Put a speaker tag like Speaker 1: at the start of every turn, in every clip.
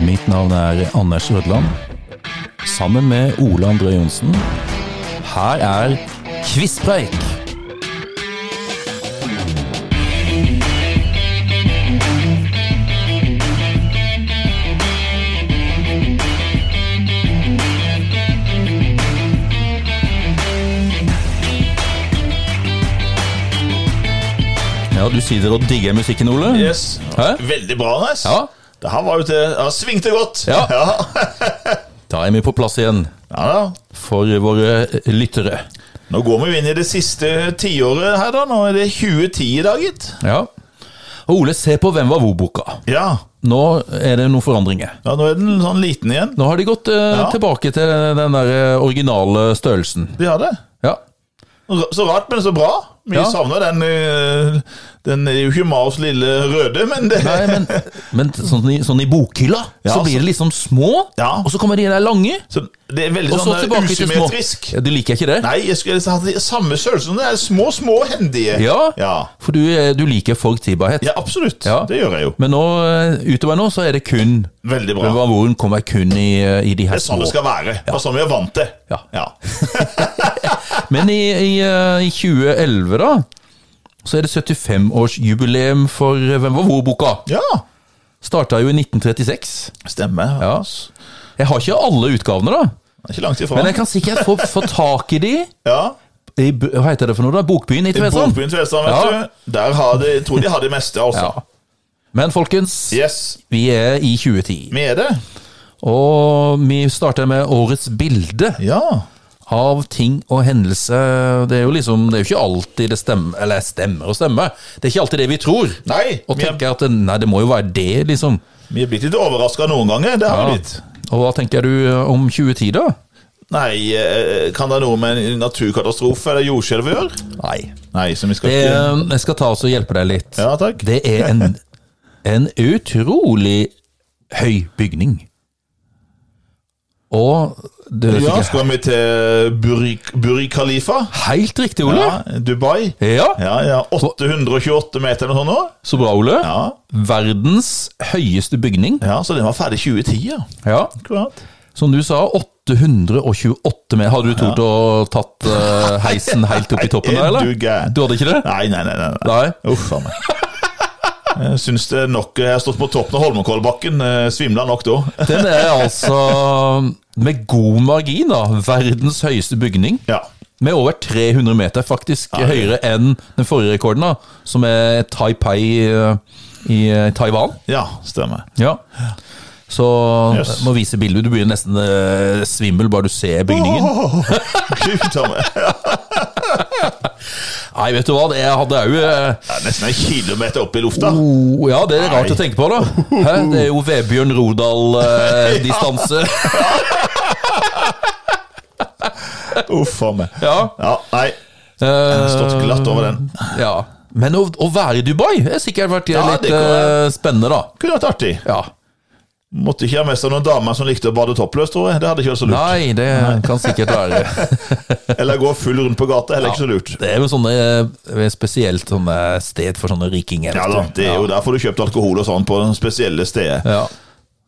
Speaker 1: Mitt navn er Anders Rødland. Sammen med Ole André Johnsen. Her er Kvisspreik! Ja, du sitter og digger musikken, Ole.
Speaker 2: Yes.
Speaker 1: Hæ?
Speaker 2: Veldig bra, Nes.
Speaker 1: Ja.
Speaker 2: Det her var jo til ja, Svingte godt.
Speaker 1: Ja.
Speaker 2: ja.
Speaker 1: Da er vi på plass igjen
Speaker 2: Ja da.
Speaker 1: for våre lyttere.
Speaker 2: Nå går vi jo inn i det siste tiåret her, da. Nå er det 2010 i dag, gitt.
Speaker 1: Ja. Og Ole, se på Hvem var hvor-boka.
Speaker 2: Ja.
Speaker 1: Nå er det noen forandringer.
Speaker 2: ja. Nå er den sånn liten igjen.
Speaker 1: Nå har de gått eh,
Speaker 2: Ja.
Speaker 1: tilbake til den der eh, originale størrelsen.
Speaker 2: De har det.
Speaker 1: Ja.
Speaker 2: Ra- Så rart, men så bra. Vi
Speaker 1: Ja.
Speaker 2: savner den eh, Den er jo ikke Mars lille røde, men det
Speaker 1: Nei, men, men sånn, i, sånn i bokhylla,
Speaker 2: Ja,
Speaker 1: så blir det liksom små,
Speaker 2: Ja.
Speaker 1: og så kommer de der lange,
Speaker 2: så Det er veldig
Speaker 1: og så
Speaker 2: sånn eh,
Speaker 1: tilbake til små.
Speaker 2: usymmetrisk.
Speaker 1: Ja, du liker ikke det?
Speaker 2: Nei, jeg skulle ha samme størrelse som det er. Små, små, hendige.
Speaker 1: Ja.
Speaker 2: Ja,
Speaker 1: For du, eh, du liker forutsigbarhet.
Speaker 2: ja absolutt.
Speaker 1: Ja.
Speaker 2: Det gjør jeg jo.
Speaker 1: Men nå, eh, utover nå, så er det kun
Speaker 2: Veldig bra.
Speaker 1: Vamoren kommer kun i, eh, i de her
Speaker 2: Det er sånn
Speaker 1: små.
Speaker 2: det skal være. Det er sånn vi er vant til.
Speaker 1: Ja.
Speaker 2: ja.
Speaker 1: Men i, i, eh, i 2011, da, så er det 75-årsjubileum for eh, Hvem var hvor-boka.
Speaker 2: Ja,
Speaker 1: Starta jo i 1936.
Speaker 2: stemmer.
Speaker 1: Ja. Jeg har ikke alle utgavene, da.
Speaker 2: Det er Ikke langt ifra.
Speaker 1: Men jeg kan sikkert få, få tak i de
Speaker 2: Ja,
Speaker 1: i b- Hva heter det for noe, da? Bokbyen i
Speaker 2: I
Speaker 1: Tvedestrand?
Speaker 2: Bokbyen Tvedestrand, vet
Speaker 1: Ja.
Speaker 2: du. Der har de, jeg tror de har det meste, altså.
Speaker 1: Ja. Men folkens,
Speaker 2: Yes,
Speaker 1: vi er i 2010.
Speaker 2: vi er det.
Speaker 1: Og vi starter med årets bilde
Speaker 2: Ja.
Speaker 1: av ting og hendelser. Det er jo liksom Det er jo ikke alltid det stemmer Eller stemmer og stemmer. Det er ikke alltid det vi tror.
Speaker 2: Nei,
Speaker 1: Og
Speaker 2: vi er,
Speaker 1: tenker at Nei, det må jo være det, liksom.
Speaker 2: vi er blitt litt overraska noen ganger. Det har
Speaker 1: Ja.
Speaker 2: vi blitt.
Speaker 1: Og hva tenker du eh, om 2010, da?
Speaker 2: Nei, eh, kan det ha noe med en naturkatastrofe eller jordskjelv å gjøre?
Speaker 1: Nei.
Speaker 2: Nei, som vi skal
Speaker 1: Det,
Speaker 2: ikke
Speaker 1: Eh, jeg skal ta oss og hjelpe deg litt.
Speaker 2: Ja, takk.
Speaker 1: Det er en, en utrolig høy bygning. Og det er
Speaker 2: Ja,
Speaker 1: sikkert
Speaker 2: skal vi til Buri, Buri Khalifa?
Speaker 1: helt riktig, Ole.
Speaker 2: Ja, Dubai?
Speaker 1: Ja.
Speaker 2: Ja, ja. 828 meter eller noe sånt nå?
Speaker 1: Så bra, Ole.
Speaker 2: Ja.
Speaker 1: Verdens høyeste bygning.
Speaker 2: ja, så den var ferdig i 2010, ja.
Speaker 1: Ja.
Speaker 2: Akkurat.
Speaker 1: Som du sa, 828 meter. Hadde du tort å tatt eh, heisen helt opp i toppen der, eller?
Speaker 2: Er du gæren?
Speaker 1: Du hadde ikke det?
Speaker 2: Nei, nei, nei. nei, nei.
Speaker 1: Nei.
Speaker 2: Uff a meg. Jeg syns det er nok Jeg har stått på toppen av Holmenkollbakken. eh, Svimla nok da.
Speaker 1: Den er altså, med god margin, da, verdens høyeste bygning.
Speaker 2: Ja.
Speaker 1: Med over 300 meter, faktisk
Speaker 2: Ja, det-
Speaker 1: høyere enn den forrige rekorden, da, som er Taipei eh, i eh, Taiwan.
Speaker 2: ja, stemmer.
Speaker 1: Ja. Så
Speaker 2: Yes.
Speaker 1: må vise bildet. Du blir nesten eh, svimmel bare du ser bygningen.
Speaker 2: Åh, Gud a meg. Det
Speaker 1: Nei, vet du hva, det jeg hadde òg
Speaker 2: er Nesten en kilometer opp i lufta.
Speaker 1: oh, Ja, det er rart
Speaker 2: Nei.
Speaker 1: å tenke på, da. Hæ? Det er jo Vebjørn eh, Rodal-distanse.
Speaker 2: Uff a meg.
Speaker 1: ja.
Speaker 2: Ja, nei.
Speaker 1: Eh,
Speaker 2: Stått glatt over den.
Speaker 1: ja. Men å, å være i Dubai har sikkert vært eh,
Speaker 2: Ja,
Speaker 1: litt
Speaker 2: det kan
Speaker 1: eh, spennende, da.
Speaker 2: Kunne vært artig.
Speaker 1: Ja.
Speaker 2: Måtte ikke ha med seg noen damer som likte å bade toppløs, tror jeg. Det hadde ikke vært så lurt.
Speaker 1: Nei, det kan sikkert være.
Speaker 2: Eller gå full rundt på gata, heller ikke så lurt.
Speaker 1: Det er jo sånne eh, spesielt sånne sted for sånne rikinger.
Speaker 2: Ja da,
Speaker 1: vet du.
Speaker 2: det er jo Der får du kjøpt alkohol og sånn på spesielle steder.
Speaker 1: Ja,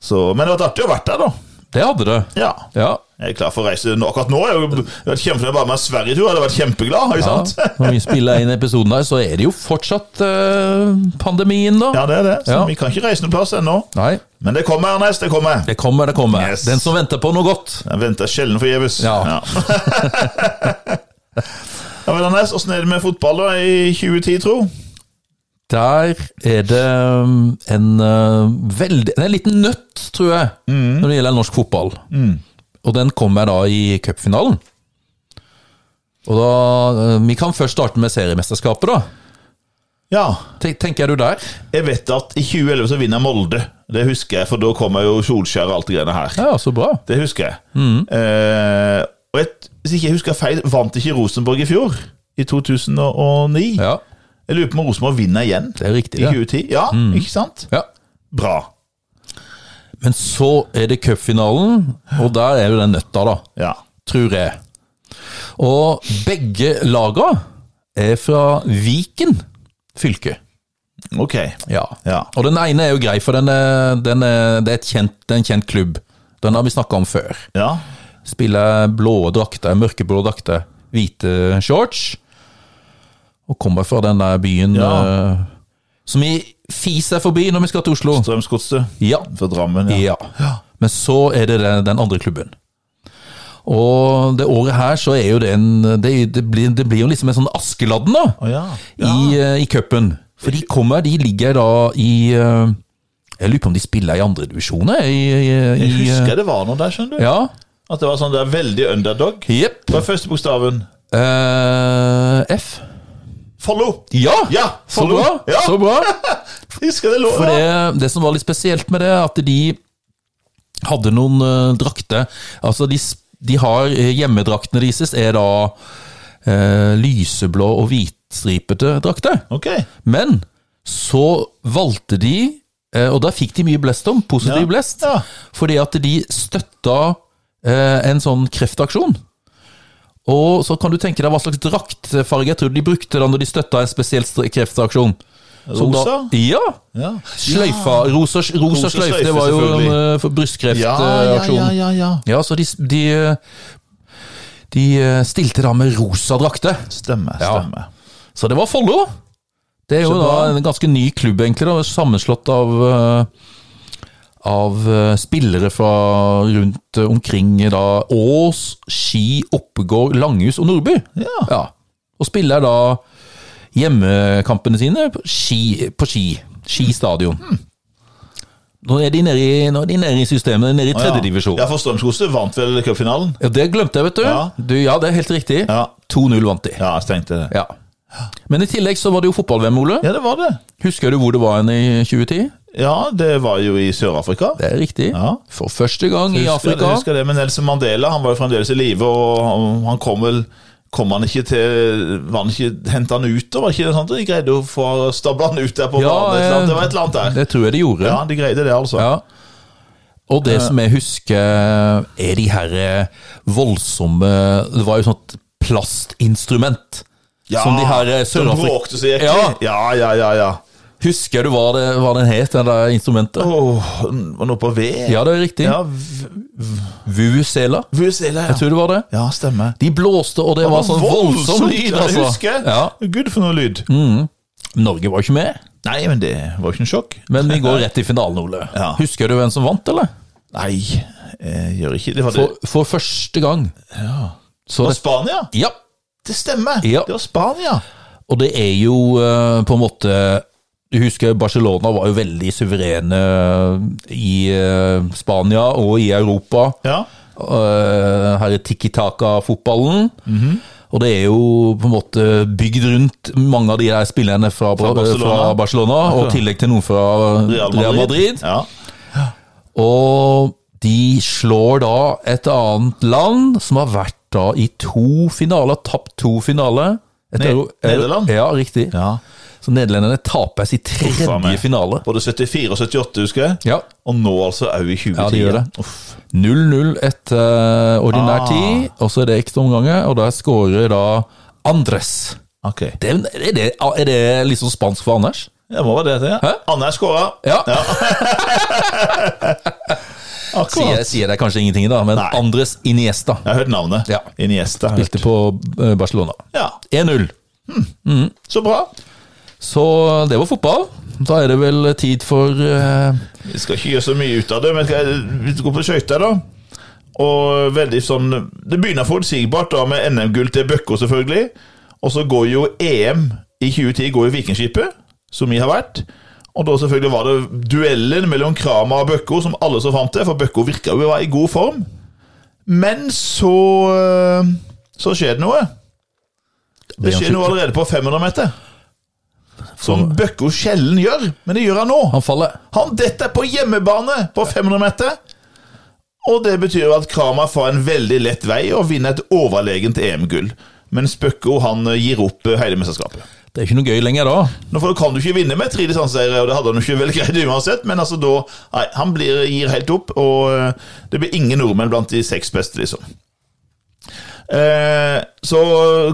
Speaker 2: Så, men det hadde vært artig å vært der, da.
Speaker 1: det hadde det.
Speaker 2: Ja.
Speaker 1: Ja.
Speaker 2: Jeg er klar for å reise nå. Akkurat nå er jeg jo jeg har vært kjempefornøyd bare med en Sverigetur. Hadde vært kjempeglad. ikke
Speaker 1: ja.
Speaker 2: sant?
Speaker 1: Når vi spiller inn episoden her, så er det jo fortsatt eh, pandemien, da.
Speaker 2: Ja, det er det. Så
Speaker 1: Ja.
Speaker 2: vi kan ikke reise noen plass ennå.
Speaker 1: Nei,
Speaker 2: Men det kommer, Ernest. Det kommer.
Speaker 1: det kommer, det kommer.
Speaker 2: Yes.
Speaker 1: Den som venter på noe godt.
Speaker 2: Jeg venter sjelden forgjeves.
Speaker 1: Ja.
Speaker 2: ja. Ja, men Ernest, Åssen er det med fotball da i 2010, tro?
Speaker 1: Der er det um, en uh, veldig det er En liten nøtt, tror jeg, når det gjelder norsk fotball. Og den kommer da i cupfinalen. Og da uh, Vi kan først starte med seriemesterskapet, da.
Speaker 2: Ja,
Speaker 1: Ten- Tenker du der?
Speaker 2: jeg vet at i 2011 så vinner Molde. Det husker jeg, for da kommer jo Solskjær og alt det greiene her.
Speaker 1: Ja, så bra.
Speaker 2: Det husker jeg.
Speaker 1: Mm.
Speaker 2: Eh, og et, hvis ikke jeg husker feil, vant ikke Rosenborg i fjor? I 2009?
Speaker 1: Ja,
Speaker 2: Jeg lurer på om Rosenborg vinner igjen
Speaker 1: det er riktig,
Speaker 2: i
Speaker 1: det.
Speaker 2: 2010. Ja,
Speaker 1: Mm.
Speaker 2: ikke sant?
Speaker 1: Ja.
Speaker 2: Bra.
Speaker 1: Men så er det cupfinalen, og der er jo den nøtta, da.
Speaker 2: Ja.
Speaker 1: Tror jeg. Og begge laga er fra Viken fylke.
Speaker 2: Ok.
Speaker 1: Ja.
Speaker 2: Ja.
Speaker 1: Og den ene er jo grei, for den er, den er, det, er et kjent, det er en kjent klubb. Den har vi snakka om før.
Speaker 2: Ja.
Speaker 1: Spiller blå drakter, mørkeblå drakter, hvite shorts. Og kommer fra den der byen
Speaker 2: Ja.
Speaker 1: eh, som vi fiser forbi når vi skal til Oslo.
Speaker 2: Strømsgodset
Speaker 1: Ja.
Speaker 2: fra Drammen. Ja.
Speaker 1: ja. Men så er det den, den andre klubben. Og det året her så er jo det en Det, det, blir, det blir jo liksom en sånn Askeladden, da
Speaker 2: Å ja.
Speaker 1: i, eh, i cupen. For de kommer, de ligger da i eh, Jeg lurer på om de spiller i andredivisjoner? I, i, i,
Speaker 2: Jeg
Speaker 1: i, eh,
Speaker 2: husker det var noe der, skjønner du.
Speaker 1: Ja.
Speaker 2: At det var sånn der veldig underdog.
Speaker 1: Jepp.
Speaker 2: Hva er første bokstaven?
Speaker 1: Eh, F.
Speaker 2: Follo!
Speaker 1: Ja!
Speaker 2: Ja,
Speaker 1: så bra!
Speaker 2: Ja.
Speaker 1: Så bra.
Speaker 2: Husker det lå
Speaker 1: For det, det som var litt spesielt med det, er at de hadde noen eh, drakter Altså, de, s- de har eh, Hjemmedraktene deres er da eh, lyseblå og hvitstripete drakter.
Speaker 2: Ok.
Speaker 1: Men så valgte de, eh, og da fikk de mye blest om, positiv
Speaker 2: Ja,
Speaker 1: blest,
Speaker 2: ja.
Speaker 1: fordi at de støtta eh, en sånn kreftaksjon. Og så kan du tenke deg hva slags draktfarge jeg tror de brukte da når de støtta en spesiell stre- kreftaksjon. Som
Speaker 2: Rosa?
Speaker 1: Da, ja.
Speaker 2: Ja.
Speaker 1: Sløyfa. Rosa, rosa,
Speaker 2: Rosa
Speaker 1: sløyfe,
Speaker 2: sløyfe,
Speaker 1: det var jo en
Speaker 2: selvfølgelig.
Speaker 1: eh, for
Speaker 2: Ja, ja,
Speaker 1: brystkreftaksjon.
Speaker 2: ja, ja, ja.
Speaker 1: ja, så de, de, de eh, stilte da med rosa drakter.
Speaker 2: Stemmer,
Speaker 1: Ja.
Speaker 2: stemmer.
Speaker 1: Så det var Follo. Det er jo
Speaker 2: Så
Speaker 1: da
Speaker 2: bra.
Speaker 1: en ganske ny klubb, egentlig. Da, sammenslått av, eh, av eh, spillere fra rundt eh, omkring eh, da Ås, Ski, Oppegård, Langhus og Nordby.
Speaker 2: Ja.
Speaker 1: Ja. Og spiller da hjemmekampene sine på Ski. På ski, ski stadion.
Speaker 2: Hmm.
Speaker 1: Nå er de nede i, nå er de nede i systemet, nede i
Speaker 2: Ja.
Speaker 1: tredjedivisjon.
Speaker 2: Ja, for Strømsgodset vant vel cupfinalen?
Speaker 1: Ja, det glemte jeg, vet du.
Speaker 2: Ja.
Speaker 1: du. Ja, det er helt riktig.
Speaker 2: Ja.
Speaker 1: 2-0 vant de.
Speaker 2: ja, jeg tenkte det.
Speaker 1: Ja. Men i tillegg så var det jo fotball-VM, Ole.
Speaker 2: Ja, det var det.
Speaker 1: Husker du hvor det var hen i 2010?
Speaker 2: Ja, det var jo i Sør-Afrika.
Speaker 1: Det er riktig.
Speaker 2: Ja.
Speaker 1: For første gang i
Speaker 2: Husker-
Speaker 1: Afrika.
Speaker 2: Husker det, men Nelson Mandela han var jo fremdeles i live, og han kom vel Kom han ikke til Var han ikke Henta han ut, og var det ikke det sånt? De greide å få stabla han ut der på
Speaker 1: Ja,
Speaker 2: banen. Et eller annet.
Speaker 1: eh,
Speaker 2: Det var et eller annet der.
Speaker 1: Det tror jeg de gjorde.
Speaker 2: Ja, de greide det, altså.
Speaker 1: Ja. Og det som jeg husker, er de her eh, voldsomme Det var jo sånt plastinstrument.
Speaker 2: Ja,
Speaker 1: som de her eh,
Speaker 2: Som
Speaker 1: Sør-Afrik...
Speaker 2: bråkte så jæklig. Ja. ja, ja, ja. ja.
Speaker 1: Husker du hva det, hva den het, det der instrumentet?
Speaker 2: Åh, var noe på V?
Speaker 1: Ja, det er riktig.
Speaker 2: ja v-
Speaker 1: Vuvuzela.
Speaker 2: Vuvuzela,
Speaker 1: Jeg
Speaker 2: ja.
Speaker 1: tror det var det.
Speaker 2: Ja, stemmer.
Speaker 1: De blåste, og det var sånn voldsom lyd,
Speaker 2: ja,
Speaker 1: altså.
Speaker 2: Jeg husker.
Speaker 1: Ja. Mm.
Speaker 2: Gud, for noe lyd.
Speaker 1: Norge var jo ikke med.
Speaker 2: Nei, men det var jo ikke noe sjokk.
Speaker 1: Men vi går rett i finalen, Ole.
Speaker 2: Ja.
Speaker 1: Husker du hvem som vant, eller?
Speaker 2: Nei, jeg gjør ikke det. Var det
Speaker 1: For, for første gang. Så
Speaker 2: var
Speaker 1: det,
Speaker 2: Spania?
Speaker 1: ja,
Speaker 2: Det stemmer!
Speaker 1: Ja.
Speaker 2: Det var Spania.
Speaker 1: og det er jo eh, på en måte Du husker Barcelona var jo veldig suverene i eh, Spania og i Europa.
Speaker 2: Ja.
Speaker 1: Eh, her er tiki-taka-fotballen.
Speaker 2: Mhm.
Speaker 1: Og det er jo på en måte bygd rundt mange av de der spillerne fra, Bra-
Speaker 2: Barcelona.
Speaker 1: fra Barcelona, og i tillegg til noen fra
Speaker 2: Real Madrid.
Speaker 1: Real Madrid.
Speaker 2: Ja.
Speaker 1: Og de slår da et annet land som har vært da i to finaler, tapt to finaler. Et
Speaker 2: Ne-
Speaker 1: euro- eh,
Speaker 2: Nederland?
Speaker 1: Ja, riktig.
Speaker 2: ja.
Speaker 1: Så nederlenderne taper sin
Speaker 2: Uffa
Speaker 1: tredje
Speaker 2: meg.
Speaker 1: finale.
Speaker 2: Både 74 og 78, husker jeg.
Speaker 1: Ja.
Speaker 2: Og nå altså òg i 2010.
Speaker 1: Ja, de gjør det.
Speaker 2: Uff.
Speaker 1: 0-0 etter eh, ordinær
Speaker 2: Ah.
Speaker 1: tid, og så er det ekstraomganger, og der skårer da Andres.
Speaker 2: Ok.
Speaker 1: Det, er- er, det, er det liksom spansk for Anders?
Speaker 2: Det må være det. det. Anne skåra.
Speaker 1: Ja, sier,
Speaker 2: Akkurat.
Speaker 1: sier det kanskje ingenting, da, men
Speaker 2: Nei.
Speaker 1: Andres Iniesta
Speaker 2: Jeg har hørt navnet.
Speaker 1: Ja.
Speaker 2: Iniesta. har jeg
Speaker 1: spilte
Speaker 2: hørt.
Speaker 1: på eh, Barcelona.
Speaker 2: Ja.
Speaker 1: 1-0.
Speaker 2: Så bra.
Speaker 1: Så det var fotball. Da er det vel tid for eh,
Speaker 2: Vi skal ikke gjøre så mye ut av det, men skal vi gå på skøyter, da? Og veldig sånn Det begynner forutsigbart da med NM-gull til Bøkko, selvfølgelig. Og så går jo EM i 2010 går jo Vikingskipet, som vi har vært. Og da selvfølgelig var det duellen mellom Krama og Bøkko som alle så fram til, for Bøkko virka jo å være i god form. Men så øh, Så skjer det noe. Det skjer noe allerede på 500 meter. Som Bøkko sjelden gjør, men det gjør han nå.
Speaker 1: Han faller.
Speaker 2: Han detter på hjemmebane på 500 meter. Og det betyr at Krama får en veldig lett vei og vinner et overlegent EM-gull. Men Spøkko han gir opp eh, hele mesterskapet.
Speaker 1: Det er ikke noe gøy lenger da.
Speaker 2: Nå får- kan du ikke vinne med tre distanseseiere, og det hadde han jo ikke vel greid uansett, men altså da Nei, han blir, gir helt opp, og eh, det blir ingen nordmenn blant de seks beste, liksom. Eh, så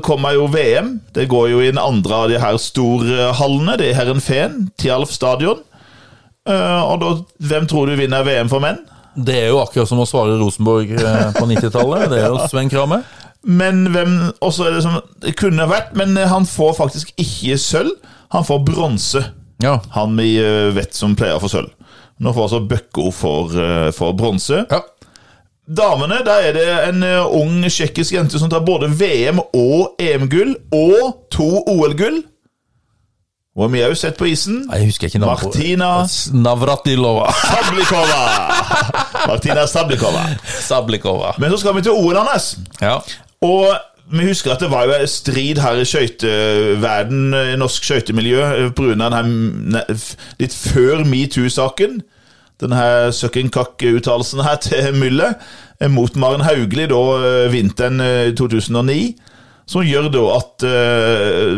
Speaker 2: kommer jo VM. Det går jo i den andre av de her storhallene. Det er Herrenfeen, Tialf stadion. Eh, og da, hvem tror du vinner VM for menn?
Speaker 1: Det er jo akkurat som å svare Rosenborg eh, på 90-tallet. Det er jo Sven Kramme.
Speaker 2: Men hvem også er det som det kunne vært? Men han får faktisk ikke sølv. Han får bronse.
Speaker 1: Ja.
Speaker 2: Han vi eh, vet som pleier å få sølv. Nå får altså Bøkko for, eh, for bronse.
Speaker 1: ja.
Speaker 2: Damene, der er det en eh, ung tsjekkisk jente som tar både VM- og EM-gull og to OL-gull. Hun har vi også sett på isen.
Speaker 1: Nei, jeg husker ikke navnet på-
Speaker 2: Martina
Speaker 1: Navratilova.
Speaker 2: Sablikova! Martina Sablikova.
Speaker 1: Sablikova.
Speaker 2: Men så skal vi til OL, Anders.
Speaker 1: Ja.
Speaker 2: Og vi husker at det var jo en strid her i skøyteverden, i norsk skøytemiljø, pga. den her ne- f- litt før metoo-saken. Den her søkkenkakk-uttalelsen her til Mylle eh, mot Maren Hauglie da eh, vinteren eh, 2009. Som gjør da at eh,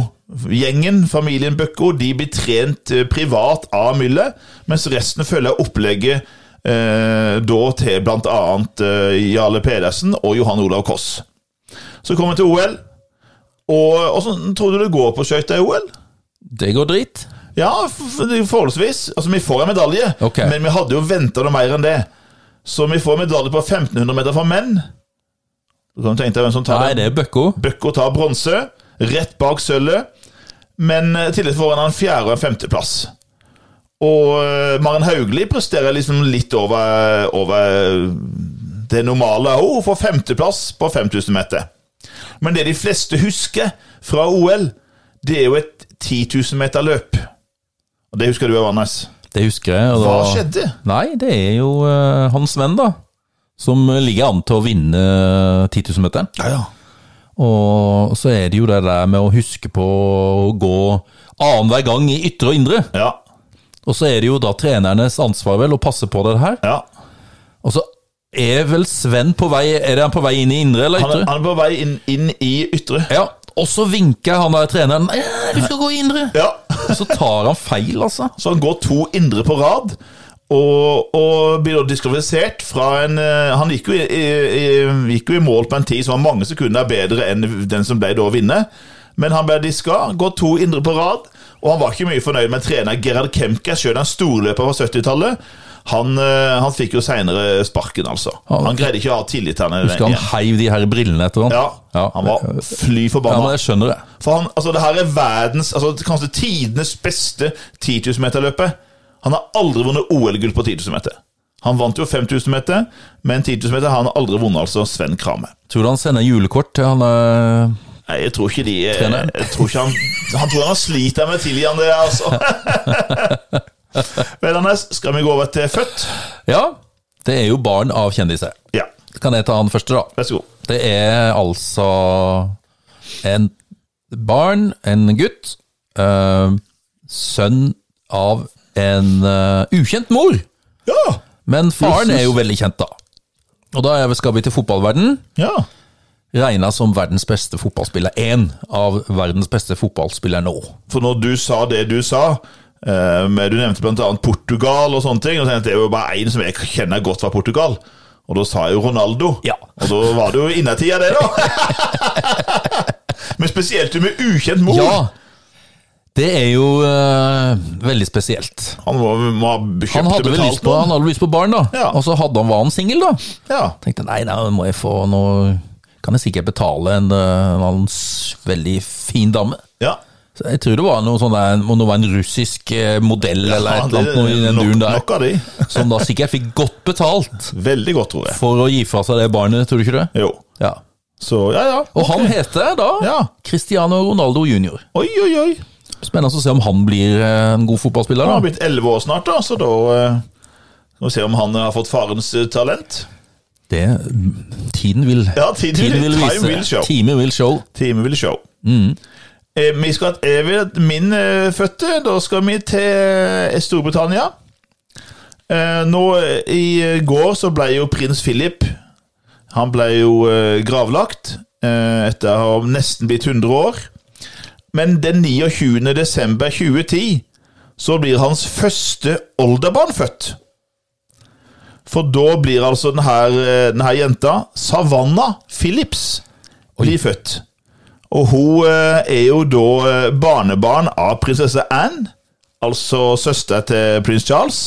Speaker 2: Bøkko-gjengen, familien Bøkko, de blir trent eh, privat av Mylle, mens resten følger opplegget eh, da til blant annet eh, Jarle Pedersen og Johan Olav Koss. Så kommer vi til OL. Og åssen tror du det går på skøyter i OL?
Speaker 1: Det går drit.
Speaker 2: Ja, f- f- forholdsvis. Altså, vi får en medalje,
Speaker 1: Ok.
Speaker 2: men vi hadde jo venta noe mer enn det. Så vi får medalje på 1500 meter for menn. Du kan tenke deg hvem som tar
Speaker 1: Nei,
Speaker 2: den.
Speaker 1: det er Bøkko.
Speaker 2: Bøkko tar bronse, rett bak sølvet. Men eh, tidligere får han en fjerde- og en femteplass. Og eh, Maren Hauglie presterer liksom litt over, over det normale. Hun får femteplass på 5000 meter. Men det de fleste husker fra OL, det er jo et 10 000 meter løp. Og det husker du, Anders.
Speaker 1: Det husker jeg. og
Speaker 2: Hva
Speaker 1: da-
Speaker 2: skjedde?
Speaker 1: Nei, det er jo eh, Hans Venn, da. Som ligger an til å vinne 10 000-meteren.
Speaker 2: Ja, ja.
Speaker 1: Og så er det jo det der med å huske på å gå annenhver gang i ytre og indre.
Speaker 2: Ja,
Speaker 1: Og så er det jo da trenernes ansvar vel å passe på det her.
Speaker 2: ja.
Speaker 1: Og så er vel Sven på vei Er det han på vei inn i indre eller
Speaker 2: Han, er-
Speaker 1: ytre?
Speaker 2: han er på vei inn, inn i ytre.
Speaker 1: Ja. Og så vinker han der treneren «Eh, 'Du skal gå i indre'.
Speaker 2: Ja.
Speaker 1: Og så tar han feil, altså.
Speaker 2: Så han går to indre på rad. Og, og blir da diskvalifisert fra en eh, Han gikk jo i, i, i, gikk jo i mål på en tid som var mange sekunder bedre enn den som ble da å vinne. Men han ble diska, går to indre på rad, og han var ikke mye fornøyd med trener Gerhard Kemke, sjøl en storløper fra 70-tallet. Han, eh, han fikk jo seinere sparken, altså.
Speaker 1: Ja,
Speaker 2: Han greide ikke å ha tillit til han
Speaker 1: Skal han
Speaker 2: igjen.
Speaker 1: heiv de her brillene etter han?
Speaker 2: Ja,
Speaker 1: Ja.
Speaker 2: han var fly
Speaker 1: ja, men
Speaker 2: forbanna.
Speaker 1: jeg skjønner det.
Speaker 2: For han, altså det her er verdens, altså kanskje tidenes beste 10 000 meter løpet. Han har aldri vunnet OL-gull på 10 000 meter. Han vant jo 5000 meter, men 10 000 meter har han aldri vunnet, altså Sven Krame.
Speaker 1: Tror du han sender julekort til han eh,
Speaker 2: Nei, jeg tror ikke de eh,
Speaker 1: Treneren.
Speaker 2: jeg tror ikke han, han tror han sliter med å tilgi han det, altså. Vel, Anders, skal vi gå over til født?
Speaker 1: Ja, det er jo barn av kjendiser.
Speaker 2: Ja,
Speaker 1: Kan jeg ta han første, da?
Speaker 2: vær så god.
Speaker 1: Det er altså en barn, en gutt, eh, sønn av en eh, ukjent mor.
Speaker 2: Ja!
Speaker 1: Men faren er jo veldig kjent, da. Og da er vi, skal vi til fotballverden.
Speaker 2: Ja,
Speaker 1: Regna som verdens beste fotballspiller. Én av verdens beste fotballspillere nå.
Speaker 2: for når du sa det du sa, eh, men du nevnte blant annet Portugal og sånne ting, og så tenkte jeg, det er jo bare en som jeg kjenner godt fra Portugal, og da sa jeg jo Ronaldo.
Speaker 1: Ja.
Speaker 2: Og da var det jo innertida det da. men spesielt jo med ukjent mor.
Speaker 1: Ja! Det er jo eh, veldig spesielt.
Speaker 2: Han må, må ha kjøpt
Speaker 1: Han hadde
Speaker 2: og
Speaker 1: vel
Speaker 2: betalt
Speaker 1: lyst på, han
Speaker 2: noen.
Speaker 1: hadde lyst på barn, da.
Speaker 2: Ja.
Speaker 1: Og så hadde han, var han singel, da.
Speaker 2: Ja.
Speaker 1: tenkte nei, nei, må jeg få noe Kan jeg sikkert betale en, eh, en annen s- veldig fin dame?
Speaker 2: ja.
Speaker 1: Så jeg tror det var noe sånn der, må det være en russisk eh, modell eller et
Speaker 2: Han
Speaker 1: eller annet noe i
Speaker 2: hadde
Speaker 1: den
Speaker 2: nok,
Speaker 1: duren der.
Speaker 2: nok av de.
Speaker 1: Som da sikkert fikk godt betalt
Speaker 2: Veldig godt, tror jeg.
Speaker 1: for å gi fra seg det barnet, tror du ikke det?
Speaker 2: Jo.
Speaker 1: Ja.
Speaker 2: Så, ja, ja.
Speaker 1: Og han heter da
Speaker 2: Ja.
Speaker 1: Cristiano Ronaldo jr.
Speaker 2: Oi, oi, oi.
Speaker 1: Spennende å se om han blir eh, en god fotballspiller,
Speaker 2: Han har
Speaker 1: da.
Speaker 2: blitt 11 år snart, da, så da eh, skal vi se om han har fått farens eh, talent.
Speaker 1: Det Tiden vil
Speaker 2: Ja, tiden vil- time will show.
Speaker 1: Time will show.
Speaker 2: Time will show. Eh, vi skal jeg vil at min eh, fødte. Da skal vi til eh, Storbritannia. Eh, nå eh, i går så ble jo prins Philip Han ble jo eh, gravlagt eh, etter å ha nesten blitt 100 år. Men den 29. desember 2010 så blir hans første oldebarn født. For da blir altså denne, denne jenta, Savannah Phillips, blir født. Og hun eh, er jo da eh, barnebarn av prinsesse Anne, altså søster til prins Charles.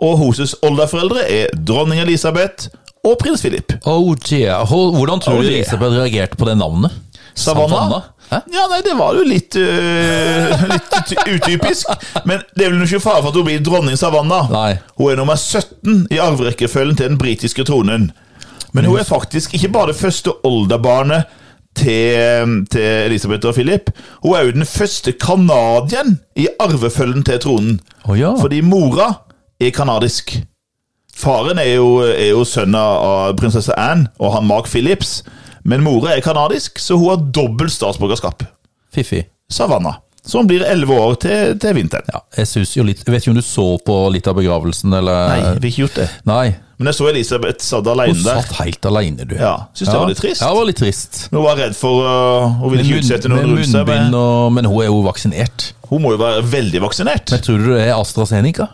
Speaker 2: Og hennes oldeforeldre er dronning Elisabeth og prins Philip.
Speaker 1: Oh dear. Ho- Hvordan tror
Speaker 2: Oh
Speaker 1: du
Speaker 2: dear.
Speaker 1: Elisabeth reagerte på det navnet?
Speaker 2: Savannah?
Speaker 1: Hæ?
Speaker 2: Ja, nei, det var jo litt, øh, litt ut- utypisk. Men det er vel ikke fare for at hun blir dronning Savannah.
Speaker 1: Nei.
Speaker 2: Hun er nummer 17 i arverekkefølgen til den britiske tronen. Men hun er faktisk ikke bare det første oldebarnet til, til Elisabeth og Philip. Hun er jo den første canadieren i arvefølgen til tronen.
Speaker 1: Å ja.
Speaker 2: Fordi mora er kanadisk. Faren er jo, er jo sønnen av prinsesse Anne og han Mark Phillips. Men mora er kanadisk, så hun har dobbelt statsborgerskap.
Speaker 1: Fiffig.
Speaker 2: Savannah. Så hun blir elleve år til, til vinteren.
Speaker 1: Ja, jeg synes jo litt Jeg vet ikke om du så på litt av begravelsen, eller
Speaker 2: Nei, vi har ikke gjort det.
Speaker 1: Nei.
Speaker 2: Men jeg så Elisabeth satt
Speaker 1: Hun
Speaker 2: alene der.
Speaker 1: satt helt alene, du.
Speaker 2: Ja, Syns det var litt trist.
Speaker 1: Ja, det var litt trist.
Speaker 2: Hun var redd for øh, Hun ville ikke utsette noen rundt seg.
Speaker 1: munnbind
Speaker 2: Men
Speaker 1: og Men hun er jo vaksinert.
Speaker 2: hun må jo være veldig vaksinert.
Speaker 1: Men tror du det er AstraZeneca?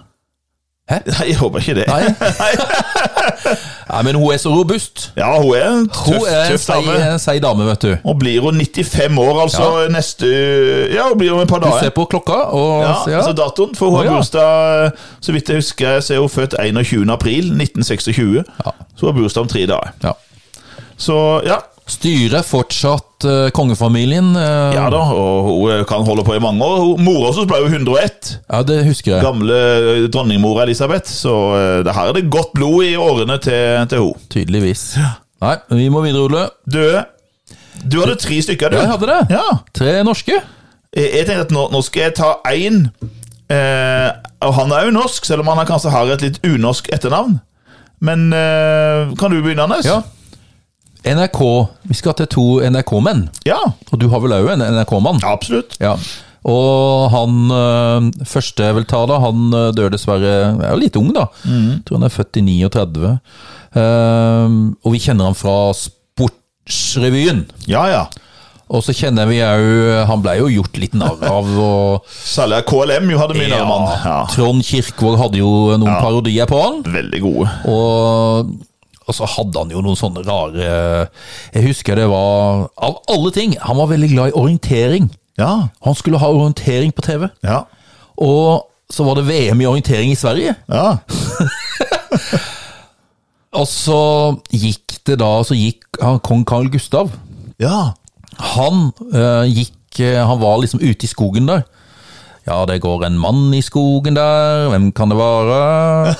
Speaker 2: Nei, jeg håper ikke det.
Speaker 1: Nei. Nei, men hun er så robust.
Speaker 2: Ja, hun er en
Speaker 1: Hun
Speaker 2: tøff,
Speaker 1: er en
Speaker 2: tøff
Speaker 1: seig
Speaker 2: dame.
Speaker 1: en seig dame, vet du.
Speaker 2: Og blir hun 95 år, altså, neste Ja, hun blir om et par
Speaker 1: Du
Speaker 2: dager.
Speaker 1: ser på klokka, og
Speaker 2: Ja,
Speaker 1: ja.
Speaker 2: altså datoen, for
Speaker 1: Å,
Speaker 2: hun har
Speaker 1: ja.
Speaker 2: bursdag Så vidt jeg husker, så er hun født 21. april 1926.
Speaker 1: Ja.
Speaker 2: Så hun har bursdag om tre dager.
Speaker 1: ja.
Speaker 2: Så ja.
Speaker 1: Styrer fortsatt eh, kongefamilien. eh,
Speaker 2: Ja da, og hun kan holde på i mange år. Hun- Mora også ble jo 101.
Speaker 1: ja, det husker jeg.
Speaker 2: Gamle dronningmor Elisabeth. Så eh, det her er det godt blod i årene til, til hun.
Speaker 1: Tydeligvis. Nei, vi må videre, Ole.
Speaker 2: Du, du hadde tre stykker, du.
Speaker 1: Ja, jeg hadde det.
Speaker 2: Ja.
Speaker 1: Tre norske.
Speaker 2: Jeg, jeg tenkte at nå, nå skal jeg ta én. Eh, og han er jo norsk, selv om han har- kanskje har et litt unorsk etternavn. Men eh, kan du begynne, Anders?
Speaker 1: Ja. NRK. Vi skal til to NRK-menn.
Speaker 2: ja.
Speaker 1: Og du har vel òg en NRK-mann?
Speaker 2: Ja, Absolutt.
Speaker 1: Ja. Og han øh, første jeg vil ta, da, han øh, dør dessverre er jo litt ung, da.
Speaker 2: Mm.
Speaker 1: Jeg Tror han er født i 39. Ehm, og vi kjenner han fra Sportsrevyen.
Speaker 2: Ja, ja.
Speaker 1: Og så kjenner vi òg Han ble jo gjort litt narr av. Og,
Speaker 2: Særlig av KLM jo hadde mye ja. navn. Ja.
Speaker 1: Trond Kirkvaag hadde jo noen parodier på han.
Speaker 2: Veldig gode.
Speaker 1: Og, og så hadde han jo noen sånne rare Jeg husker det var Av alle ting! Han var veldig glad i orientering.
Speaker 2: Ja.
Speaker 1: Han skulle ha orientering på TV.
Speaker 2: Ja.
Speaker 1: Og så var det VM i orientering i Sverige.
Speaker 2: ja.
Speaker 1: Og så gikk det da Så gikk han, kong Carl Gustav.
Speaker 2: ja.
Speaker 1: Han eh, gikk eh, Han var liksom ute i skogen der. Ja, det går en mann i skogen der, hvem kan det være?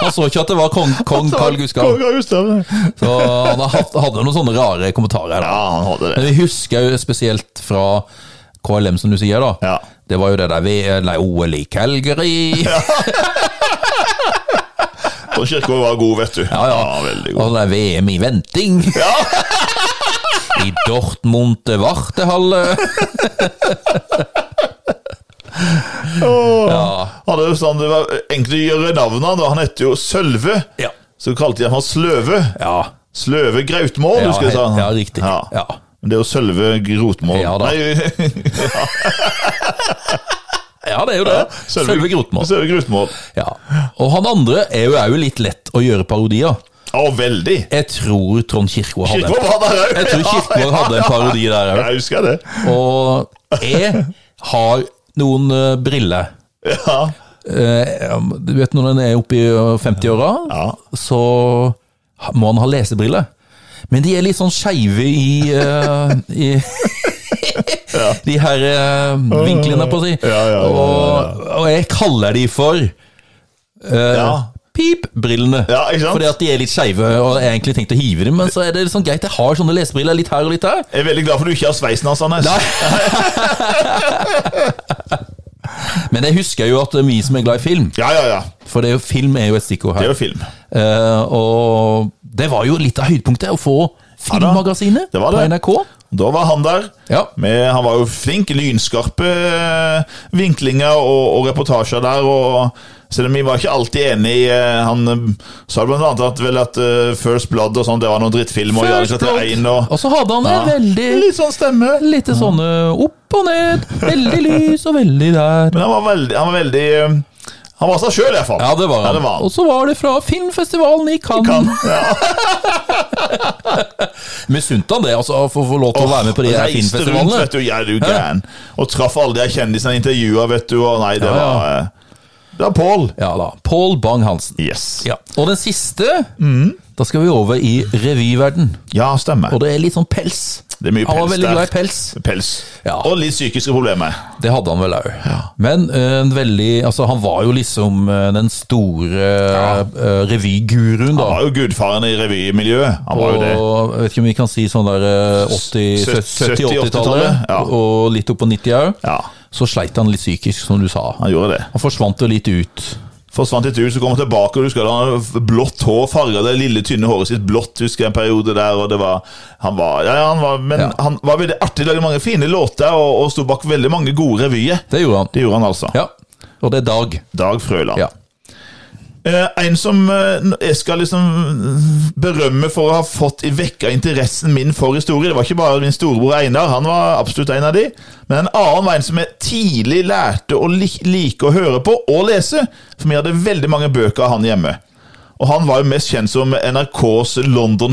Speaker 1: Han så ikke at det var kong, kong Carl Gustav.
Speaker 2: Konge Sånn. Gustav.
Speaker 1: Så han har hatt- hadde noen sånne rare kommentarer.
Speaker 2: Ja,
Speaker 1: Da.
Speaker 2: han hadde det.
Speaker 1: Men vi husker jo spesielt fra KLM, som du sier, da.
Speaker 2: Ja.
Speaker 1: Det var jo det der ved nei, OL i Calgary.
Speaker 2: Og Kirkevåg var god, vet du. Ja, veldig god.
Speaker 1: Og det er VM i venting. I Dortmund det Wartehalle.
Speaker 2: Åh. Han hadde jo sånn, det var enkelt å gjøre navnet hans. Han hette jo Sølve.
Speaker 1: Ja.
Speaker 2: Så kalte de ham for Sløve.
Speaker 1: Ja,
Speaker 2: Sløve Grautmål,
Speaker 1: Ja,
Speaker 2: husker jeg. sa han.
Speaker 1: ja, riktig. Ja.
Speaker 2: Men det er jo Sølve Grotmål.
Speaker 1: Ja, da.
Speaker 2: Nei,
Speaker 1: ja det er jo det.
Speaker 2: Sølve-
Speaker 1: Sølve Grotmål.
Speaker 2: Sølve Grotmål.
Speaker 1: Ja. Og han andre er jo òg litt lett å gjøre parodier.
Speaker 2: Å, veldig.
Speaker 1: Jeg tror Trond Kirkvaag hadde en-
Speaker 2: Kirkevåg var der òg.
Speaker 1: Jeg tror Kirkvaag hadde en parodi der òg.
Speaker 2: Jeg husker det.
Speaker 1: Og jeg har noen eh, briller.
Speaker 2: Ja.
Speaker 1: Eh, Du vet når en er oppe i eh, 50-åra,
Speaker 2: Ja.
Speaker 1: så ha- må han ha lesebriller. Men de er litt sånn skeive i, eh, i De her eh, vinklene, på å si.
Speaker 2: Ja, ja, ja, ja,
Speaker 1: Og, og jeg kaller de for eh,
Speaker 2: Ja.
Speaker 1: pipbrillene.
Speaker 2: Ja, ikke sant?
Speaker 1: Fordi at de er litt skeive, og jeg har egentlig tenkt å hive dem, men så er det sånn greit, jeg har sånne lesebriller litt her og litt der.
Speaker 2: Jeg er veldig glad for du ikke har sveisen hans, Anders.
Speaker 1: Men jeg husker jo at det er vi som er glad i film,
Speaker 2: Ja, ja, ja.
Speaker 1: for det er jo, film er jo et stikkord her.
Speaker 2: Det er jo film.
Speaker 1: Eh, og det var jo litt av høydepunktet å få filmmagasinet
Speaker 2: det var
Speaker 1: på
Speaker 2: det.
Speaker 1: NRK.
Speaker 2: Da var han der.
Speaker 1: Ja.
Speaker 2: Med, han var jo flink. Lynskarpe eh, vinklinger og, og reportasjer der. Og selv om vi var ikke alltid enig i eh, Han eh, sa blant annet at, vel at eh, First Blood og sånn, det var noen drittfilm. Og Jagelse etter ein og
Speaker 1: Og så hadde han en veldig
Speaker 2: Litt sånn stemme.
Speaker 1: Litt sånne opp og ned, veldig lys og veldig der.
Speaker 2: Men han var veldig, han var veldig eh, Han var seg sjøl, iallfall.
Speaker 1: Ja, det var han.
Speaker 2: Ja, det var han.
Speaker 1: Og så var det fra Filmfestivalen i Cannes.
Speaker 2: Kan. Ja.
Speaker 1: Misunte han det, altså, for å få lov til å være med på de her
Speaker 2: Reiste rundt,
Speaker 1: filmfestivalene?
Speaker 2: vet du. Ja, er du gæren. Og traff alle de her kjendisene i intervjua, vet du. Og nei, det
Speaker 1: Ja, ja.
Speaker 2: var eh, Det var Pål.
Speaker 1: Ja da. Paul Bang-Hansen.
Speaker 2: Yes. Mm. Ja,
Speaker 1: Ja. Og den siste, da skal vi over i revyverden.
Speaker 2: stemmer.
Speaker 1: Og det er litt sånn pels.
Speaker 2: Det er mye
Speaker 1: han var
Speaker 2: pels
Speaker 1: veldig
Speaker 2: der.
Speaker 1: glad i pels.
Speaker 2: Pels.
Speaker 1: Ja.
Speaker 2: Og litt psykiske problemer.
Speaker 1: Det hadde han vel òg. Men eh, en veldig Altså, han var jo liksom eh, den store eh, revyguruen, da.
Speaker 2: Han var jo gudfaren i revymiljøet. Han var jo det.
Speaker 1: Og jeg vet ikke om vi kan si sånn der eh, 80,
Speaker 2: Sø-
Speaker 1: 70-80-tallet,
Speaker 2: ja.
Speaker 1: og litt opp på 90 òg.
Speaker 2: Ja,
Speaker 1: Så sleit han litt psykisk, som du sa.
Speaker 2: han gjorde det.
Speaker 1: Han forsvant jo litt ut.
Speaker 2: Forsvant litt ut, så kom han tilbake, og du husker han hadde blått hår, farga det lille, tynne håret sitt blått, husker jeg en periode der, og det var Han var Ja, ja, han var Men
Speaker 1: Ja.
Speaker 2: han var veldig artig, lagde mange fine låter, og, og sto bak veldig mange gode revyer.
Speaker 1: Det gjorde han.
Speaker 2: Det gjorde han altså.
Speaker 1: Ja. Og det er Dag.
Speaker 2: Dag Frøland.
Speaker 1: Ja.
Speaker 2: Eh, en som eh, jeg skal liksom berømme for å ha fått i vekka interessen min for historie. Det var ikke bare min storebror Einar, han var absolutt en av de. Men en annen var en som jeg tidlig lærte å li like å høre på og lese. For vi hadde veldig mange bøker av han hjemme. Og han var jo mest kjent som NRKs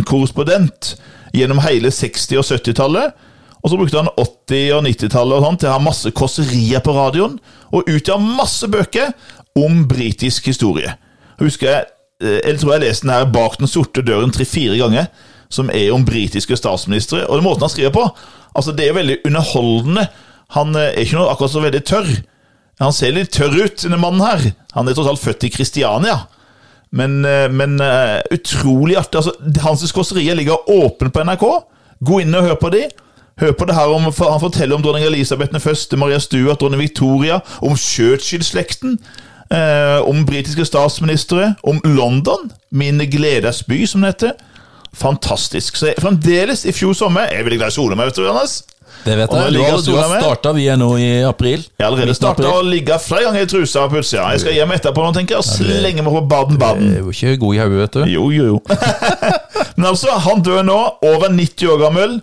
Speaker 2: London-korrespondent gjennom hele 60- og 70-tallet. Og så brukte han 80- og 90-tallet og sånn til å ha masse kåserier på radioen, og utga masse bøker om britisk historie. Husker jeg, eh, jeg tror jeg leste den her bak den sorte døren tre-fire ganger, som er om britiske statsministre, og den måten han skriver på, altså det er veldig underholdende. Han eh, er ikke noe akkurat så veldig tørr. Han ser litt tørr ut, denne mannen her. Han er tross alt født i Kristiania. Men, eh, men eh, utrolig artig. Altså, Hans kåserier ligger åpne på NRK. Gå inn og hør på de. Hør på det her om, for Han forteller om dronning Elisabeth 1., Maria Stuart, dronning Victoria, om Churchill-slekten. Eh, om britiske statsministre. Om London, min gleders by, som det heter. Fantastisk. Så jeg, fremdeles, i fjor sommer Jeg er veldig glad i sola meg, vet du, Johannes.
Speaker 1: Det vet
Speaker 2: Og nå
Speaker 1: jeg. Du
Speaker 2: ligger
Speaker 1: har, du
Speaker 2: sola
Speaker 1: har
Speaker 2: med.
Speaker 1: starta, vi er nå i april.
Speaker 2: Jeg har allerede
Speaker 1: Midten av
Speaker 2: starta å
Speaker 1: april.
Speaker 2: ligge flere ganger i trusa på utsida. Jeg skal hjem etterpå nå, tenker jeg, og slenge meg på Baden-Baden.
Speaker 1: Jeg Eh, er jo ikke god i hodet, vet du.
Speaker 2: Jo, jo, jo. Men altså, han dør nå, over 90 år gammel.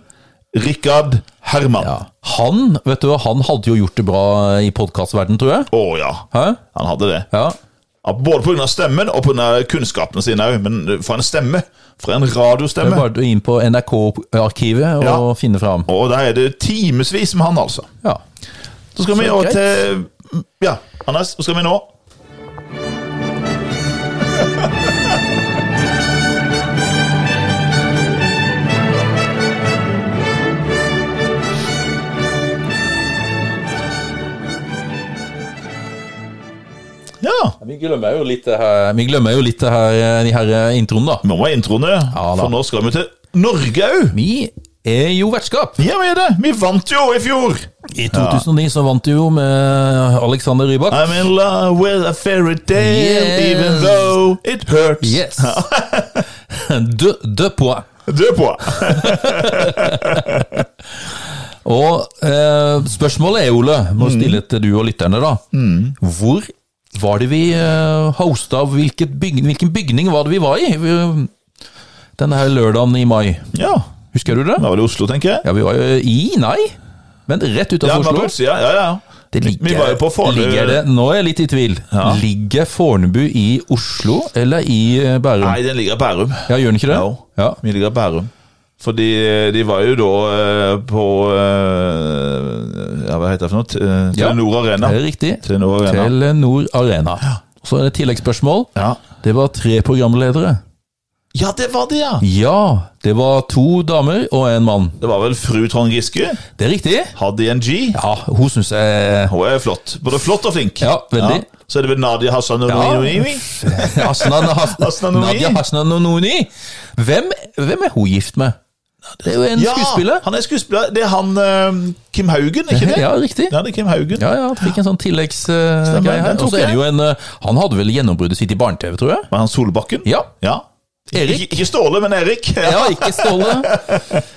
Speaker 2: Rikard Herman.
Speaker 1: Ja. Han vet du, hva, han hadde jo gjort det bra i podkastverdenen, tror jeg.
Speaker 2: Å ja,
Speaker 1: Hæ?
Speaker 2: han hadde det.
Speaker 1: Ja.
Speaker 2: Ja, Både pga. stemmen og pga. kunnskapene sine òg. Men for en stemme! For en
Speaker 1: Det er
Speaker 2: radiostemme.
Speaker 1: bare å inn på NRK-arkivet og
Speaker 2: Ja.
Speaker 1: finne fram.
Speaker 2: Og der er det timevis med han, altså.
Speaker 1: Ja.
Speaker 2: Så skal vi
Speaker 1: Så
Speaker 2: over
Speaker 1: greit.
Speaker 2: til Ja, Anders, så skal vi nå Ja.
Speaker 1: Vi glemmer jo litt det her, vi glemmer jo litt det her, de her eh, introen, da.
Speaker 2: Nå må jeg introene,
Speaker 1: Ja, da.
Speaker 2: for nå skal vi til Norge òg.
Speaker 1: Vi er jo vertskap.
Speaker 2: Ja, vi er det. Vi vant jo i fjor.
Speaker 1: I 2009 så vant du jo med Alexander Rybak.
Speaker 2: I'm in love with a fairy tale,
Speaker 1: Yes.
Speaker 2: even though it hurts.
Speaker 1: Yes. De, de pois.
Speaker 2: Du er på.
Speaker 1: Og eh, spørsmålet er, Ole, må
Speaker 2: Mm.
Speaker 1: stille til du og lytterne, da. Hvor var det vi eh, hosta hvilket byg, Hvilken bygning var det vi var i? Vi- Denne her lørdagen i mai.
Speaker 2: Ja.
Speaker 1: Husker du det?
Speaker 2: Da var det Oslo, tenker jeg.
Speaker 1: Ja, vi var jo i Nei. Men rett
Speaker 2: Ja,
Speaker 1: utenfor
Speaker 2: men på
Speaker 1: Oslo.
Speaker 2: utsida. Ja, ja.
Speaker 1: Det ligger,
Speaker 2: Vi var jo på Fornebu.
Speaker 1: ligger det, Nå er jeg litt i tvil.
Speaker 2: Ja.
Speaker 1: Ligger Fornebu i Oslo eller i eh, Bærum?
Speaker 2: Nei, den ligger i Bærum.
Speaker 1: Ja, gjør den ikke det?
Speaker 2: Jo.
Speaker 1: Ja.
Speaker 2: Vi ligger i Bærum. Fordi eh, de var jo da eh, på eh, Ja, hva heter det for noe? T- eh,
Speaker 1: Ja.
Speaker 2: Telenor Arena.
Speaker 1: Det er riktig.
Speaker 2: Telenor Arena.
Speaker 1: Telenor Arena. Så er det et tilleggsspørsmål.
Speaker 2: Ja.
Speaker 1: Det var tre programledere.
Speaker 2: ja, det var det, ja!
Speaker 1: Ja, det var to damer og en mann.
Speaker 2: Det var vel fru Trond Giske.
Speaker 1: Det er riktig.
Speaker 2: Hadde en G.
Speaker 1: Ja, hun syns jeg
Speaker 2: Hun er flott. Både flott og flink.
Speaker 1: Ja, veldig.
Speaker 2: Så er det vel Nadia Hassan Nominimi.
Speaker 1: Hasnan, Has
Speaker 2: Hasnanoni.
Speaker 1: Nadia Hasnanoni. Hvem, hvem er hun gift med? Det er jo en skuespiller.
Speaker 2: han er skuespiller. Det er han eh, Kim Haugen, er ikke det?
Speaker 1: Ja, riktig.
Speaker 2: Ja, det er Kim Haugen.
Speaker 1: Ja, ja, han fikk en sånn
Speaker 2: Stemmer,
Speaker 1: tilleggsgreie
Speaker 2: den
Speaker 1: her.
Speaker 2: tok
Speaker 1: Og så er det jo en eh, Han hadde vel gjennombruddet sitt i barne-TV, tror jeg?
Speaker 2: Var han Solbakken?
Speaker 1: Ja.
Speaker 2: ja.
Speaker 1: Erik.
Speaker 2: Ikke, ikke Ståle, men Erik. Ja.
Speaker 1: Ja, ikke Ståle.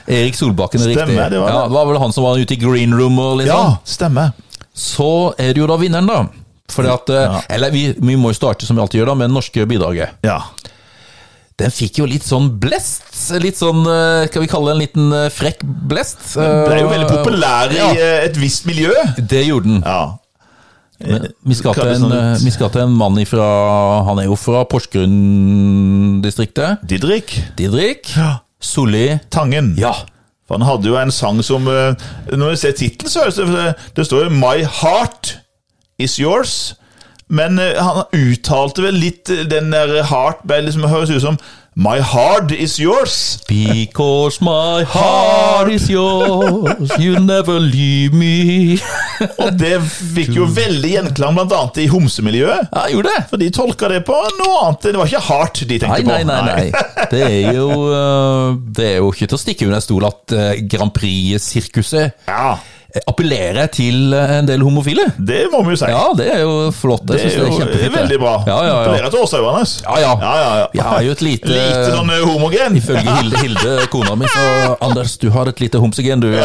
Speaker 1: Erik Solbakken er riktig.
Speaker 2: Stemmer, det var det.
Speaker 1: Ja, det var vel han som var ute i green room og litt sånn.
Speaker 2: Ja, stemmer.
Speaker 1: Så er det jo da vinneren, da. Fordi at, eh, Eller vi, vi må jo starte som vi alltid gjør da, med det norske bidraget.
Speaker 2: Ja.
Speaker 1: Den fikk jo litt sånn blest. Litt sånn, eh, skal vi kalle det en liten eh, frekk blest?
Speaker 2: Ble jo veldig populær i
Speaker 1: Ja.
Speaker 2: eh, et visst miljø.
Speaker 1: Det gjorde den.
Speaker 2: Ja.
Speaker 1: Men Vi skal, til
Speaker 2: Hva er det
Speaker 1: en, eh,
Speaker 2: sånn-
Speaker 1: vi skal til en mann ifra Han er jo fra Porsgrunn-distriktet.
Speaker 2: Didrik
Speaker 1: Didrik
Speaker 2: Ja.
Speaker 1: Solli.
Speaker 2: Tangen.
Speaker 1: Ja.
Speaker 2: For han hadde jo en sang som eh, Når jeg ser tittelen, så høres det det- Det står jo 'My heart is yours'. Men eh, han uttalte vel litt eh, den der heart ble liksom, Høres ut som 'My heart is yours'.
Speaker 1: Because my heart is yours, you never leave me.
Speaker 2: Og det fikk jo veldig gjenklang blant annet i homsemiljøet.
Speaker 1: Ja, gjorde det.
Speaker 2: For de tolka det på noe annet. Det var ikke heart de tenkte
Speaker 1: Nei,
Speaker 2: på.
Speaker 1: nei, nei. nei. Det, er jo, eh, det er jo ikke til å stikke under stol at eh, Grand Prix-sirkuset eh,
Speaker 2: Ja,
Speaker 1: appellerer til eh, en del homofile.
Speaker 2: det må vi jo si.
Speaker 1: Ja, det er jo flott. Jeg
Speaker 2: det
Speaker 1: synes det
Speaker 2: er
Speaker 1: er
Speaker 2: jo
Speaker 1: kjempefint. det.
Speaker 2: veldig bra.
Speaker 1: Ja, ja, ja.
Speaker 2: Gratulerer til Åsa Johannes.
Speaker 1: Ja, ja.
Speaker 2: Ja, ja, ja.
Speaker 1: Vi har jo et lite,
Speaker 2: Lite sånn eh, homogen.
Speaker 1: Ifølge Hilde, Hilde, kona mi, så Anders, du har et lite homsegen, du.
Speaker 2: Det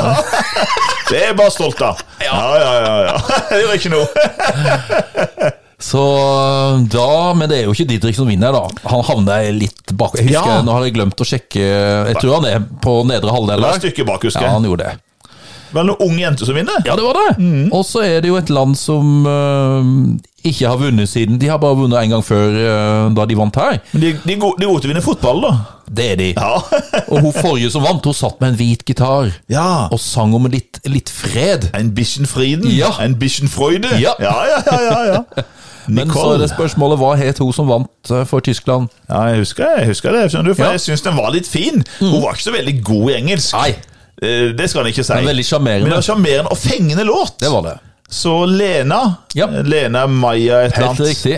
Speaker 2: er jeg bare stolt av. Ja, ja, ja. ja. Det gjør ikke noe.
Speaker 1: Så da, Men det er jo ikke Didrik som vinner, da. Han havner litt bak. Jeg husker,
Speaker 2: Ja.
Speaker 1: Nå har jeg glemt å sjekke Jeg tror han er på nedre halvdel
Speaker 2: Det var et
Speaker 1: der.
Speaker 2: stykke bak, husker
Speaker 1: Ja,
Speaker 2: jeg.
Speaker 1: han gjorde det.
Speaker 2: Var det noen ung jente som vinner?
Speaker 1: Ja, det var det!
Speaker 2: Mm.
Speaker 1: Og så er det jo et land som eh, ikke har vunnet siden. De har bare vunnet én gang før, eh, da de vant her.
Speaker 2: Men de, de, er gode- de er gode til å vinne fotball, da.
Speaker 1: Det er de.
Speaker 2: Ja.
Speaker 1: Og hun forrige som vant, hun satt med en hvit gitar
Speaker 2: ja.
Speaker 1: og sang om litt, litt fred.
Speaker 2: En Bischenfrieden.
Speaker 1: Ja.
Speaker 2: En Bischenfreude.
Speaker 1: Ja.
Speaker 2: ja, ja, ja. ja, ja.
Speaker 1: Men så er
Speaker 2: Nicole.
Speaker 1: det spørsmålet hva het hun som vant eh, for Tyskland?
Speaker 2: Ja, jeg husker, jeg husker det, skjønner du, for
Speaker 1: Ja. Mm.
Speaker 2: jeg syns den var litt fin. Hun var ikke så veldig god i engelsk.
Speaker 1: Nei,
Speaker 2: Eh, Det skal han ikke si.
Speaker 1: men veldig
Speaker 2: Men det
Speaker 1: sjarmerende.
Speaker 2: var sjarmerende og fengende låt.
Speaker 1: Det var det.
Speaker 2: Så Lena
Speaker 1: Ja.
Speaker 2: Lena Maya et eller
Speaker 1: Helt
Speaker 2: annet.
Speaker 1: riktig.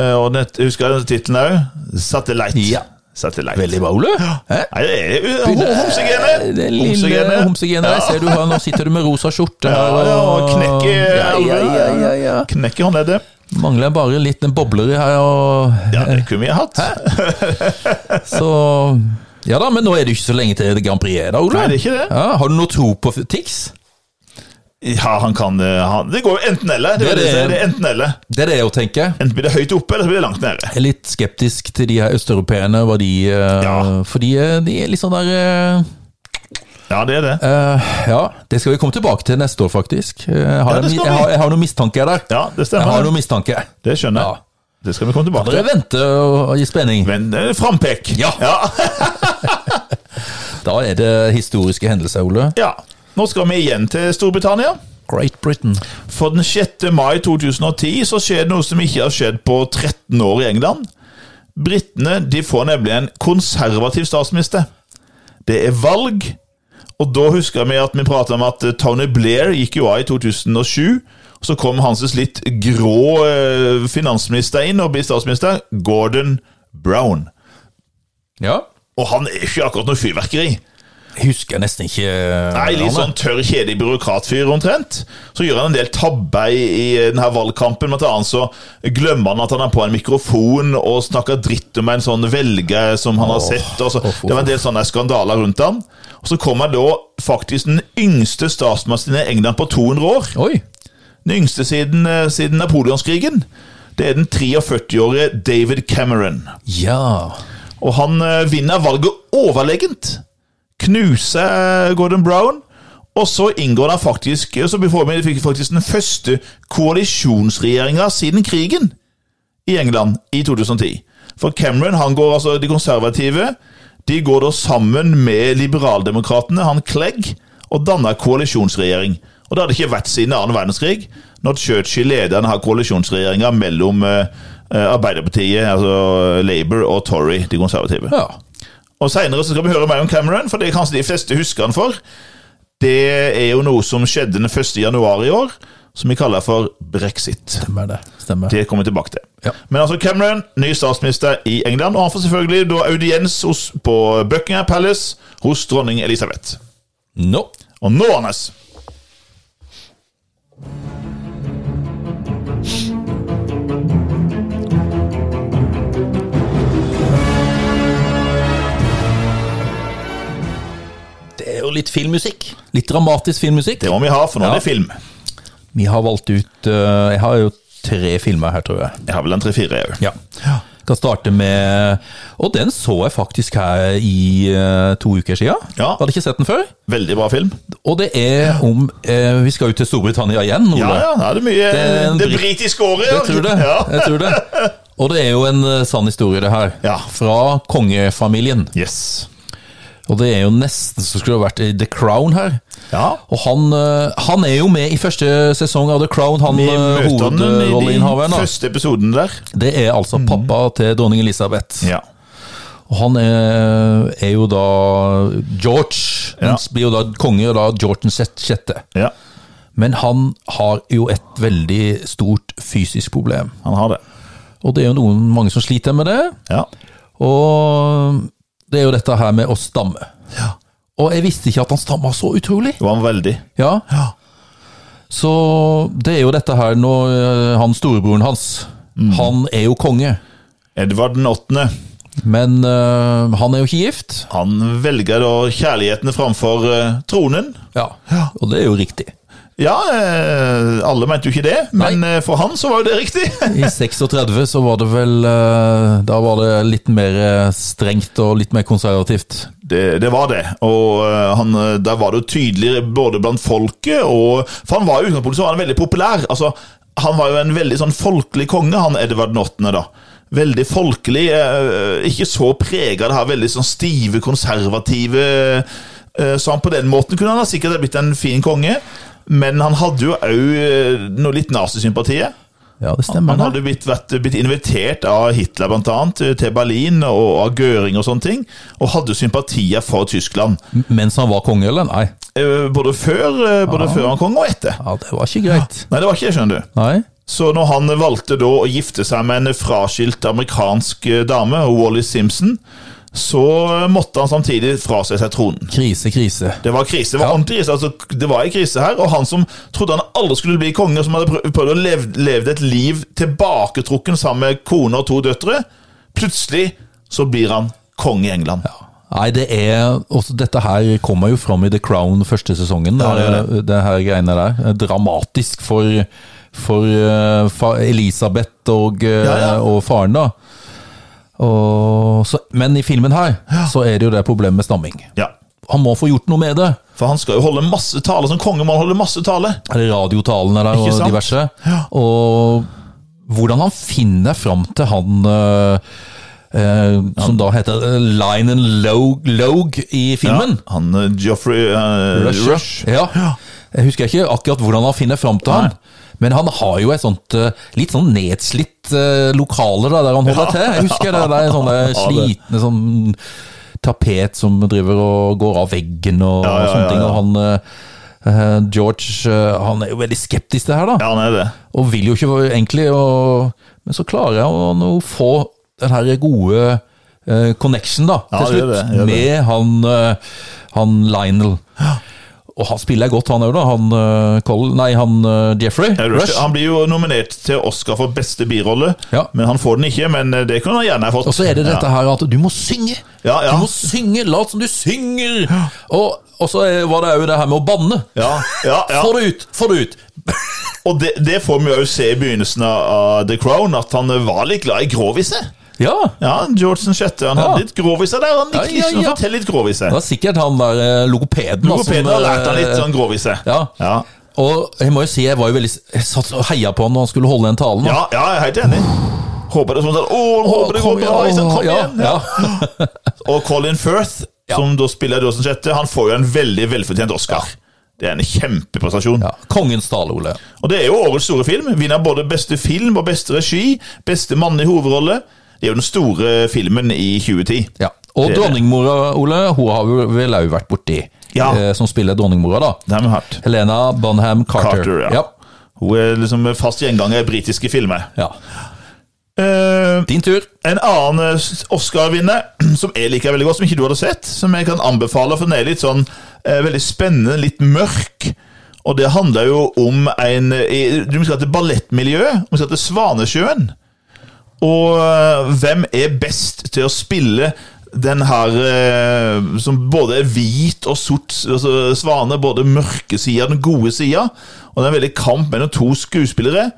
Speaker 2: Eh, Og nett, husker jeg tittelen òg? Satellite.
Speaker 1: Ja.
Speaker 2: Satellite.
Speaker 1: Veldig bra, Ole. Hæ?
Speaker 2: Nei, det er homsegene!
Speaker 1: Det lille homsegene. Jeg ser du har, nå sitter du med rosa skjorte
Speaker 2: Ja,
Speaker 1: her.
Speaker 2: ja, og knekke
Speaker 1: ja, ja, ja, ja, ja.
Speaker 2: Knekke håndleddet.
Speaker 1: Mangler bare en liten bobler her, og
Speaker 2: Ja, det kunne vi ha hatt.
Speaker 1: så Ja da, men nå er det jo ikke så lenge til Grand Prix er da, Ole.
Speaker 2: Nei, det er ikke det.
Speaker 1: Ja, har du noe tro på Tix?
Speaker 2: Ja, han kan eh, han, Det går jo enten eller.
Speaker 1: Det
Speaker 2: Det,
Speaker 1: er
Speaker 2: er det,
Speaker 1: det.
Speaker 2: det er enten eller.
Speaker 1: Det er det jeg tenker.
Speaker 2: Enten blir det høyt oppe, eller så blir det langt nede.
Speaker 1: Jeg er litt skeptisk til de her østeuropeerne, hva de eh,
Speaker 2: Ja.
Speaker 1: Fordi eh, de er litt sånn der eh,
Speaker 2: Ja, det er det.
Speaker 1: eh, Ja, det skal vi komme tilbake til neste år, faktisk. Eh, Jeg har,
Speaker 2: Ja, det
Speaker 1: en- jeg
Speaker 2: skal vi.
Speaker 1: har, jeg har noen mistanker der.
Speaker 2: Ja,
Speaker 1: Jeg
Speaker 2: det
Speaker 1: har
Speaker 2: stemmer.
Speaker 1: noen mistanke.
Speaker 2: Det skjønner jeg. Det skal vi komme tilbake
Speaker 1: Dere
Speaker 2: til.
Speaker 1: venter eh, og og gir spenning.
Speaker 2: Men eh, frampek.
Speaker 1: Ja.
Speaker 2: ja.
Speaker 1: Da er det historiske hendelser, Ole.
Speaker 2: Ja. Nå skal vi igjen til Storbritannia.
Speaker 1: Great Britain.
Speaker 2: For den 6. mai 2010 så skjer det noe som ikke har skjedd på 13 år i England. Britene de får nemlig en konservativ statsminister. Det er valg, og da husker vi at vi pratet om at eh, Tony Blair gikk jo av i 2007. og Så kom hans litt grå eh, finansminister inn og blir statsminister, Gordon Brown.
Speaker 1: Ja.
Speaker 2: Og han er ikke akkurat noe fyrverkeri.
Speaker 1: Jeg husker nesten ikke eh,
Speaker 2: Nei, litt sånn tørr, kjedelig byråkratfyr omtrent. Så gjør han en del tabber i, i denne valgkampen. Blant annet så glemmer han at han er på en mikrofon og snakker dritt om en sånn velger som han har
Speaker 1: Åh,
Speaker 2: sett. Og så,
Speaker 1: åh, åh.
Speaker 2: det var en del sånne skandaler rundt han. Og så kommer da faktisk den yngste statsministeren i England på 200 år.
Speaker 1: Oi.
Speaker 2: Den yngste siden, eh, siden Napoleonskrigen. Det er den 43-årige David Cameron.
Speaker 1: Ja.
Speaker 2: Og han eh, vinner valget overlegent. Knuser eh, Gordon Brown. Og så inngår han faktisk eh, så får vi fikk faktisk den første koalisjonsregjeringa siden krigen i England i 2010. For Cameron, han går altså de konservative, de går da sammen med liberaldemokratene, han Clegg, og danner koalisjonsregjering. Og det hadde ikke vært siden annen verdenskrig, når Churchill leder denne koalisjonsregjeringa mellom eh, eh, Arbeiderpartiet, altså Labour, og Tory, de konservative.
Speaker 1: ja.
Speaker 2: Og seinere skal vi høre mer om Cameron, for det er kanskje de fleste husker han for. Det er jo noe som skjedde den 1. januar i år, som vi kaller for brexit.
Speaker 1: Stemmer det. Stemmer.
Speaker 2: Det kommer vi tilbake til.
Speaker 1: Ja.
Speaker 2: Men altså Cameron, ny statsminister i England, og han får selvfølgelig da audiens hos, på Buckingham Palace hos dronning Elisabeth.
Speaker 1: Nå.
Speaker 2: Og nå, Anders
Speaker 1: Det er jo litt filmmusikk. Litt dramatisk filmmusikk.
Speaker 2: Det må vi ha, for nå
Speaker 1: Ja.
Speaker 2: er det film.
Speaker 1: Vi har valgt ut eh, Jeg har jo tre filmer her, tror jeg.
Speaker 2: Jeg har vel en tre-fire, jeg òg.
Speaker 1: Ja. Kan starte med Og den så jeg faktisk her i eh, to uker siden.
Speaker 2: Ja.
Speaker 1: Hadde ikke sett den før.
Speaker 2: Veldig bra film.
Speaker 1: Og det er om eh, Vi skal jo til Storbritannia igjen, Ole.
Speaker 2: Ja, ja, ja, det er mye Det,
Speaker 1: Det er en brit-
Speaker 2: britiske året, ja.
Speaker 1: Jeg tror det. Eh,
Speaker 2: Ja.
Speaker 1: Jeg tror det. Og det er jo en eh, sann historie, det her.
Speaker 2: Ja.
Speaker 1: Fra kongefamilien.
Speaker 2: Yes.
Speaker 1: Og det er jo nesten så skulle det vært i The Crown her.
Speaker 2: Ja.
Speaker 1: Og han, eh, han er jo med i første sesong av The Crown, han
Speaker 2: Vi
Speaker 1: eh,
Speaker 2: møter han i
Speaker 1: hovedrolleinnehaveren.
Speaker 2: de
Speaker 1: da.
Speaker 2: første episoden der.
Speaker 1: Det er altså pappa til dronning Elisabeth.
Speaker 2: Ja.
Speaker 1: Og han er, er jo da George.
Speaker 2: Ja.
Speaker 1: Han blir jo da konge, og da George den sjette- sjette.
Speaker 2: ja.
Speaker 1: Men han har jo et veldig stort fysisk problem.
Speaker 2: Han har det.
Speaker 1: Og det er jo noen mange som sliter med det.
Speaker 2: Ja.
Speaker 1: Og det er jo dette her med å stamme. Og jeg visste ikke at han stamma så utrolig.
Speaker 2: Det var han veldig.
Speaker 1: Ja. Så det er jo dette her når eh, han storebroren hans Han er jo konge,
Speaker 2: Edvard den åttende.
Speaker 1: men eh, han er jo ikke gift.
Speaker 2: Han velger da kjærligheten framfor eh, tronen.
Speaker 1: Ja. Og det er jo riktig.
Speaker 2: Ja, eh, alle mente jo ikke det, men eh, for han så var jo det riktig.
Speaker 1: I 36 så var det vel eh, Da var det litt mer eh, strengt og litt mer konservativt.
Speaker 2: Det, det var det, og eh, han, eh, der var det jo tydelig både blant folket og For han var jo i utgangspunktet så var han veldig populær. Altså, han var jo en veldig sånn folkelig konge, han Edvard 8., da. Veldig folkelig, eh, ikke så prega det her veldig sånn stive, konservative eh, Så han på den måten kunne han ha sikkert ha blitt en fin konge, men han hadde jo òg noe litt nazisympatiet.
Speaker 1: Ja, det stemmer.
Speaker 2: Han
Speaker 1: det.
Speaker 2: hadde blitt, vært, blitt invitert av Hitler blant annet til Berlin og av Göring og sånne ting, og hadde sympatier for Tyskland.
Speaker 1: Mens han var konge, eller? Nei.
Speaker 2: Eh, Både før, eh, både før han kom og etter.
Speaker 1: Ja, det var ikke greit.
Speaker 2: Nei, det var ikke det, skjønner du.
Speaker 1: Nei.
Speaker 2: Så når han valgte da å gifte seg med en fraskilt amerikansk eh, dame, Wally Simpson, så eh, måtte han samtidig frasi seg tronen.
Speaker 1: Krise, krise.
Speaker 2: Det var krise. Det var
Speaker 1: Ja.
Speaker 2: ordentlig krise. Altså, det var en krise her, og han som trodde han aldri skulle bli konge, som hadde prøv- prøvd å leve, levd et liv tilbaketrukken sammen med kone og to døtre, plutselig så blir han konge i England.
Speaker 1: Nei, det er også, Dette her kommer jo fram i The Crown første sesongen.
Speaker 2: Ja, det
Speaker 1: det,
Speaker 2: gjør
Speaker 1: det her greiene der. Eh, Dramatisk for, for eh, fa Elisabeth og, eh,
Speaker 2: Ja, ja.
Speaker 1: og faren, da. Og, så, men i filmen her så er det jo det problemet med stamming.
Speaker 2: Ja.
Speaker 1: Han må få gjort noe med det.
Speaker 2: For han skal jo holde masse tale som konge, må han holde masse tale.
Speaker 1: Er det radiotalene der
Speaker 2: Ikke
Speaker 1: og
Speaker 2: sant?
Speaker 1: diverse. Og hvordan han finner fram til han eh, eh, som da heter eh, Line and Log, Log i filmen.
Speaker 2: Han eh, Geoffrey eh,
Speaker 1: Rush. Ja. Jeg husker ikke akkurat hvordan han finner fram til han. Men han har jo et sånt eh, litt sånn nedslitt eh, lokale da, der han holder til. Jeg husker det der sånne
Speaker 2: Ja, det.
Speaker 1: slitne sånn tapet som driver og går av veggen og,
Speaker 2: Ja, ja,
Speaker 1: og sånne
Speaker 2: ja,
Speaker 1: ting.
Speaker 2: ja.
Speaker 1: Og han eh, eh, George eh, han er jo veldig skeptisk til det her, da.
Speaker 2: Ja, han er det.
Speaker 1: Og vil jo ikke være egentlig. Og, men så klarer han å få den her gode eh, connection da,
Speaker 2: Ja,
Speaker 1: til
Speaker 2: det gjør
Speaker 1: slutt,
Speaker 2: det, gjør det.
Speaker 1: med han, eh, han Lionel. Og han spiller godt, han òg, da. Han, eh, Colin, nei, han eh, Jeffrey
Speaker 2: Ja, Rush.
Speaker 1: Rush.
Speaker 2: Han blir jo nominert til Oscar for beste birolle,
Speaker 1: Ja.
Speaker 2: men han får den ikke. Men eh, det kunne han gjerne ha fått.
Speaker 1: Og så er det dette her at du må synge!
Speaker 2: Ja, ja.
Speaker 1: Du må synge, Lat som du synger! Og, og så er- var det òg det her med å banne.
Speaker 2: Ja, ja, ja.
Speaker 1: Få det ut! Få det ut!
Speaker 2: Og det, det får vi jo se i begynnelsen av The Crown, at han var litt glad i gråviset.
Speaker 1: Ja!
Speaker 2: Ja, George 6. Han
Speaker 1: Ja.
Speaker 2: hadde litt gråviser der. Han
Speaker 1: Ja,
Speaker 2: likte
Speaker 1: ja,
Speaker 2: ikke å
Speaker 1: ja.
Speaker 2: fortelle litt
Speaker 1: Det
Speaker 2: gråviser.
Speaker 1: var sikkert han der eh, logopeden. da, som,
Speaker 2: Logopeden har lært han
Speaker 1: eh,
Speaker 2: litt sånn gråviser.
Speaker 1: Ja.
Speaker 2: Ja.
Speaker 1: Og jeg må jo si, jeg var jo veldig jeg satt og heia på han når han skulle holde den talen. da.
Speaker 2: Ja, ja, jeg er helt enig. Håper det, sånn, at, å, håper det
Speaker 1: Kom
Speaker 2: går bra.
Speaker 1: igjen,
Speaker 2: ikke sant? Kom
Speaker 1: ja,
Speaker 2: igjen.
Speaker 1: ja.
Speaker 2: Og Colin Firth, som da spiller George 6., han får jo en veldig velfortjent Oscar. Det er en kjempeprestasjon.
Speaker 1: Ja. Kongens tale, Ole.
Speaker 2: Og det er jo årets store film. Vinner både beste film og beste regi. Beste mann i hovedrolle. Det er jo den store filmen i 2010.
Speaker 1: Ja. Og
Speaker 2: Det er det.
Speaker 1: dronningmora, Ole, hun har vi vel òg vært borti.
Speaker 2: Ja.
Speaker 1: Eh, som spiller dronningmora, da.
Speaker 2: Det har vi hatt.
Speaker 1: Helena Bonham Carter.
Speaker 2: Carter, ja. Hun er liksom fast gjenganger i britiske filmer.
Speaker 1: ja.
Speaker 2: Eh,
Speaker 1: Din tur.
Speaker 2: en annen eh, Oscar-vinner som jeg liker veldig godt, som ikke du hadde sett, som jeg kan anbefale, for den er litt sånn eh, veldig spennende, litt mørk. Og det handler jo om en eh, i- Du skal til ballettmiljøet, du skal til Svanesjøen. Og eh, hvem er best til å spille den her eh, som både er hvit og sort altså svane, både mørke sida og den gode sida? Og det er en veldig kamp mellom to skuespillere.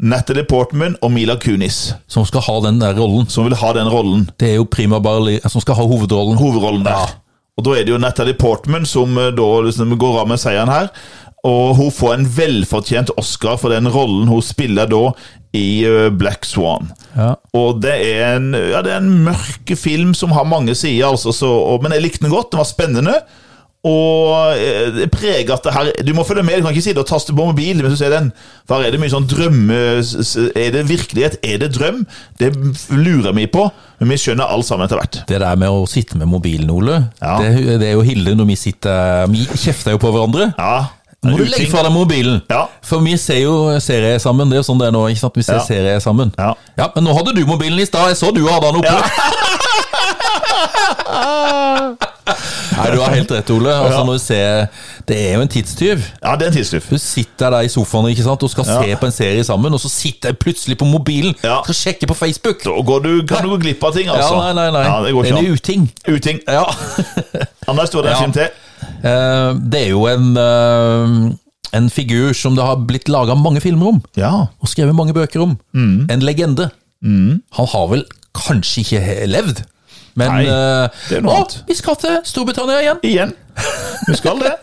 Speaker 2: Natalie Portman og Mila Kunis,
Speaker 1: som skal ha den der rollen.
Speaker 2: som vil ha den rollen.
Speaker 1: Det er jo Prima Barli som skal ha hovedrollen.
Speaker 2: hovedrollen der.
Speaker 1: Ja.
Speaker 2: Og da er det jo Natalie Portman som eh, da liksom går av med seieren her. Og hun får en velfortjent Oscar for den rollen hun spiller da i eh, Black Swan.
Speaker 1: Ja.
Speaker 2: Og det er en, ja, det er en mørk film som har mange sider, altså, så, og, men jeg likte den godt. Den var spennende. Og eh, det preger at det her Du må følge med, du kan ikke sitte og taste på mobilen mens du ser den. For her er det mye sånn drømme... s- s- Er det virkelighet? Er det drøm? Det lurer vi på, men vi skjønner alt sammen etter hvert.
Speaker 1: Det der med å sitte med mobilen, Ole,
Speaker 2: Ja.
Speaker 1: det, det er jo Hilde når vi sitter Vi kjefter jo på hverandre.
Speaker 2: Ja.
Speaker 1: Må du
Speaker 2: Uting.
Speaker 1: legge fra deg mobilen?
Speaker 2: Ja.
Speaker 1: For vi ser jo serier sammen. Det er jo sånn det er nå. ikke sant? Vi ser
Speaker 2: Ja.
Speaker 1: serier sammen.
Speaker 2: Ja.
Speaker 1: Men nå hadde du mobilen i stad. Jeg så du hadde den oppe. Nei, du har helt rett, Ole. Altså,
Speaker 2: Ja.
Speaker 1: når du ser, det er jo en tidstyv.
Speaker 2: Ja, det er en tidstyv.
Speaker 1: Du sitter der i sofaen ikke sant? og skal se på en serie sammen, og så sitter jeg plutselig på mobilen
Speaker 2: Ja.
Speaker 1: skal sjekke på Facebook.
Speaker 2: Da går du, kan du gå glipp av ting, altså.
Speaker 1: Ja, nei, nei, nei.
Speaker 2: Ja, det går
Speaker 1: en
Speaker 2: ikke an.
Speaker 1: uting.
Speaker 2: Uting.
Speaker 1: Ja.
Speaker 2: Anders, du hadde en
Speaker 1: Ja.
Speaker 2: film til.
Speaker 1: Eh, det er jo en, eh, en figur som det har blitt laga mange filmer om.
Speaker 2: Ja.
Speaker 1: og skrevet mange bøker om.
Speaker 2: Mm.
Speaker 1: En legende. Han har vel kanskje ikke he- levd, men
Speaker 2: Nei,
Speaker 1: eh,
Speaker 2: det er noe
Speaker 1: å,
Speaker 2: annet.
Speaker 1: Vi skal til Storbritannia igjen.
Speaker 2: Igjen. Du skal det.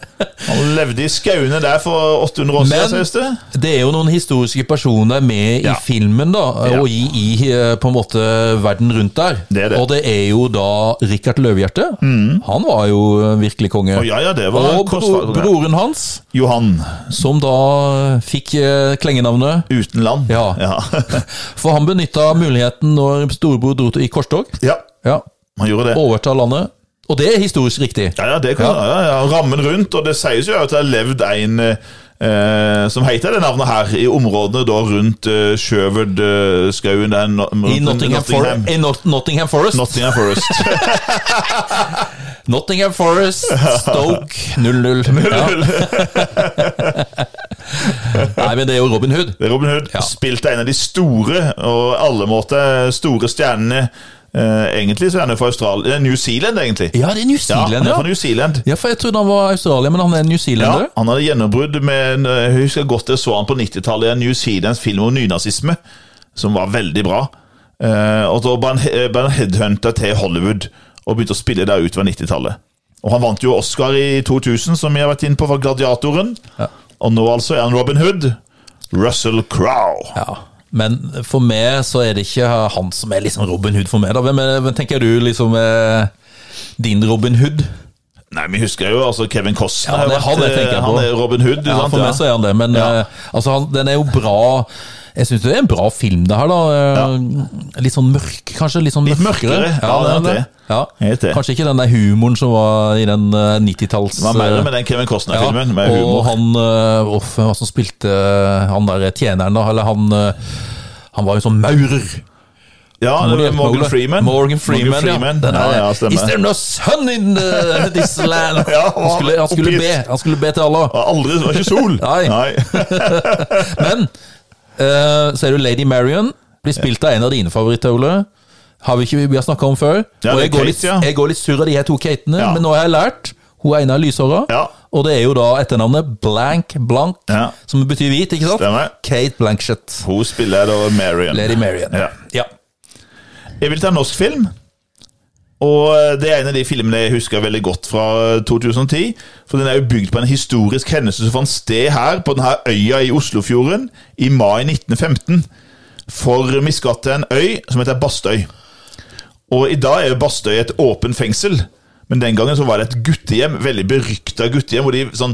Speaker 2: Han levde i skauene der for 800 år siden,
Speaker 1: Men-
Speaker 2: sies det.
Speaker 1: Det er jo noen historiske personer med
Speaker 2: Ja.
Speaker 1: i filmen, da,
Speaker 2: Ja.
Speaker 1: og i, i eh, på en måte verden rundt der.
Speaker 2: Det er det. Mm.
Speaker 1: Og det er jo da Richard Løvehjerte. Han var jo eh, virkelig konge.
Speaker 2: Å, ja, ja, det var
Speaker 1: og bro,
Speaker 2: kostbart.
Speaker 1: broren hans,
Speaker 2: Johan
Speaker 1: som da eh, fikk eh, klengenavnet
Speaker 2: uten land.
Speaker 1: Ja.
Speaker 2: Ja.
Speaker 1: For han benytta muligheten når storebror dro til i korstog.
Speaker 2: ja.
Speaker 1: Ja,
Speaker 2: Han gjorde det.
Speaker 1: overtar landet. Og det er historisk riktig.
Speaker 2: Ja, ja, det kan, ja. Ja, ja. Rammen rundt, og det sies jo at det har levd en eh, eh, som heter det navnet her, i områdene da rundt eh, Sjøvød-skauen der no-
Speaker 1: I Nottingham, For i Not Nottingham Forest.
Speaker 2: Nottingham Forest.
Speaker 1: Nottingham Forest, Stoke 0-0. Ja. Nei, men det er jo Robin Hood.
Speaker 2: Det er Robin Hood
Speaker 1: Ja.
Speaker 2: spilte en av de store, og alle måter store stjernene eh, Egentlig så er han jo fra Australia eh, New Zealand, egentlig.
Speaker 1: Ja, det er New
Speaker 2: Ja,
Speaker 1: Zealand,
Speaker 2: han er fra
Speaker 1: ja.
Speaker 2: New Zealand.
Speaker 1: Ja, for jeg trodde han var Australia, men han er New
Speaker 2: Ja,
Speaker 1: Zealander.
Speaker 2: han hadde gjennombrudd med en, eh, Jeg husker godt jeg så han på 90-tallet i en New Zealands film om nynazisme, som var veldig bra. Eh, og da ble han, he- ble han headhunta til Hollywood og begynte å spille der utover 90-tallet. Og han vant jo Oscar i 2000, som vi har vært inne på, for Gladiatoren. Og nå altså er han Robin Hood. Russell Crowe.
Speaker 1: Ja. Men for meg så er det ikke han som er liksom Robin Hood for meg. da. Hvem, er, hvem tenker du liksom er din Robin Hood?
Speaker 2: Nei, vi husker jo altså Kevin Costner.
Speaker 1: Ja, det er
Speaker 2: har
Speaker 1: han jeg
Speaker 2: vært,
Speaker 1: tenker
Speaker 2: eh,
Speaker 1: på.
Speaker 2: han er Robin Hood.
Speaker 1: Ja,
Speaker 2: sant?
Speaker 1: for meg så er han det, men
Speaker 2: Ja.
Speaker 1: eh, altså, han, den er jo bra. Jeg syns det er en bra film, det her. da Eh, Litt sånn mørk, kanskje? Litt, sånn
Speaker 2: Litt mørkere, ja, det er
Speaker 1: den
Speaker 2: det.
Speaker 1: Ja.
Speaker 2: Helt det.
Speaker 1: Kanskje ikke den der humoren som var i den eh, 90-talls...
Speaker 2: Det var mer
Speaker 1: eh,
Speaker 2: med den Kevin
Speaker 1: ja,
Speaker 2: Costner-filmen, med
Speaker 1: og
Speaker 2: humor.
Speaker 1: han eh, uff, hva som spilte eh, han der tjeneren, da? Eller han eh, Han var jo sånn maurer.
Speaker 2: Ja,
Speaker 1: Må du
Speaker 2: det
Speaker 1: hjelpe meg,
Speaker 2: var Morgan
Speaker 1: Ole?
Speaker 2: Freeman.
Speaker 1: Morgan Freeman, ja. Den
Speaker 2: ja,
Speaker 1: er,
Speaker 2: ja,
Speaker 1: Is there
Speaker 2: stemmer.
Speaker 1: no sun in eh, this land?
Speaker 2: Ja,
Speaker 1: han, skulle, han, skulle
Speaker 2: oppgitt.
Speaker 1: be, han skulle be til Allah.
Speaker 2: Og aldri, det var ikke sol!
Speaker 1: Nei. Men eh, så er det Lady Marion. Blir spilt av en av dine favoritter, Ole. Har vi ikke vi har snakka om før. og
Speaker 2: Ja, det er
Speaker 1: jeg går,
Speaker 2: Kate,
Speaker 1: litt,
Speaker 2: ja.
Speaker 1: jeg går litt sur av de her to Katene,
Speaker 2: Ja.
Speaker 1: men nå har jeg lært. Hun er ene av lyshåra,
Speaker 2: Ja.
Speaker 1: og det er jo da etternavnet Blank Blank,
Speaker 2: Ja.
Speaker 1: som betyr hvit, ikke sant?
Speaker 2: Stemmer.
Speaker 1: Kate Blankshett.
Speaker 2: Hun spiller da Marion.
Speaker 1: Lady Marion.
Speaker 2: Ja.
Speaker 1: Ja.
Speaker 2: Jeg vil ta en norsk film. Og eh, det er en av de filmene jeg husker veldig godt fra eh, 2010. For den er jo bygd på en historisk hendelse som fant sted her, på denne øya i Oslofjorden, i mai 1915. For vi skal til en øy som heter Bastøy. Og i dag er jo Bastøy et åpen fengsel. Men den gangen så var det et guttehjem, veldig berykta guttehjem, hvor de, sånn,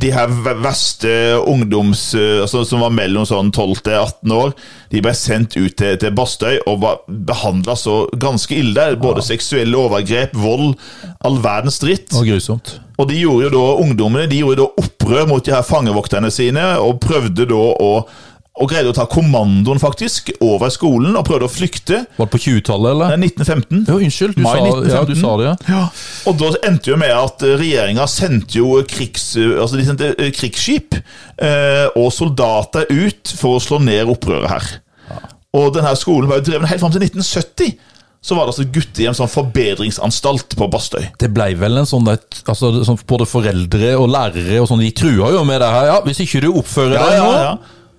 Speaker 2: de her v- verste ungdoms... eh, Altså, som var mellom sånn 12 til 18 år, de ble sendt ut til, til Bastøy og var behandla så ganske ille. der. Både seksuelle overgrep, vold, all verdens dritt.
Speaker 1: Og grusomt.
Speaker 2: Og de gjorde jo da, ungdommene de gjorde da opprør mot de her fangevokterne sine, og prøvde da å og greide å ta kommandoen faktisk over skolen og prøvde å flykte.
Speaker 1: Var det på 20-tallet,
Speaker 2: Det
Speaker 1: eller?
Speaker 2: er 1915.
Speaker 1: Jo, unnskyld. Du,
Speaker 2: Mai
Speaker 1: sa, ja, du
Speaker 2: 1915.
Speaker 1: sa det, ja.
Speaker 2: Og da endte jo med at regjeringa sendte jo krigs, altså de sendte eh, krigsskip eh, og soldater ut for å slå ned opprøret her. Og denne skolen var jo drevet helt fram til 1970. Så var det altså et guttehjem, sånn forbedringsanstalt på Bastøy.
Speaker 1: Det blei vel en sånn der, altså, sånn, Både foreldre og lærere og sånn, de trua jo med det her. Ja, 'Hvis ikke du oppfører
Speaker 2: Ja,
Speaker 1: deg
Speaker 2: ja,
Speaker 1: nå,
Speaker 2: ja.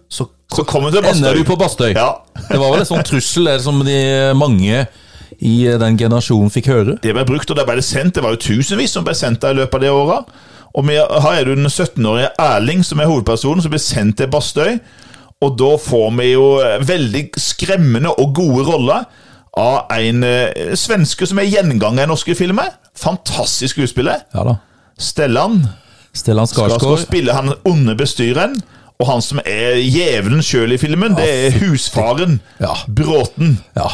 Speaker 1: så,
Speaker 2: Så kommer vi til Bastøy.
Speaker 1: ender du på Bastøy.
Speaker 2: Ja.
Speaker 1: Det var vel en sånn trussel der som de mange i eh, den generasjonen fikk høre.
Speaker 2: Det ble brukt, og det ble sendt. Det var jo tusenvis som ble sendt der i løpet av det året. Og vi har er det den 17-årige Erling som er hovedpersonen, som blir sendt til Bastøy. Og da får vi jo eh, veldig skremmende og gode roller av en eh, svenske som er gjenganger i norske filmer. Fantastisk skuespiller.
Speaker 1: Ja da.
Speaker 2: Stellan.
Speaker 1: Stellan
Speaker 2: Da skal
Speaker 1: Skarsgård.
Speaker 2: spille han onde bestyreren. Og han som er djevelen sjøl i filmen, det er husfaren.
Speaker 1: Ja.
Speaker 2: Bråten.
Speaker 1: Ja.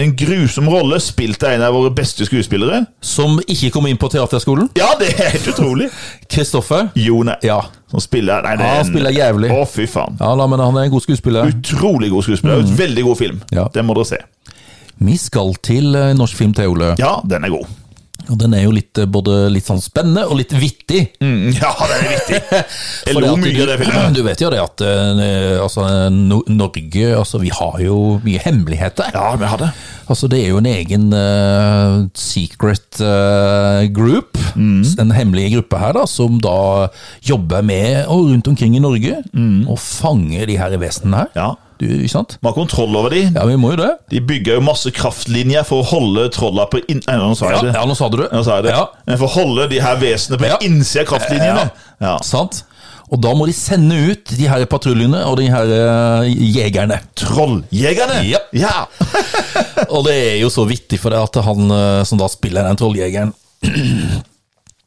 Speaker 2: En grusom rolle, spilt av en av våre beste skuespillere.
Speaker 1: Som ikke kom inn på teaterskolen.
Speaker 2: Ja, det er helt utrolig!
Speaker 1: Kristoffer.
Speaker 2: Jo, nei.
Speaker 1: Ja.
Speaker 2: Som spiller Nei, det
Speaker 1: Ja,
Speaker 2: er
Speaker 1: han spiller jævlig.
Speaker 2: Å, fy faen.
Speaker 1: ja da, men han er en god skuespiller.
Speaker 2: Utrolig god skuespiller. Mm. Veldig god film.
Speaker 1: Ja.
Speaker 2: Den må dere se.
Speaker 1: Vi skal til eh, norsk film til Ole.
Speaker 2: Ja, den er god.
Speaker 1: Og den er jo litt, eh, både litt sånn spennende og litt vittig.
Speaker 2: Mm, ja, den er viktig. Jeg
Speaker 1: Fordi
Speaker 2: lo
Speaker 1: at
Speaker 2: mye
Speaker 1: du-
Speaker 2: av den filmen.
Speaker 1: Du vet jo det at eh, altså, no Norge altså, Vi har jo mye hemmeligheter.
Speaker 2: Ja, vi har det.
Speaker 1: Altså, det er jo en egen eh, secret eh, group,
Speaker 2: Mm.
Speaker 1: en hemmelig gruppe her, da, som da jobber med og rundt omkring i Norge og fanger de her vesenene her.
Speaker 2: Mm. Ja.
Speaker 1: Du, ikke sant?
Speaker 2: Vi har kontroll over de.
Speaker 1: Ja, vi må jo det.
Speaker 2: De bygger jo masse kraftlinjer for å holde trolla på inn... Nei, nå sa
Speaker 1: Ja,
Speaker 2: jeg det.
Speaker 1: ja nå sa du det.
Speaker 2: Nå sa jeg det.
Speaker 1: Ja,
Speaker 2: Men for å holde de her vesenene på
Speaker 1: Ja.
Speaker 2: innsida av kraftlinjene. Ja.
Speaker 1: sant? Og da må de sende ut de her patruljene og de her eh, jegerne.
Speaker 2: Trolljegerne!
Speaker 1: Ja.
Speaker 2: ja.
Speaker 1: Og det er jo så vittig for deg at han eh, som da spiller den trolljegeren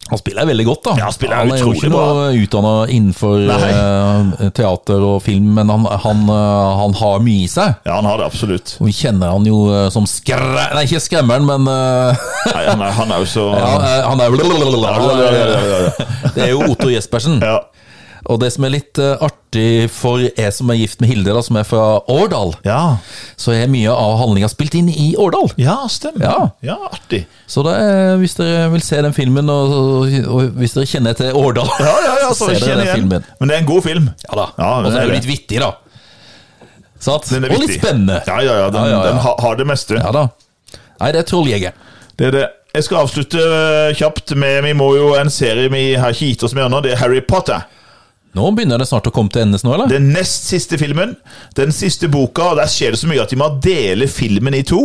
Speaker 1: Han spiller veldig godt, da.
Speaker 2: Ja, han spiller
Speaker 1: er jo
Speaker 2: utrolig
Speaker 1: ikke noe utdanna innenfor eh, teater og film, men han, han, eh, han har mye i seg.
Speaker 2: ja, han har det absolutt.
Speaker 1: Og vi kjenner han jo eh, som skræ... Nei, ikke skremmeren, men eh,
Speaker 2: Nei, han, er, han er jo så
Speaker 1: han, er- han er jo
Speaker 2: ja, ja.
Speaker 1: Det er jo Otto Jespersen.
Speaker 2: ja.
Speaker 1: Og det som er litt eh, artig for jeg som er gift med Hilde, da, som er fra Årdal,
Speaker 2: ja.
Speaker 1: så er mye av handlinga spilt inn i Årdal.
Speaker 2: ja stemmer.
Speaker 1: Ja.
Speaker 2: ja, artig.
Speaker 1: Så det er, hvis dere vil se den filmen, og, og, og hvis dere kjenner til Årdal,
Speaker 2: Ja, ja, ja, så
Speaker 1: så ser
Speaker 2: kjenner
Speaker 1: dere den
Speaker 2: jeg igjen.
Speaker 1: filmen.
Speaker 2: Men det er en god film.
Speaker 1: Ja da.
Speaker 2: Ja,
Speaker 1: og så er
Speaker 2: den er
Speaker 1: det
Speaker 2: det.
Speaker 1: litt vittig, da. Sant?
Speaker 2: Den er
Speaker 1: og litt
Speaker 2: viktig.
Speaker 1: spennende.
Speaker 2: Ja, ja, ja. Den,
Speaker 1: Ja, ja, ja.
Speaker 2: den har, har det meste.
Speaker 1: Ja da. Nei, det er Trolljeger.
Speaker 2: Det er det. Jeg skal avslutte øh, kjapt med Vi må jo en serie vi har ikke gitt oss med ennå. Det er Harry Potter.
Speaker 1: Nå begynner det snart å komme til endes nå, eller?
Speaker 2: Den nest siste filmen. Den siste boka. Og der skjer det så mye at de må dele filmen i to.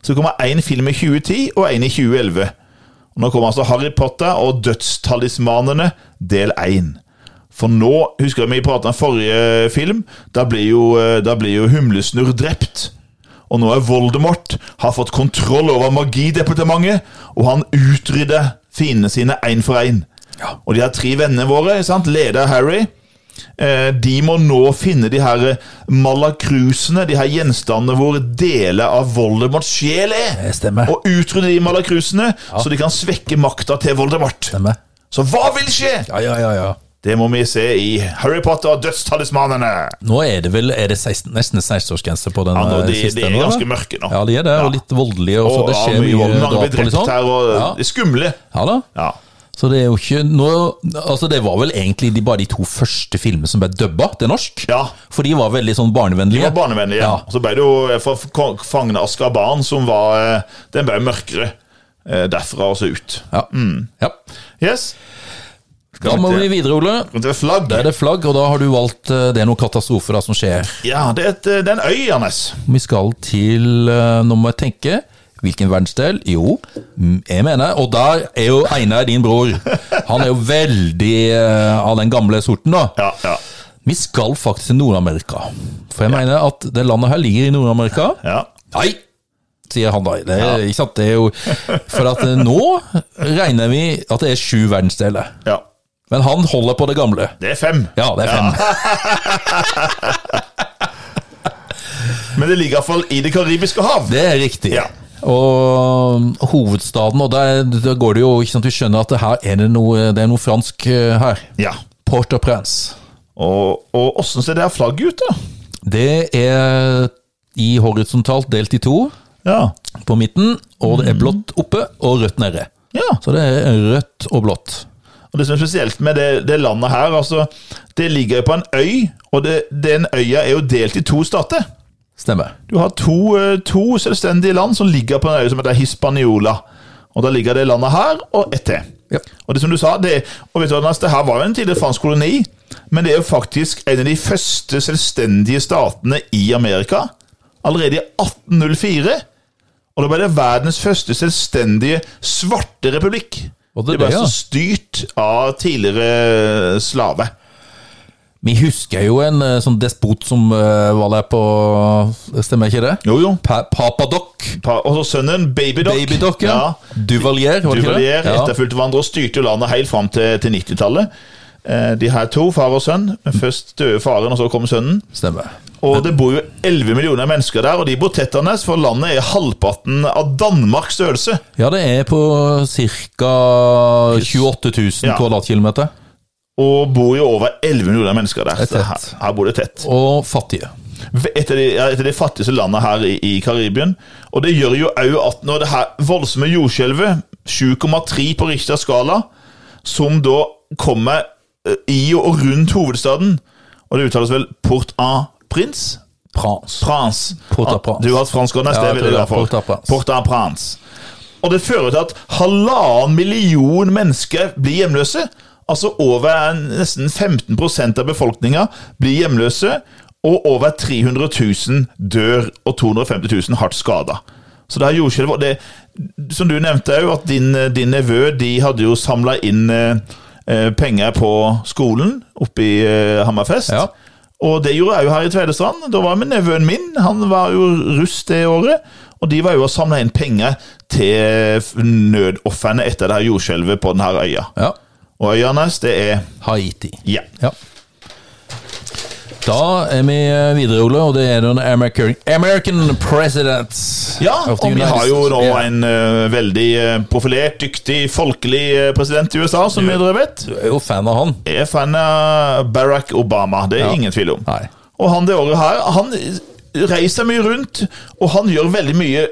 Speaker 2: Så det kommer én film i 2010 og én i 2011. Og nå kommer altså Harry Potter og Dødstalismanene del én. For nå, husker jeg vi pratet om forrige film, da blir jo, eh, da blir jo Humlesnurr drept. Og nå er Voldemort, har fått kontroll over magidepartementet, og han utrydder fiendene sine én for én.
Speaker 1: Ja.
Speaker 2: Og de her tre vennene våre, sant? leder Harry, Eh, De må nå finne de her eh, malakrusene, de her gjenstandene hvor deler av Voldemorts sjel er.
Speaker 1: Det stemmer.
Speaker 2: Og utrydde de malakrusene, så de kan svekke makta til Voldemort.
Speaker 1: Stemmer.
Speaker 2: Så hva vil skje?
Speaker 1: Ja, ja, ja, ja.
Speaker 2: Det må vi se i Harry Potter og dødstalismanene.
Speaker 1: Nå er det vel er det 16, nesten 16-årsgrense på den
Speaker 2: Ja, nå,
Speaker 1: eh,
Speaker 2: de,
Speaker 1: siste?
Speaker 2: de er
Speaker 1: nå,
Speaker 2: ganske
Speaker 1: eller?
Speaker 2: mørke nå.
Speaker 1: Ja, de er det, og litt voldelige. Og, så
Speaker 2: Og
Speaker 1: det
Speaker 2: ja,
Speaker 1: skjer
Speaker 2: mye vold.
Speaker 1: mye
Speaker 2: Mange blir
Speaker 1: drap og litt
Speaker 2: drept
Speaker 1: sånn.
Speaker 2: her, og
Speaker 1: Ja.
Speaker 2: det er skumle.
Speaker 1: Ja da.
Speaker 2: Ja.
Speaker 1: Så det er jo ikke nå, Altså det var vel egentlig de, bare de to første filmene som ble dubba til norsk.
Speaker 2: Ja.
Speaker 1: For de var veldig sånn
Speaker 2: De
Speaker 1: barnevennlige.
Speaker 2: var barnevennlige.
Speaker 1: Ja.
Speaker 2: Og så ble det jo eh, fra Kong- Fangene av Askaban, som var eh, Den ble mørkere eh, derfra og så ut.
Speaker 1: Ja. ja.
Speaker 2: Yes.
Speaker 1: Da må
Speaker 2: Mm. vi
Speaker 1: vi
Speaker 2: til-
Speaker 1: videre, Ole.
Speaker 2: Det er flagg.
Speaker 1: Da er det flagg, og da har du valgt eh, Det er noen katastrofer da, som skjer.
Speaker 2: Ja, det er, et, eh, det er en øy, Anders.
Speaker 1: Vi skal til eh, Nå må jeg tenke. Hvilken verdensdel? Jo, mm, jeg mener Og der er jo Einar, din bror. Han er jo veldig eh, av den gamle sorten, da.
Speaker 2: Ja, ja,
Speaker 1: Vi skal faktisk til Nord-Amerika. For jeg mener at det landet her ligger i Nord-Amerika.
Speaker 2: ja.
Speaker 1: Nei, sier han da. Det, er- ikke sant? Det er jo, for at eh, nå regner vi at det er sju verdensdeler.
Speaker 2: ja.
Speaker 1: Men han holder på det gamle.
Speaker 2: Det er fem.
Speaker 1: Ja, det er fem.
Speaker 2: Men det ligger iallfall i Det karibiske hav.
Speaker 1: Det er riktig.
Speaker 2: Ja.
Speaker 1: Og um, hovedstaden, og der, der går det jo ikke sant, Du skjønner at det her er det noe, det er noe fransk eh, her.
Speaker 2: Ja.
Speaker 1: Port-au-Prince.
Speaker 2: Og, og åssen ser det her flagget ut, da?
Speaker 1: Det er i horisontalt delt i to
Speaker 2: Ja.
Speaker 1: på midten, og det er blått oppe og rødt nede.
Speaker 2: ja.
Speaker 1: Så det er rødt og blått.
Speaker 2: Og det som er spesielt med det, det landet her, altså Det ligger jo på en øy, og det, den øya er jo delt i to stater.
Speaker 1: Stemmer.
Speaker 2: Du har to, eh, to selvstendige land som ligger på en øy som heter Hispaniola. Og da ligger det landet her, og ett til.
Speaker 1: Ja.
Speaker 2: Og det som du sa, det, og vet du, hva, Anders, det her var jo en tidligere fransk koloni, men det er jo faktisk en av de første selvstendige statene i Amerika. Allerede i 1804. Og da ble det verdens første selvstendige svarte republikk.
Speaker 1: Og det er
Speaker 2: ble
Speaker 1: det, ja.
Speaker 2: altså styrt av tidligere slave.
Speaker 1: Vi husker jo en eh, sånn despot som eh, var der på Stemmer ikke det?
Speaker 2: Jo, jo.
Speaker 1: Pa Papadoc.
Speaker 2: Pa- Og så sønnen, Baby Doc.
Speaker 1: Babydoc, ja. Duvalier, var det ikke det?
Speaker 2: Duvalier
Speaker 1: Ja.
Speaker 2: etterfulgte hverandre og styrte jo landet helt fram til, til 90-tallet. Eh, De her to, far og sønn. Først døde faren, og så kom sønnen.
Speaker 1: Stemmer.
Speaker 2: Og det bor jo 11 millioner mennesker der, og de bor tett annars, for landet er halvparten av Danmarks størrelse.
Speaker 1: Ja, det er på ca. 28 000
Speaker 2: Ja.
Speaker 1: kvadratkilometer.
Speaker 2: Og bor jo over 11 millioner mennesker der.
Speaker 1: Det er
Speaker 2: Så
Speaker 1: tett.
Speaker 2: her, her bor det tett.
Speaker 1: Og fattige.
Speaker 2: Et av de, ja, et av de fattigste landene her i, i Karibien. Og det gjør jo òg at når det her voldsomme jordskjelvet, 7,3 på Richters skala, som da kommer eh, i og rundt hovedstaden Og det uttales vel Port-en-Prince?
Speaker 1: Prans.
Speaker 2: Prance.
Speaker 1: Port-à-Prince.
Speaker 2: Du har hatt fransk neste,
Speaker 1: Ja,
Speaker 2: det
Speaker 1: jeg
Speaker 2: vil jeg
Speaker 1: tror
Speaker 2: være for.
Speaker 1: det er Port-à-Prince.
Speaker 2: Port-à-Prince. Og det fører til at halvannen million mennesker blir hjemløse. Altså over en- nesten 15 av befolkninga blir hjemløse, og over 300 000 dør, og 250 000 hardt skada. Så det her jordskjelvet og det, Som du nevnte òg, at din, din nevø de hadde jo samla inn eh, eh, penger på skolen oppe i eh, Hammerfest.
Speaker 1: Ja.
Speaker 2: Og det gjorde jeg jo her i Tvedestrand. Da var jeg med nevøen min. Han var jo russ det året. Og de var jo og samla inn penger til f- nødofrene etter det her jordskjelvet på den her øya.
Speaker 1: Ja.
Speaker 2: Og øya hans, det er
Speaker 1: Haiti.
Speaker 2: Ja.
Speaker 1: Ja. Da er vi videre, Ole, og det er den American, American President.
Speaker 2: Ja,
Speaker 1: of
Speaker 2: og
Speaker 1: the
Speaker 2: vi
Speaker 1: United
Speaker 2: har jo nå
Speaker 1: States. Ja.
Speaker 2: en ø, veldig ø, profilert, dyktig, folkelig ø, president i USA, som vi dere vet.
Speaker 1: Du er jo fan av han.
Speaker 2: Jeg er fan av Barack Obama, det er
Speaker 1: Ja.
Speaker 2: ingen tvil om.
Speaker 1: Nei.
Speaker 2: Og han det året her, han reiser mye rundt, og han gjør veldig mye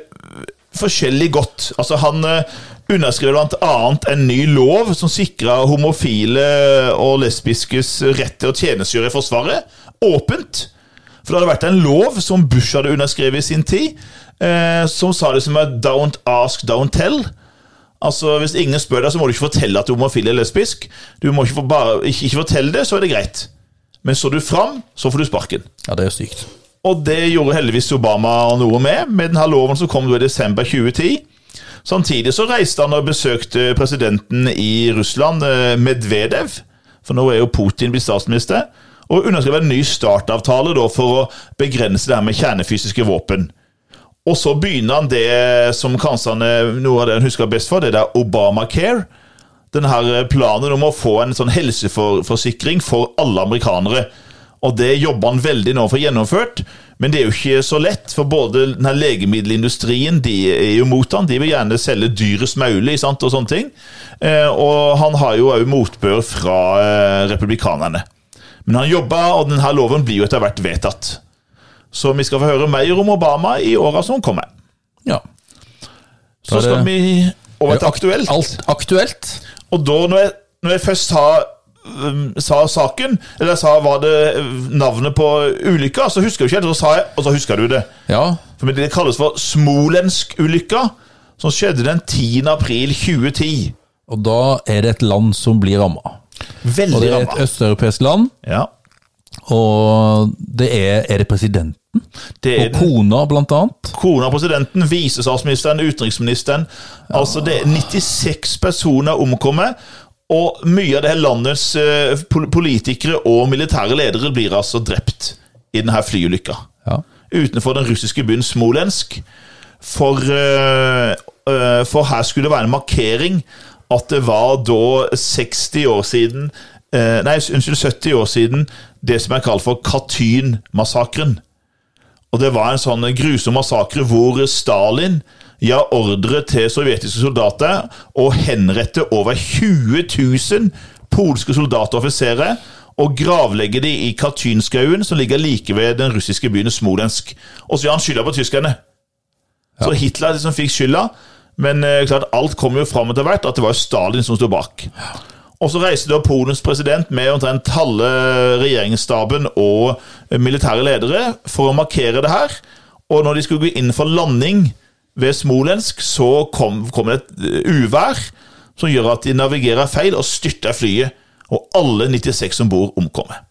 Speaker 2: forskjellig godt. Altså, han eh, underskrev blant annet en ny lov som sikra homofile og lesbiskes rett til å tjenestegjøre i Forsvaret. Åpent. For det hadde vært en lov som Bush hadde underskrevet i sin tid, eh, som sa det som er 'don't ask, don't tell'. Altså, Hvis ingen spør deg, så må du ikke fortelle at du er homofil eller lesbisk. Du må ikke, få bare, ikke, ikke fortelle det, så er det greit. Men så du fram, så får du sparken.
Speaker 1: Ja, det er jo sykt.
Speaker 2: Og det gjorde heldigvis Obama noe med, med denne loven som kom da i desember 2010. Samtidig så reiste han og besøkte presidenten i Russland, eh, Medvedev, for nå er jo Putin blitt statsminister, og underskrev en ny startavtale da for å begrense det her med kjernefysiske våpen. Og så begynner han det som kanskje han, eh, noe av det han husker best for, det der Obamacare. Den her eh, planen om å få en sånn helseforsikring for alle amerikanere. Og det jobber han veldig nå for gjennomført, men det er jo ikke så lett. For både den her legemiddelindustrien de er jo mot han, de vil gjerne selge dyrest mulig sant, og sånne ting. Eh, og han har jo òg motbør fra eh, republikanerne. Men han jobber, og denne loven blir jo etter hvert vedtatt. Så vi skal få høre mer om Obama i åra som kommer.
Speaker 1: Ja. Da
Speaker 2: Så
Speaker 1: er det-
Speaker 2: skal vi over til aktuelt.
Speaker 1: Alt aktuelt.
Speaker 2: Og da, når jeg, når jeg først sa, um, sa saken, eller sa hva det uh, navnet på ulykka, så husker jeg ikke helt, og så sa jeg, og så husker du det.
Speaker 1: Ja.
Speaker 2: For det kalles for Smolensk-ulykka, som skjedde den 10. april 2010.
Speaker 1: Og da er det et land som blir ramma. Og
Speaker 2: Veldig
Speaker 1: det er et
Speaker 2: ramma.
Speaker 1: østeuropeisk land,
Speaker 2: Ja,
Speaker 1: og det er Er det presidenten?
Speaker 2: det er
Speaker 1: Og
Speaker 2: den.
Speaker 1: kona, blant annet?
Speaker 2: Kona, presidenten, visestatsministeren, utenriksministeren. Altså, det er 96 personer omkommet, og mye av det her landets eh, pol- politikere og militære ledere blir altså drept i denne flyulykka.
Speaker 1: Ja.
Speaker 2: utenfor den russiske byen Smolensk. For, eh, eh, for her skulle det være en markering at det var da 60 år siden eh, Nei, unnskyld, 70 år siden det som er kalt for Katyn-massakren. Og det var en sånn grusom massakre hvor Stalin ga ordre til sovjetiske soldater å henrette over 20 000 polske soldater og offiserer og gravlegge de i Katynskauen, som ligger like ved den russiske byen Smolensk. Og så gjør han skylda på tyskerne. Så Hitler liksom fikk skylda, men eh, klart alt kom jo fram etter hvert at det var jo Stalin som sto bak. Og så reiste da Polens president med omtrent halve regjeringsstaben og militære ledere for å markere det her. Og når de skulle gå inn for landing ved Smolensk, så kom, kom det et eh, uvær som gjør at de navigerer feil og styrter flyet. Og alle 96 om bord omkommer.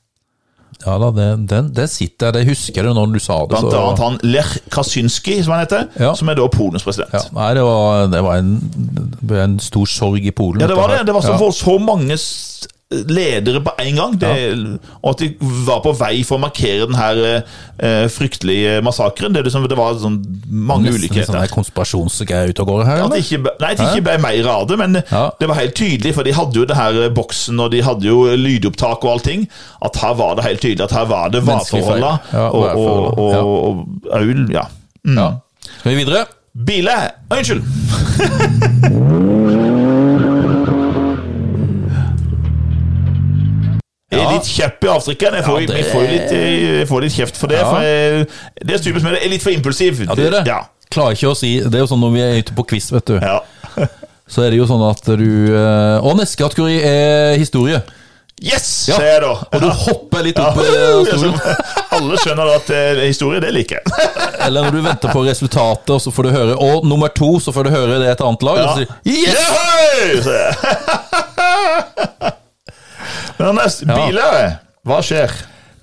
Speaker 1: Ja da, det, den, det sitter jeg, det husker jeg når du sa det.
Speaker 2: Blant
Speaker 1: så-
Speaker 2: annet han Lech Kaczynski, som han heter,
Speaker 1: Ja.
Speaker 2: som er da Polens president.
Speaker 1: ja,
Speaker 2: Ja.
Speaker 1: nei, det var, det var en, det ble en stor sorg i Polen.
Speaker 2: det var det. Det var så,
Speaker 1: Ja.
Speaker 2: for så mange s- ledere på en gang. Det, Og at de var på vei for å markere den her eh, fryktelige massakren. Det, er liksom, det var sånn mange
Speaker 1: Nesten litt
Speaker 2: ulikheter.
Speaker 1: sånn der konspirasjonsgreier ute og går her.
Speaker 2: At det
Speaker 1: Eller?
Speaker 2: ikke, ble- nei, at det ikke ble mer av det, men
Speaker 1: Ja.
Speaker 2: det var helt tydelig, for de hadde jo det her eh, boksen, og de hadde jo eh, lydopptak og allting, at her var det helt tydelig, at her var det
Speaker 1: Menneskelig feil.
Speaker 2: værforholda,
Speaker 1: Ja,
Speaker 2: og, og, og,
Speaker 1: værforholda, ja.
Speaker 2: og, Aul, ja.
Speaker 1: Ja. Skal vi videre?
Speaker 2: Bile! Unnskyld! Jeg er litt kjepp i avtrykken. Jeg får,
Speaker 1: Ja, det-
Speaker 2: jeg får, jo litt, jeg får litt kjeft for det.
Speaker 1: Ja.
Speaker 2: For jeg, det er stupet som er det. Jeg er litt for impulsiv.
Speaker 1: Ja, det er det.
Speaker 2: Ja.
Speaker 1: Klarer ikke å si Det er jo sånn når vi er ute på quiz, vet du.
Speaker 2: ja.
Speaker 1: Så er det jo sånn at du eh, Og neste kategori er historie.
Speaker 2: Yes,
Speaker 1: Ja.
Speaker 2: sier jeg da.
Speaker 1: Og du hopper litt opp i eh,
Speaker 2: Ja,
Speaker 1: stolen.
Speaker 2: altså, alle skjønner da at eh, historie, det liker jeg.
Speaker 1: Eller når du venter på resultatet, og så får du høre Og nummer to, så får du høre det er et annet lag.
Speaker 2: Ja.
Speaker 1: Og så sier du, yes!
Speaker 2: Yehoi! sier jeg. Men neste
Speaker 1: Ja.
Speaker 2: biler, hva skjer?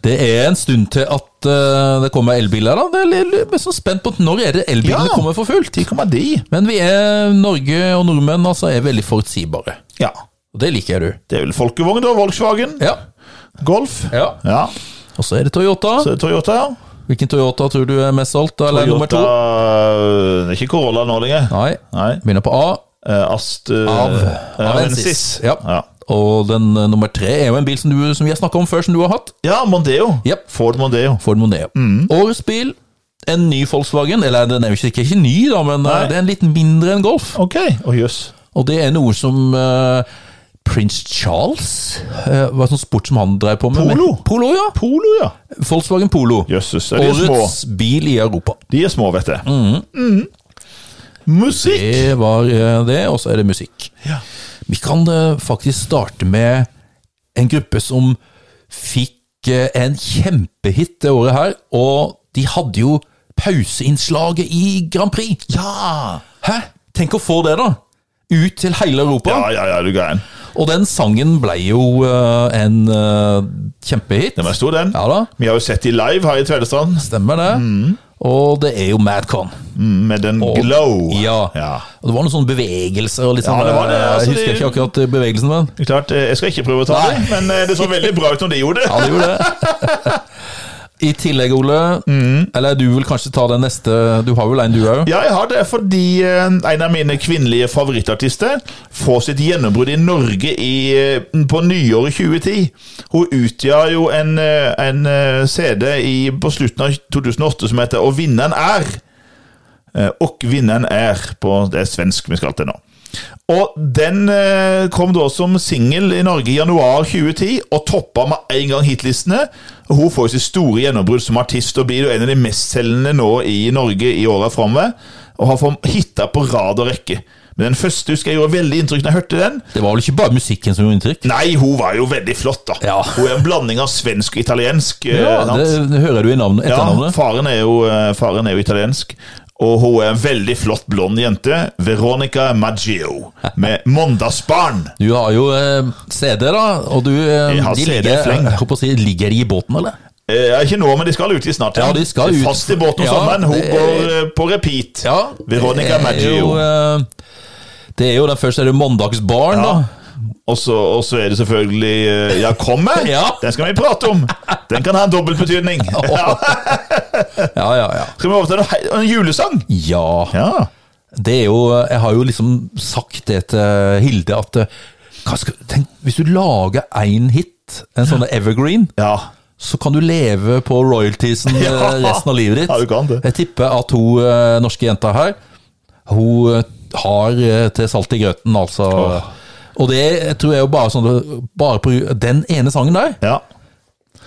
Speaker 1: Det er en stund til at eh, det kommer elbiler, da. Det er litt- litt så spent på at når er det elbilene
Speaker 2: Ja.
Speaker 1: kommer for fullt.
Speaker 2: Hvor kommer de?
Speaker 1: Men vi er, Norge og nordmenn altså, er veldig forutsigbare.
Speaker 2: Ja,
Speaker 1: Og det liker jeg, du.
Speaker 2: det er vel folkevogn da, Volkswagen,
Speaker 1: Ja.
Speaker 2: Golf.
Speaker 1: ja.
Speaker 2: Ja,
Speaker 1: Og så er det Toyota.
Speaker 2: så er det Toyota, ja.
Speaker 1: Hvilken Toyota tror du er mest solgt? da? Eller nummer to?
Speaker 2: Toyota, eh, det er ikke Corolla nå lenger.
Speaker 1: Nei.
Speaker 2: Nei.
Speaker 1: Begynner på A.
Speaker 2: Eh, Ast...
Speaker 1: Av
Speaker 2: eh,
Speaker 1: Avensis. Ja.
Speaker 2: Ja.
Speaker 1: Og den eh, nummer tre er jo en bil som, du, som vi har snakka om før, som du har hatt.
Speaker 2: ja, Mondeo.
Speaker 1: Jep.
Speaker 2: Ford Mondeo.
Speaker 1: Ford Mondeo.
Speaker 2: Mm.
Speaker 1: Årets bil, en ny Volkswagen. Eller den er jo ikke, ikke ny, da, men eh,
Speaker 2: Nei.
Speaker 1: det er en litt mindre enn Golf.
Speaker 2: Ok, og jøss.
Speaker 1: Og det er noe som eh, Prins Charles eh, Hva sånn sport som han drev på med?
Speaker 2: Polo?
Speaker 1: Men- Polo, ja.
Speaker 2: Polo, ja.
Speaker 1: Volkswagen Polo.
Speaker 2: Jøsses, er de små?
Speaker 1: Årets bil i Europa.
Speaker 2: De er små, vet jeg. Mhm. Musikk!
Speaker 1: Det var eh, det, og så er det musikk.
Speaker 2: Ja.
Speaker 1: Vi kan eh, faktisk starte med en gruppe som fikk eh, en kjempehit det året her, og de hadde jo pauseinnslaget i Grand Prix.
Speaker 2: Ja!
Speaker 1: Hæ? Tenk å få det, da! Ut til hele Europa.
Speaker 2: Ja, ja, ja, du er gæren.
Speaker 1: Og den sangen ble jo eh, en eh, kjempehit.
Speaker 2: Den var stor, den.
Speaker 1: Ja da,
Speaker 2: Vi har jo sett de live her i Tvedestrand,
Speaker 1: stemmer det. Og det er jo Madcon.
Speaker 2: mm, med den glow.
Speaker 1: Ja. Og det var noen sånne bevegelser og litt sånn
Speaker 2: Ja, det var det,
Speaker 1: eh,
Speaker 2: altså,
Speaker 1: Jeg husker
Speaker 2: det-
Speaker 1: ikke akkurat bevegelsen, men
Speaker 2: Det er klart, eh, Jeg skal ikke prøve å ta
Speaker 1: Nei.
Speaker 2: det, men eh, det så veldig bra ut når de gjorde det.
Speaker 1: Ja, det gjorde det. I tillegg, Ole,
Speaker 2: Mm.
Speaker 1: eller du vil kanskje ta den neste Du har vel en, du òg?
Speaker 2: Ja, jeg har det fordi eh, en av mine kvinnelige favorittartister får sitt gjennombrudd i Norge i, eh, på nyåret 2010. Hun utga jo en, eh, en eh, CD i, på slutten av 2008 som heter 'Å vinneren er'. Eh, Og vinneren er på Det er svensk vi skal til nå. Og den eh, kom da som singel i Norge i januar 2010, og toppa med en gang hitlistene. Og Hun får jo sitt store gjennombrudd som artist og blir jo en av de mestselgende nå i Norge i åra framover. Og har fått hitter på rad og rekke. Men den første husker jeg gjorde veldig inntrykk da jeg hørte den.
Speaker 1: Det var vel ikke bare musikken som gjorde inntrykk?
Speaker 2: Nei, hun var jo veldig flott, da.
Speaker 1: Ja.
Speaker 2: Hun er en blanding av svensk og italiensk. eh,
Speaker 1: Ja,
Speaker 2: sant?
Speaker 1: det, det hører du i navnet,
Speaker 2: Ja,
Speaker 1: etternavnet.
Speaker 2: faren er, jo, eh, faren er jo italiensk. Og hun er en veldig flott blond jente. Veronica Maggio. Med 'Mandagsbarn'.
Speaker 1: Du har jo eh, CD, da, og du eh,
Speaker 2: Jeg har
Speaker 1: de
Speaker 2: CD
Speaker 1: ligger,
Speaker 2: fleng.
Speaker 1: jeg håper å si, ligger de i båten, eller?
Speaker 2: Eh, ikke nå, men de skal ut i snart.
Speaker 1: Ja, de skal ut.
Speaker 2: Fast i båten om
Speaker 1: Ja,
Speaker 2: sommeren. Hun
Speaker 1: det-
Speaker 2: går eh, på repeat. Veronica
Speaker 1: det er
Speaker 2: Maggio.
Speaker 1: jo, eh, Det er jo den første er det Mandagsbarn,
Speaker 2: Ja.
Speaker 1: da.
Speaker 2: Og så, og så er det selvfølgelig eh, 'Ja, kom med'.
Speaker 1: Ja.
Speaker 2: Den skal vi prate om. Den kan ha en dobbeltbetydning. Ja.
Speaker 1: Ja, ja, ja.
Speaker 2: Skal vi over til en, hei- en julesang?
Speaker 1: Ja.
Speaker 2: Ja.
Speaker 1: Det er jo Jeg har jo liksom sagt det til Hilde at eh, hva skal, tenk, Hvis du lager én hit, en sånn evergreen,
Speaker 2: ja.
Speaker 1: så kan du leve på royaltiesen eh,
Speaker 2: Ja.
Speaker 1: resten av livet ditt.
Speaker 2: Ja, du kan det.
Speaker 1: Jeg tipper at hun eh, norske jenta her, hun eh, har eh, til salt i grøten, altså. Og det tror jeg jo bare sånn Bare på den ene sangen der,
Speaker 2: ja.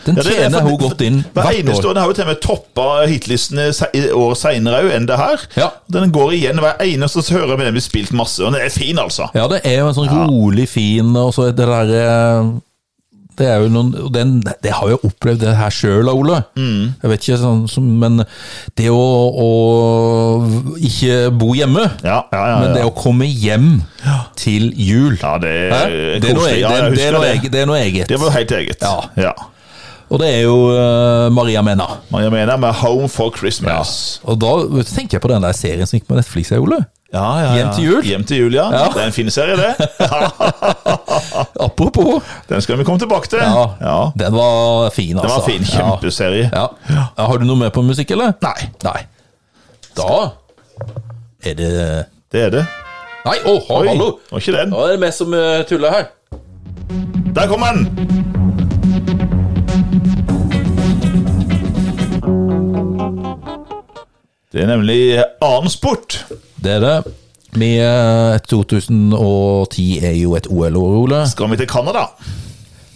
Speaker 1: den
Speaker 2: Ja, det er
Speaker 1: tjener
Speaker 2: for-
Speaker 1: hun godt inn
Speaker 2: Hver
Speaker 1: hvert
Speaker 2: eneste
Speaker 1: år.
Speaker 2: år. Den har jo til og med toppa hitlistene se- i år seinere òg enn det her.
Speaker 1: Ja.
Speaker 2: Den går igjen hver eneste så hører vi den blir spilt masse, og den er fin, altså.
Speaker 1: Ja, det er jo en sånn rolig, fin Og så er det der eh, Det er jo noen og den, Det har jeg jo opplevd det her sjøl, Ole.
Speaker 2: Mm.
Speaker 1: Jeg vet ikke, sånn, som, men det å, å ikke bo hjemme
Speaker 2: Ja, ja, ja.
Speaker 1: Men det
Speaker 2: ja.
Speaker 1: å komme hjem til jul
Speaker 2: ja det
Speaker 1: Hæ?
Speaker 2: er
Speaker 1: det, er noe jeg,
Speaker 2: koselig. Ja,
Speaker 1: det,
Speaker 2: jeg
Speaker 1: er- det, er
Speaker 2: husker
Speaker 1: noe
Speaker 2: det.
Speaker 1: jeg- det er noe eget.
Speaker 2: Det var jo helt eget.
Speaker 1: Ja.
Speaker 2: ja.
Speaker 1: Og det er jo eh, Maria Mena.
Speaker 2: Maria Mena med 'Home for Christmas'.
Speaker 1: Og da vet du, tenker jeg på den der serien som gikk på Netflix, jeg, Ole.
Speaker 2: Ja, ja, ja.
Speaker 1: Hjem til jul.
Speaker 2: Hjem til jul, ja.
Speaker 1: Ja.
Speaker 2: Det er en fin serie, det.
Speaker 1: Apropos.
Speaker 2: Den skal vi komme tilbake til.
Speaker 1: Ja,
Speaker 2: Ja.
Speaker 1: Den var fin, altså.
Speaker 2: Den var fin. Kjempeserie.
Speaker 1: Ja. ja. ja. Har du noe mer på musikk, eller?
Speaker 2: Nei,
Speaker 1: Nei. Da er det
Speaker 2: det er det.
Speaker 1: Nei, å, ha-
Speaker 2: Oi,
Speaker 1: hallo!
Speaker 2: var ikke den.
Speaker 1: Nå er det vi som eh, tuller her.
Speaker 2: Der kommer den! Det er nemlig annen sport.
Speaker 1: Det er det. Vi, eh, 2010 er jo et OL-år, Ole.
Speaker 2: Skal vi til Canada?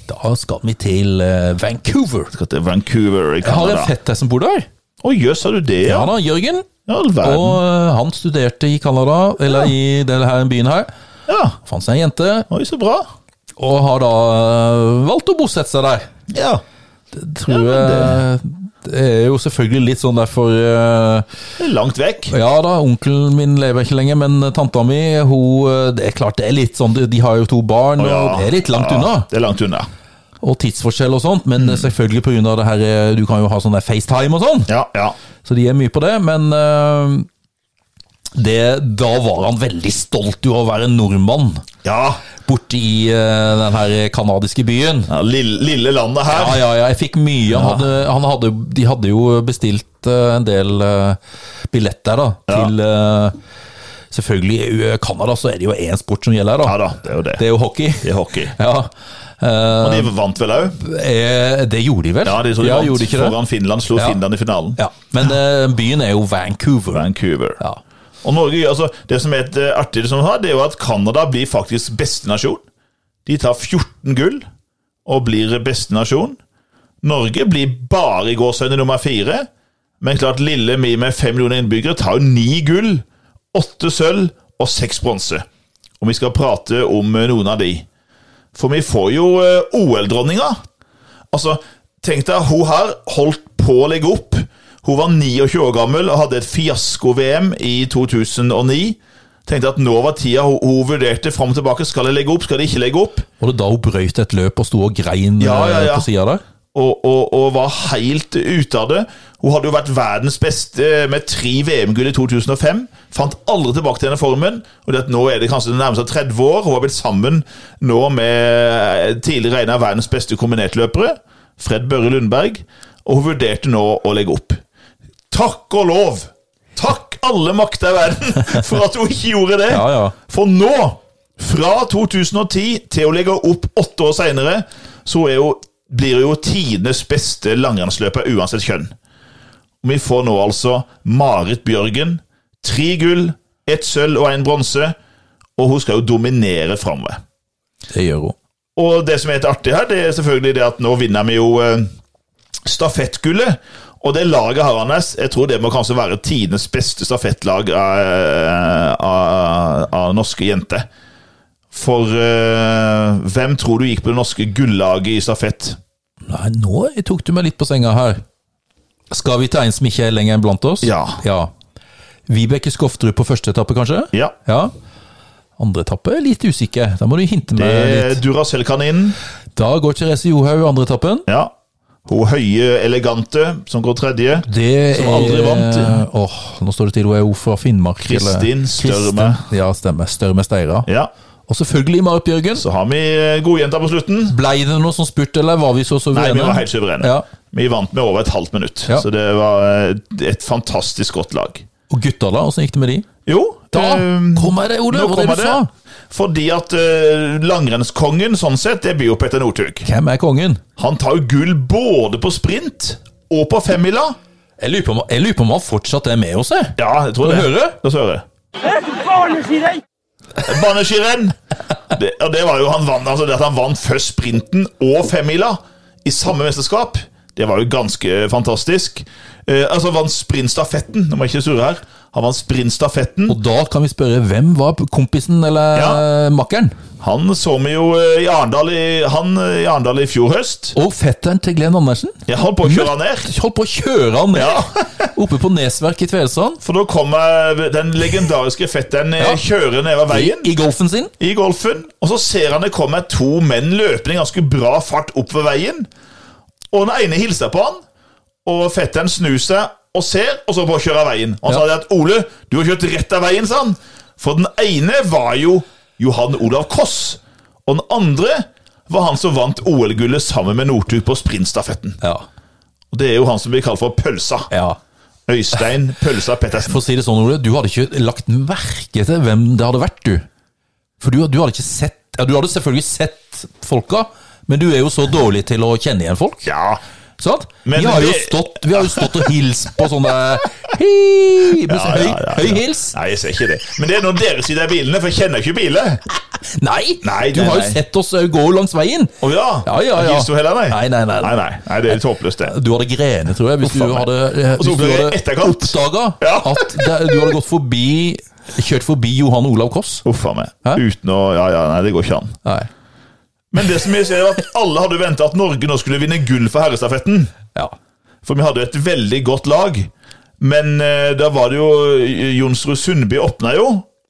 Speaker 1: Da skal vi til eh, Vancouver.
Speaker 2: Skal til Vancouver i
Speaker 1: Jeg har en
Speaker 2: Canada.
Speaker 1: fetter som bor der.
Speaker 2: Å jøss, har du det? Ja,
Speaker 1: Ja da, Jørgen.
Speaker 2: ja all
Speaker 1: Og
Speaker 2: verden.
Speaker 1: eh, han studerte i Canada, eller i denne her byen her.
Speaker 2: Ja.
Speaker 1: Fant seg en jente,
Speaker 2: Oi, så bra.
Speaker 1: og har da eh, valgt å bosette seg der.
Speaker 2: Ja.
Speaker 1: Tror jeg Det er jo selvfølgelig litt sånn derfor eh,
Speaker 2: Det er langt vekk.
Speaker 1: Ja da, onkelen min lever ikke lenger, men eh, tanta mi hun, eh, Det er klart det er litt sånn, de- de har jo to barn, og det er litt langt
Speaker 2: Ja,
Speaker 1: unna.
Speaker 2: Det er langt unna.
Speaker 1: Og tidsforskjell og sånt, men eh, selvfølgelig på grunn av det her eh, Du kan jo ha sånn der FaceTime og sånn,
Speaker 2: Ja, ja.
Speaker 1: så de er mye på det, men eh, det, da var han veldig stolt jo av å være nordmann
Speaker 2: Ja,
Speaker 1: borte i eh, den her kanadiske byen.
Speaker 2: ja lille, lille landet her.
Speaker 1: Ja, ja, ja, jeg fikk mye. Han hadde, han hadde, de hadde jo bestilt eh, en del eh, billetter da, til eh, Selvfølgelig, i eh, Canada så er det jo én sport som gjelder,
Speaker 2: Ja
Speaker 1: her, da.
Speaker 2: da, det er jo det.
Speaker 1: Det er jo hockey.
Speaker 2: Det er hockey.
Speaker 1: Ja. Eh,
Speaker 2: Og de vant vel òg?
Speaker 1: eh, det gjorde de vel?
Speaker 2: Ja, de tror de
Speaker 1: gjorde de
Speaker 2: vant
Speaker 1: ikke det?
Speaker 2: foran Finland. Slo
Speaker 1: Ja.
Speaker 2: Finland i finalen.
Speaker 1: Ja. Men eh, byen er jo Vancouver.
Speaker 2: Vancouver.
Speaker 1: Ja.
Speaker 2: Og Norge, altså, Det som er et eh, artig, det, som har, det er jo at Canada blir faktisk beste nasjon. De tar 14 gull og blir beste nasjon. Norge blir bare i gårsøgne nummer fire. Men klart, lille mi med fem millioner innbyggere tar jo ni gull, åtte sølv og seks bronse. Og vi skal prate om eh, noen av de. For vi får jo eh, OL-dronninga. Altså, tenk deg, hun her holdt på å legge opp. Hun var 29 år gammel og hadde et fiasko-VM i 2009. Tenkte at nå var tida hun, hun vurderte fram og tilbake. Skal jeg legge opp, skal jeg ikke legge opp?
Speaker 1: Og det da hun brøyt et løp og sto og grein
Speaker 2: Ja, ja,
Speaker 1: eh,
Speaker 2: ja.
Speaker 1: på sida der?
Speaker 2: og, og, og var helt ute av det. Hun hadde jo vært verdens beste med tre VM-gull i 2005. Fant aldri tilbake til denne formen. og det at Nå er det kanskje det nærmeste 30 år. Hun har blitt sammen nå med tidligere en av verdens beste kombinertløpere, Fred Børre Lundberg. Og hun vurderte nå å legge opp. Takk og lov! Takk alle makter i verden for at hun ikke gjorde det!
Speaker 1: Ja, ja.
Speaker 2: For nå, fra 2010 til å legge opp åtte år seinere, så er jo, blir jo tidenes beste langrennsløper uansett kjønn. Og vi får nå altså Marit Bjørgen. Tre gull, ett sølv og én bronse. Og hun skal jo dominere framover.
Speaker 1: Det gjør hun.
Speaker 2: Og det som er litt artig her, det er selvfølgelig det at nå vinner vi jo eh, stafettgullet. Og det laget her, Anders, jeg tror det må kanskje være tidenes beste stafettlag av, av, av norske jenter. For eh, hvem tror du gikk på det norske gullaget i stafett?
Speaker 1: Nei, nå tok du meg litt på senga her. Skal vi ta en som ikke er lenger enn blant oss?
Speaker 2: Ja.
Speaker 1: Vibeke Skofterud på første etappe, kanskje?
Speaker 2: Ja.
Speaker 1: Ja. Andre etappe er litt usikker. Da må du hinte meg
Speaker 2: Eh,
Speaker 1: litt.
Speaker 2: Duracell-kaninen.
Speaker 1: Da går Therese Johaug andre etappen.
Speaker 2: Ja. Hun høye, elegante som går tredje.
Speaker 1: Det
Speaker 2: Som aldri
Speaker 1: er-
Speaker 2: vant.
Speaker 1: Åh, nå står det til hun er jo fra Finnmark. eller-
Speaker 2: Kristin Størme.
Speaker 1: Kristin, Ja, stemmer. Størme Steira.
Speaker 2: Ja.
Speaker 1: Og selvfølgelig Marit Bjørgen.
Speaker 2: Så har vi eh, godjenta på slutten.
Speaker 1: Blei det noe som spurt, eller var vi så
Speaker 2: Nei,
Speaker 1: suverene?
Speaker 2: vi var helt suverene.
Speaker 1: Ja.
Speaker 2: Vi vant med over et halvt minutt.
Speaker 1: Ja.
Speaker 2: Så det var eh, et fantastisk godt lag.
Speaker 1: Og gutta, da? Åssen gikk det med de?
Speaker 2: Jo,
Speaker 1: Da
Speaker 2: eh,
Speaker 1: kommer det, Ole,
Speaker 2: nå
Speaker 1: over det
Speaker 2: kommer
Speaker 1: du sa.
Speaker 2: Fordi at eh, langrennskongen, sånn sett, det blir jo Petter Northug.
Speaker 1: Hvem er kongen?
Speaker 2: Han tar jo gull både på sprint og på femmila.
Speaker 1: Jeg lurer på om, jeg lurer på om han fortsatt er med oss, jeg.
Speaker 2: Ja, jeg tror
Speaker 1: Skal
Speaker 2: det.
Speaker 1: du høre?
Speaker 2: La oss høre.
Speaker 3: Barnesider!
Speaker 2: Baneskirenn! Det, og det var jo han vant, altså det at han vant først sprinten og femmila i samme mesterskap. Det var jo ganske fantastisk. Eh, altså, han vant sprintstafetten. Nå må jeg ikke surre her. Han vant sprintstafetten.
Speaker 1: Og da kan vi spørre, hvem var kompisen eller
Speaker 2: Ja.
Speaker 1: makkeren?
Speaker 2: Han så vi jo eh, i Arendal i, han, eh, i, Arendal i fjor høst.
Speaker 1: Og fetteren til Glenn Andersen?
Speaker 2: Jeg holdt på å kjøre han ned.
Speaker 1: Holdt på å kjøre han ned
Speaker 2: Ja.
Speaker 1: oppe på Nesverk i Tvedestrand.
Speaker 2: For da kom eh, den legendariske fetteren eh,
Speaker 1: Ja.
Speaker 2: kjøre nedover veien
Speaker 1: I golfen sin.
Speaker 2: i golfen. Og så ser han det kommer to menn løpende i ganske bra fart oppover veien. Og den ene hilser på han, og fetteren snur seg og ser, og så bare kjører av veien. Og han sa det at 'Ole, du har kjørt rett av veien', sa han. For den ene var jo Johan Olav Koss, og den andre var han som vant OL-gullet sammen med Northug på sprintstafetten.
Speaker 1: Ja.
Speaker 2: Og det er jo han som blir kalt for Pølsa.
Speaker 1: ja.
Speaker 2: Øystein Pølsa Pettersen.
Speaker 1: For å si det sånn, Ole, du hadde ikke lagt merke til hvem det hadde vært, du. For du, du hadde ikke sett ja, Du hadde selvfølgelig sett folka, men du er jo så dårlig til å kjenne igjen folk.
Speaker 2: Ja,
Speaker 1: Sant?
Speaker 2: Men
Speaker 1: vi, har jo
Speaker 2: det-
Speaker 1: stått, vi har jo stått og hilst på sånne Hei! Med sånn høy, høy hils.
Speaker 2: Nei, jeg ser ikke det. Men det er når dere sitter i bilene, for jeg kjenner jo ikke biler.
Speaker 1: Nei!
Speaker 2: Nei,
Speaker 1: du
Speaker 2: nei,
Speaker 1: har jo
Speaker 2: nei.
Speaker 1: sett oss eh, gå langs veien.
Speaker 2: Å ja?
Speaker 1: Ja, ja, ja.
Speaker 2: Hilser du heller, nei?
Speaker 1: Nei, nei, nei.
Speaker 2: nei, nei. nei det er litt håpløst, det.
Speaker 1: Du hadde grenet, tror jeg, hvis
Speaker 2: Uff,
Speaker 1: du
Speaker 2: faen.
Speaker 1: hadde, eh, hvis
Speaker 2: Og så
Speaker 1: du
Speaker 2: ble jeg
Speaker 1: hadde
Speaker 2: etterkant.
Speaker 1: oppdaga
Speaker 2: Ja.
Speaker 1: at det, du hadde gått forbi Kjørt forbi Johan Olav Koss.
Speaker 2: Uff a meg.
Speaker 1: Hæ?
Speaker 2: Uten å Ja, ja, nei, det går ikke an.
Speaker 1: Nei.
Speaker 2: Men det som jeg ser, er at alle hadde venta at Norge nå skulle vinne gull for herrestafetten.
Speaker 1: Ja.
Speaker 2: For vi hadde jo et veldig godt lag. Men eh, da var det jo eh, Jonsrud Sundby åpna jo,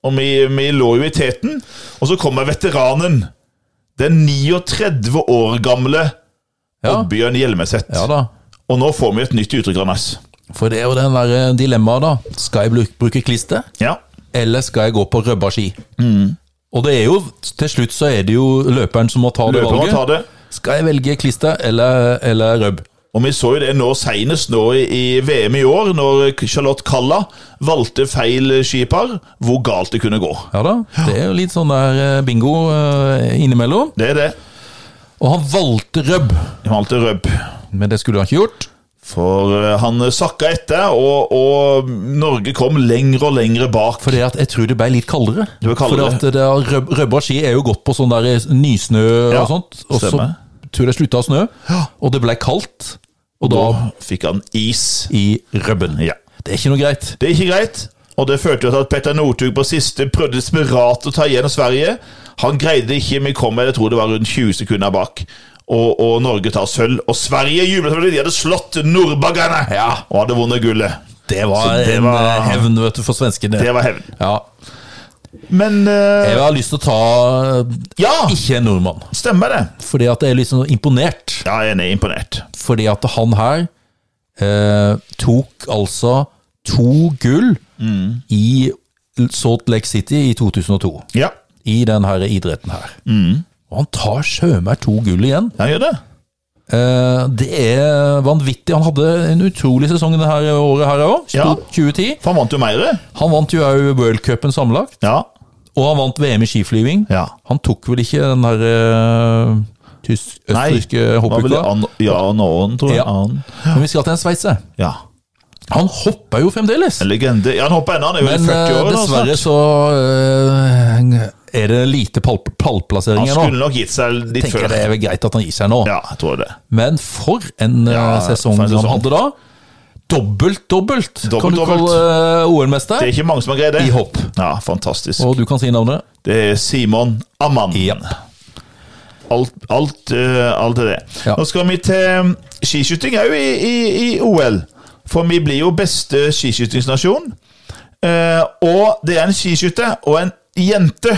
Speaker 2: og vi, vi lå jo i teten. Og så kommer veteranen. Den 39 år gamle
Speaker 1: Ja.
Speaker 2: Oddbjørn Hjelmeset.
Speaker 1: ja da.
Speaker 2: Og nå får vi et nytt uttrykk, Anders.
Speaker 1: For det er jo den der eh, dilemmaet, da. Skal jeg bru- bruke klister,
Speaker 2: Ja.
Speaker 1: eller skal jeg gå på røbba ski?
Speaker 2: Mm.
Speaker 1: Og det er jo, til slutt så er det jo løperen som må ta det
Speaker 2: Løperen må
Speaker 1: valget.
Speaker 2: ta det.
Speaker 1: Skal jeg velge klister eller, eller røbb?
Speaker 2: Og vi så jo det nå senest nå i i VM i år, når Charlotte Kalla valgte feil skipar, hvor galt det kunne gå.
Speaker 1: Ja da, det er jo litt sånn der eh, bingo eh, innimellom.
Speaker 2: Det er det.
Speaker 1: Og han valgte røbb,
Speaker 2: Hun valgte Røbb.
Speaker 1: men det skulle han ikke gjort.
Speaker 2: For eh, han sakka etter, og, og Norge kom lenger og lenger bak.
Speaker 1: For det at jeg tror det ble litt kaldere.
Speaker 2: Det ble kaldere.
Speaker 1: For det at det er røb, røbba ski er jo godt på sånn der nysnø
Speaker 2: Ja,
Speaker 1: og sånt. Og
Speaker 2: stemmer.
Speaker 1: så tror jeg det slutta å snø, og det ble kaldt. Og da
Speaker 2: Fikk han is.
Speaker 1: i røbben.
Speaker 2: Ja.
Speaker 1: Det er ikke noe greit.
Speaker 2: Det er ikke greit, og det førte jo til at Petter Northug på siste prøvde desperat å ta igjen Sverige. Han greide det ikke, vi kom med, jeg tror det var rundt 20 sekunder bak. Og, og Norge tar sølv, og Sverige jublet fordi de hadde slått nordbaggerne
Speaker 1: Ja.
Speaker 2: og hadde vunnet gullet.
Speaker 1: Det var
Speaker 2: Så det
Speaker 1: en
Speaker 2: var-
Speaker 1: eh, hevn vet du, for svenskene.
Speaker 2: Det var hevn.
Speaker 1: Ja.
Speaker 2: Men eh,
Speaker 1: Jeg har lyst til å ta eh,
Speaker 2: Ja,
Speaker 1: ikke en nordmann,
Speaker 2: stemmer det.
Speaker 1: fordi at jeg er liksom imponert.
Speaker 2: Ja, jeg er enig, imponert.
Speaker 1: Fordi at han her eh, tok altså to gull i Salt Lake City i 2002.
Speaker 2: Ja,
Speaker 1: I den her idretten her. Og han tar sjømer to gull igjen.
Speaker 2: han gjør det.
Speaker 1: Eh, det er vanvittig. Han hadde en utrolig sesong det her året her òg.
Speaker 2: Ja.
Speaker 1: 2010.
Speaker 2: For han vant jo mer.
Speaker 1: Han vant jo òg worldcupen sammenlagt.
Speaker 2: Ja.
Speaker 1: Og han vant VM i skiflyving.
Speaker 2: ja.
Speaker 1: Han tok vel ikke den her eh, tysk,
Speaker 2: Nei,
Speaker 1: østerrikske
Speaker 2: var vel
Speaker 1: hoppuka?
Speaker 2: an, ja, Nåen, tror jeg.
Speaker 1: Ja.
Speaker 2: An.
Speaker 1: Men vi skal til en sveitser.
Speaker 2: ja.
Speaker 1: Han hopper jo fremdeles.
Speaker 2: En legende. Ja, han hopper ennå, han er jo
Speaker 1: Men
Speaker 2: 40
Speaker 1: eh,
Speaker 2: år. nå, snart.
Speaker 1: dessverre så eh, er det lite pall
Speaker 2: Han
Speaker 1: pallplasseringer
Speaker 2: skulle
Speaker 1: nå.
Speaker 2: nok gitt seg litt
Speaker 1: Tenker
Speaker 2: før.
Speaker 1: jeg Det er vel greit at han gir seg nå.
Speaker 2: Ja, jeg tror det.
Speaker 1: Men for en eh,
Speaker 2: Ja,
Speaker 1: sesong
Speaker 2: for en sesong.
Speaker 1: han hadde da. Dobbelt, dobbelt, kan du
Speaker 2: Dobbelt,
Speaker 1: kalle eh, OL-mester.
Speaker 2: Det er ikke mange som har greid det.
Speaker 1: I hopp.
Speaker 2: Ja, fantastisk.
Speaker 1: Og du kan si navnet.
Speaker 2: Det er Simon Amman.
Speaker 1: Japp.
Speaker 2: Alt, alt, eh, alt er det.
Speaker 1: Ja.
Speaker 2: Nå skal vi til mm, skiskyting òg i, i, i OL. For vi blir jo beste skiskytingsnasjon. Eh, og det er en skiskytter og en jente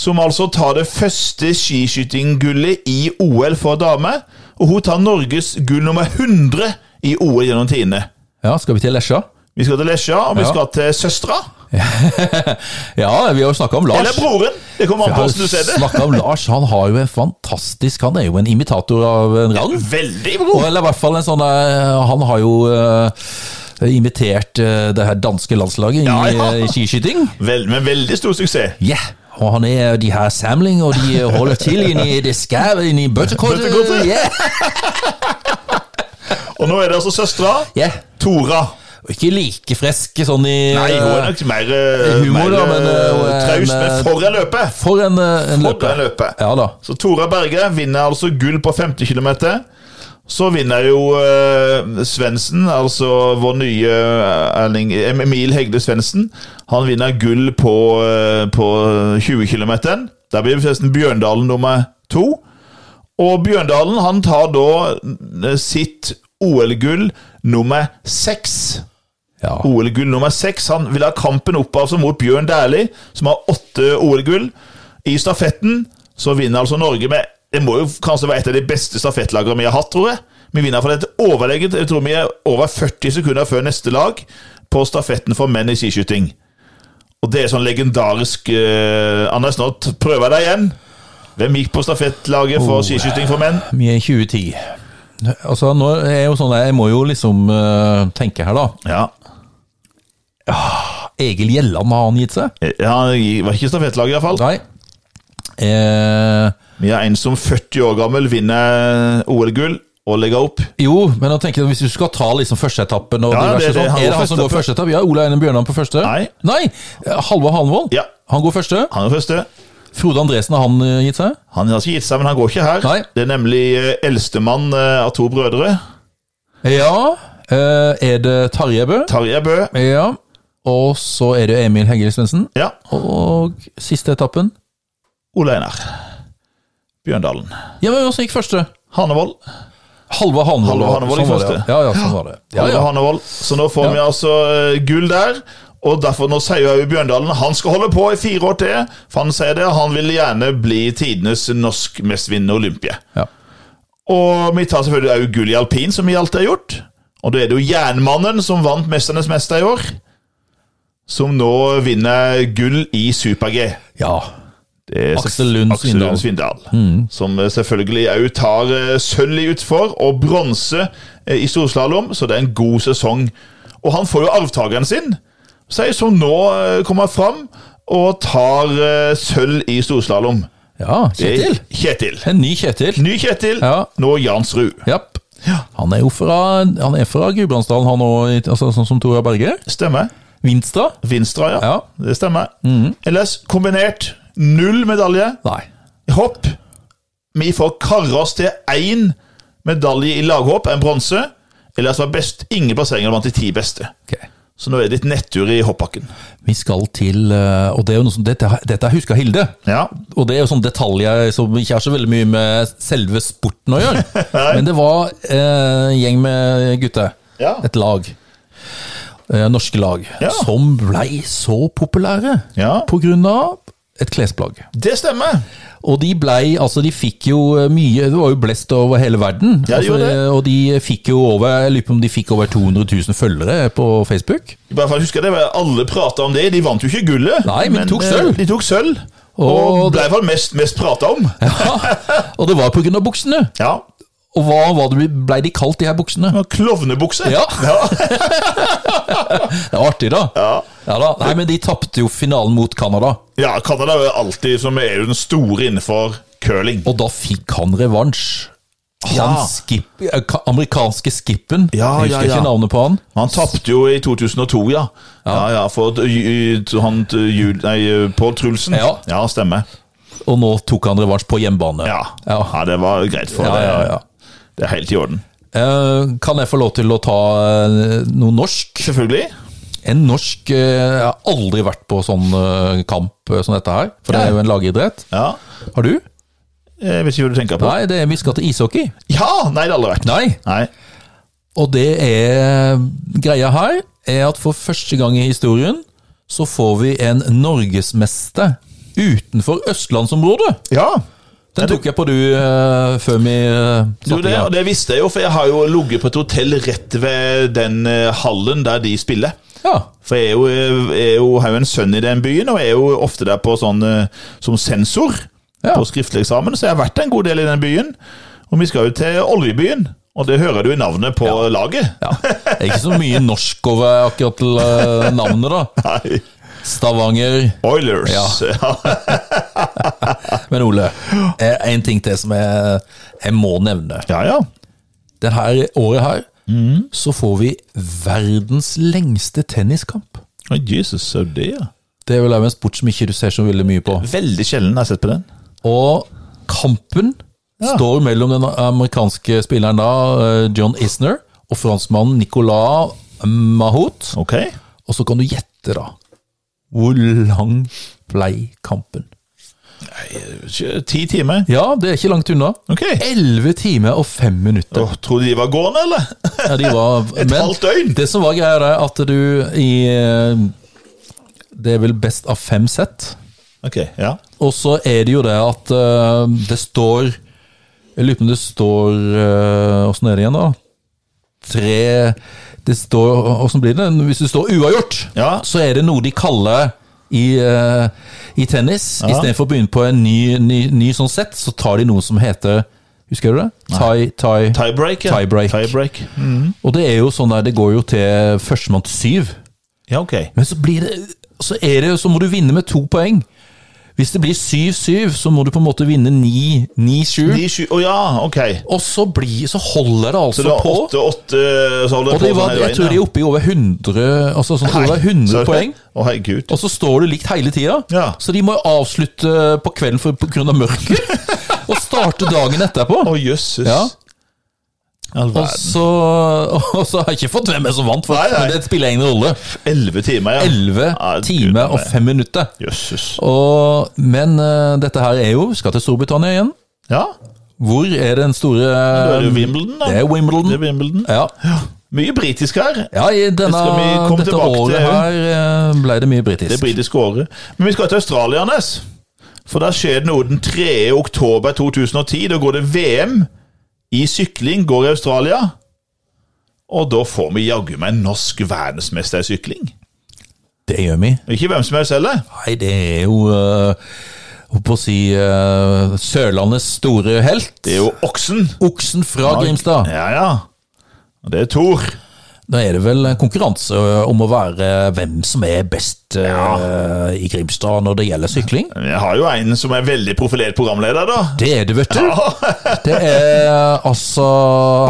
Speaker 2: som altså tar det første skiskytinggullet i OL for damer. Og hun tar Norges gull nummer 100 i OL gjennom tidene.
Speaker 1: Ja, skal vi til Lesja?
Speaker 2: Vi skal til Lesja, og vi
Speaker 1: Ja.
Speaker 2: skal til søstera.
Speaker 1: Ja, vi har jo snakka om
Speaker 2: Eller
Speaker 1: Lars.
Speaker 2: broren. Det kommer an
Speaker 1: Vi
Speaker 2: på
Speaker 1: har
Speaker 2: hvordan du ser det.
Speaker 1: snakket om Lars, Han har jo en fantastisk Han er jo en imitator av en rang.
Speaker 2: Veldig
Speaker 1: Og
Speaker 2: bror.
Speaker 1: Eller i hvert fall en sånn eh, Han har jo eh, imitert eh, det her danske landslaget
Speaker 2: Ja, ja.
Speaker 1: i eh, skiskyting.
Speaker 2: Vel, men veldig stor suksess.
Speaker 1: Ja, og han er de her samling, og de holder til inni det skævet, inni bøttekortet.
Speaker 2: Bøttekortet?
Speaker 1: Ja,
Speaker 2: Og nå er det altså søstera,
Speaker 1: ja.
Speaker 2: Tora.
Speaker 1: Og ikke like frisk sånn i
Speaker 2: Nei, hun er nok mer, eh,
Speaker 1: humor,
Speaker 2: mer
Speaker 1: da, men, eh, hun
Speaker 2: eh,
Speaker 1: er
Speaker 2: traus,
Speaker 1: en,
Speaker 2: men
Speaker 1: eh,
Speaker 2: for en løpe!
Speaker 1: For en, eh, en
Speaker 2: For en
Speaker 1: løper.
Speaker 2: løpe.
Speaker 1: Ja da.
Speaker 2: Så Tora Berge vinner altså gull på 50 km. Så vinner jo eh, Svendsen, altså vår nye eh, Erling, Emil Hegde Svendsen. Han vinner gull på, eh, på 20 km. Der blir forresten Bjørndalen nummer to. Og Bjørndalen han tar da eh, sitt OL-gull nummer seks.
Speaker 1: Ja.
Speaker 2: OL-gull nummer seks. Han vil ha kampen opp altså mot Bjørn Dæhlie, som har åtte OL-gull. I stafetten så vinner altså Norge med Det må jo kanskje være et av de beste stafettlagene vi har hatt, tror jeg. Vi vinner for dette overlegent. Jeg tror vi er over 40 sekunder før neste lag på stafetten for menn i skiskyting. Og det er sånn legendarisk eh, Anders, nå t- prøver jeg deg igjen. Hvem gikk på stafettlaget for skiskyting for menn?
Speaker 1: Vi er i 2010. Altså, nå er jeg jo sånn Jeg må jo liksom eh, tenke her, da.
Speaker 2: Ja,
Speaker 1: Egil Gjelland, har han gitt seg?
Speaker 2: ja han gi- var ikke stafettlaget iallfall.
Speaker 1: Nei. Eh,
Speaker 2: Vi har en som 40 år gammel vinner OL-gull og legger opp.
Speaker 1: jo, men jeg tenker at hvis du skal ta liksom førsteetappen og
Speaker 2: Ja,
Speaker 1: diverse
Speaker 2: det er det.
Speaker 1: sånn,
Speaker 2: Han
Speaker 1: Er
Speaker 2: går
Speaker 1: det han som
Speaker 2: første
Speaker 1: går
Speaker 2: etappe.
Speaker 1: første etappe? Ja, Ola Einen Bjørnan på første?
Speaker 2: Nei.
Speaker 1: Nei. Eh, Halvor Hanvold?
Speaker 2: Ja.
Speaker 1: Han går første.
Speaker 2: Han er første.
Speaker 1: Frode Andresen, har han eh, gitt seg?
Speaker 2: Han har ikke gitt seg, men han går ikke her.
Speaker 1: Nei.
Speaker 2: Det er nemlig eh, eldstemann eh, av to brødre.
Speaker 1: Ja. eh, er det Tarjei Bø?
Speaker 2: Tarjei Bø.
Speaker 1: Ja. Og så er det Emil Hegil Svendsen.
Speaker 2: Ja.
Speaker 1: Og siste etappen
Speaker 2: Ole Einar. Bjørndalen.
Speaker 1: Ja, men også gikk første.
Speaker 2: Hanevold.
Speaker 1: Halvor Hanvold.
Speaker 2: Halvor Hanvold
Speaker 1: Sånn
Speaker 2: gikk
Speaker 1: var det,
Speaker 2: første.
Speaker 1: Ja, ja, ja sånn var det. Ja,
Speaker 2: Ole
Speaker 1: ja.
Speaker 2: Hanevold. Så nå får
Speaker 1: Ja.
Speaker 2: vi altså eh, gull der. Og derfor nå sier jo Bjørndalen han skal holde på i fire år til. For han sier det, han vil gjerne bli tidenes norsk mestvinnende Olympia.
Speaker 1: Ja.
Speaker 2: Og vi tar selvfølgelig også gull i alpin, som vi alltid har gjort. Og da er det jo Jernmannen som vant Mesternes mester i år. Som nå vinner gull i super-G.
Speaker 1: ja.
Speaker 2: Det er selvf-
Speaker 1: Aksel Lund Mm.
Speaker 2: Aksel Lund Svindal. Som eh, selvfølgelig òg tar eh, sølv i utfor og bronse eh, i storslalåm, så det er en god sesong. Og han får jo arvtakeren sin, sier som nå eh, kommer fram og tar eh, sølv i storslalåm.
Speaker 1: ja. Kjetil.
Speaker 2: Kjetil.
Speaker 1: En ny Kjetil.
Speaker 2: Ny Kjetil,
Speaker 1: Ja.
Speaker 2: nå Jansrud.
Speaker 1: Japp. Han er jo fra, han er fra Gudbrandsdalen, han òg, altså, sånn som Tora Berge.
Speaker 2: Stemmer.
Speaker 1: Vinstra?
Speaker 2: Vinstra, ja.
Speaker 1: Ja. Mm.
Speaker 2: Det stemmer. Ellers kombinert null medalje
Speaker 1: Nei.
Speaker 2: i hopp. Vi får karre oss til én medalje i laghopp, en bronse. Ellers var best ingen plasseringer blant de ti beste.
Speaker 1: Ok.
Speaker 2: Så nå er det litt nettur i hoppbakken.
Speaker 1: Vi skal til eh, Og det er jo noe som, dette, dette husker Hilde.
Speaker 2: Ja.
Speaker 1: Og det er jo sånne detaljer som ikke har så veldig mye med selve sporten å gjøre. Men det var eh, en gjeng med gutter.
Speaker 2: Ja.
Speaker 1: Et lag. Eh, norske lag.
Speaker 2: Ja.
Speaker 1: Som blei så populære
Speaker 2: Ja.
Speaker 1: på grunn av et klesplagg.
Speaker 2: Det stemmer.
Speaker 1: Og de blei, altså de fikk jo mye, det var jo blest over hele verden.
Speaker 2: Ja, de
Speaker 1: altså,
Speaker 2: gjorde det.
Speaker 1: Og de fikk jo over, jeg lurer på om de fikk over 200 000 følgere på Facebook.
Speaker 2: I hvert fall husker jeg det, var- Alle prata om det. De vant jo ikke gullet,
Speaker 1: Nei, men tok sølv.
Speaker 2: eh, de tok sølv.
Speaker 1: Og
Speaker 2: Og ble i hvert fall mest, mest prata om.
Speaker 1: Og det var på grunn av buksene.
Speaker 2: Ja.
Speaker 1: Og hva var det blei de kalt, de her buksene?
Speaker 2: Og Klovnebukse.
Speaker 1: Ja.
Speaker 2: ja.
Speaker 1: Det var artig, da.
Speaker 2: Ja.
Speaker 1: da. Nei, men de tapte jo finalen mot Canada,
Speaker 2: Ja, Canada er jo alltid som er jo den store innenfor curling.
Speaker 1: og da fikk han revansj. Han
Speaker 2: Ja.
Speaker 1: skip, eh, ka- amerikanske skippen,
Speaker 2: Ja,
Speaker 1: jeg
Speaker 2: ja,
Speaker 1: husker
Speaker 2: ja.
Speaker 1: ikke navnet på han.
Speaker 2: Han tapte jo i 2002, ja. Ja, ja, for at, y- y- han t- jul, nei, Pål Trulsen.
Speaker 1: Ja.
Speaker 2: stemmer.
Speaker 1: Og nå tok han revansj på hjemmebane.
Speaker 2: Ja.
Speaker 1: Ja.
Speaker 2: ja, det var greit for
Speaker 1: Ja,
Speaker 2: det.
Speaker 1: ja, ja.
Speaker 2: Det er helt i orden.
Speaker 1: Eh, kan jeg få lov til å ta eh, noe norsk?
Speaker 2: Selvfølgelig.
Speaker 1: En norsk eh, Jeg har aldri vært på sånn eh, kamp eh, som dette her, for det er jo en lagidrett.
Speaker 2: Ja.
Speaker 1: Har du?
Speaker 2: Jeg vet ikke hva du tenker på.
Speaker 1: Nei, det er, vi skal til ishockey.
Speaker 2: Ja! Nei, det har aldri vært.
Speaker 1: Nei,
Speaker 2: Nei.
Speaker 1: Og det er greia her, er at for første gang i historien så får vi en norgesmester utenfor østlandsområdet.
Speaker 2: Ja.
Speaker 1: Den tok jeg på du eh, før vi eh,
Speaker 2: Du,
Speaker 1: satte i
Speaker 2: det, og
Speaker 1: gang.
Speaker 2: det visste jeg jo, for jeg har jo ligget på et hotell rett ved den eh, hallen der de spiller.
Speaker 1: Ja.
Speaker 2: For jeg er jo, er jo, har jo en sønn i den byen, og jeg er jo ofte der på sånn, eh, som sensor
Speaker 1: Ja.
Speaker 2: på skriftlig eksamen, så jeg har vært en god del i den byen. Og vi skal jo til Oljebyen, og det hører du i navnet på laget.
Speaker 1: ja. Det er ikke så mye norsk over akkurat til, eh, navnet, da.
Speaker 2: Nei,
Speaker 1: Stavanger.
Speaker 2: Oilers. Ja.
Speaker 1: Men Ole, eh, en ting til som jeg, jeg må nevne.
Speaker 2: ja, ja.
Speaker 1: Det her året her
Speaker 2: Mm.
Speaker 1: så får vi verdens lengste tenniskamp.
Speaker 2: Å, Jesus, så det, ja.
Speaker 1: Det er vel også en sport som ikke du ser så veldig mye på.
Speaker 2: Veldig sjelden jeg har sett på den.
Speaker 1: Og kampen
Speaker 2: Ja.
Speaker 1: står mellom den amerikanske spilleren da, eh, John Isner, og franskmannen Nicolas Mahot.
Speaker 2: Ok.
Speaker 1: Og så kan du gjette, da. Hvor lang blei kampen?
Speaker 2: Kjø- Ti timer.
Speaker 1: Ja, det er ikke langt unna.
Speaker 2: Ok.
Speaker 1: Elleve timer og fem minutter.
Speaker 2: Åh, tror du de var gående, eller?
Speaker 1: Ja, de var,
Speaker 2: Et halvt døgn.
Speaker 1: det som var greia, er at du i eh, Det er vel best av fem sett.
Speaker 2: Ok, ja.
Speaker 1: Og så er det jo det at eh, det står Jeg lurer på om det står Åssen er det igjen, da? Tre Det står Åssen blir det? Hvis det står uavgjort,
Speaker 2: Ja.
Speaker 1: så er det noe de kaller i, eh, i tennis.
Speaker 2: Ja.
Speaker 1: Istedenfor å begynne på en ny, ny, ny sånn sett, så tar de noe som heter Husker du det? Tie, tie,
Speaker 2: Tiebreak, ja.
Speaker 1: Tiebreak. Og det er jo sånn der, det går jo til førstemann til syv.
Speaker 2: Ja, ok.
Speaker 1: Men så blir det Så, er det, så må du vinne med to poeng. Hvis det blir 7-7, så må du på en måte vinne 9-7.
Speaker 2: De sju Å ja, ok.
Speaker 1: Og så, blir, så holder det altså
Speaker 2: Så det var
Speaker 1: på.
Speaker 2: åtte, åtte Så holder
Speaker 1: Og
Speaker 2: det
Speaker 1: det
Speaker 2: på
Speaker 1: var,
Speaker 2: sånn hele
Speaker 1: jeg tror de
Speaker 2: veien.
Speaker 1: er oppe i over 100, altså sånn, over 100 poeng.
Speaker 2: Å herregud.
Speaker 1: Og så står du likt hele tida,
Speaker 2: Ja.
Speaker 1: så de må jo avslutte på kvelden for- på grunn av mørket. og starte dagen etterpå.
Speaker 2: Å jøsses.
Speaker 1: Ja.
Speaker 2: All
Speaker 1: Og
Speaker 2: verden.
Speaker 1: så, og så har jeg ikke fått hvem som vant, for
Speaker 2: Nei, nei.
Speaker 1: men det spiller ingen rolle.
Speaker 2: Elleve timer, ja.
Speaker 1: 11
Speaker 2: Ja, gud,
Speaker 1: timer og
Speaker 2: nei.
Speaker 1: 5 minutter.
Speaker 2: Jøsses.
Speaker 1: Og, men eh, dette her er jo Vi skal til Storbritannia igjen.
Speaker 2: Ja.
Speaker 1: Hvor er den store eh,
Speaker 2: Da er det jo Wimbledon, da.
Speaker 1: Um, Det er Wimbledon.
Speaker 2: Det er Wimbledon.
Speaker 1: Ja.
Speaker 2: Mye britisk her.
Speaker 1: ja, i denne,
Speaker 2: skal vi komme
Speaker 1: dette
Speaker 2: tilbake til,
Speaker 1: året her eh, ble det mye britisk.
Speaker 2: Det britiske året. Men vi skal til Australia, Nes. For der skjer det noe den 3. oktober 2010. Da går det VM i sykling går i Australia. Og da får vi jaggu meg en norsk verdensmester i sykling.
Speaker 1: Det gjør vi.
Speaker 2: Ikke hvem som helst heller.
Speaker 1: Nei, det er jo eh, Holdt på å si eh, Sørlandets store helt.
Speaker 2: Det er jo oksen.
Speaker 1: Oksen fra Grimstad.
Speaker 2: Ja, ja. Og det er Thor.
Speaker 1: Da er det vel konkurranse eh, om å være hvem som er best eh, i Grimstad når det gjelder sykling.
Speaker 2: Men Jeg har jo en som er veldig profilert programleder, da.
Speaker 1: Det er det, vet du. Det er altså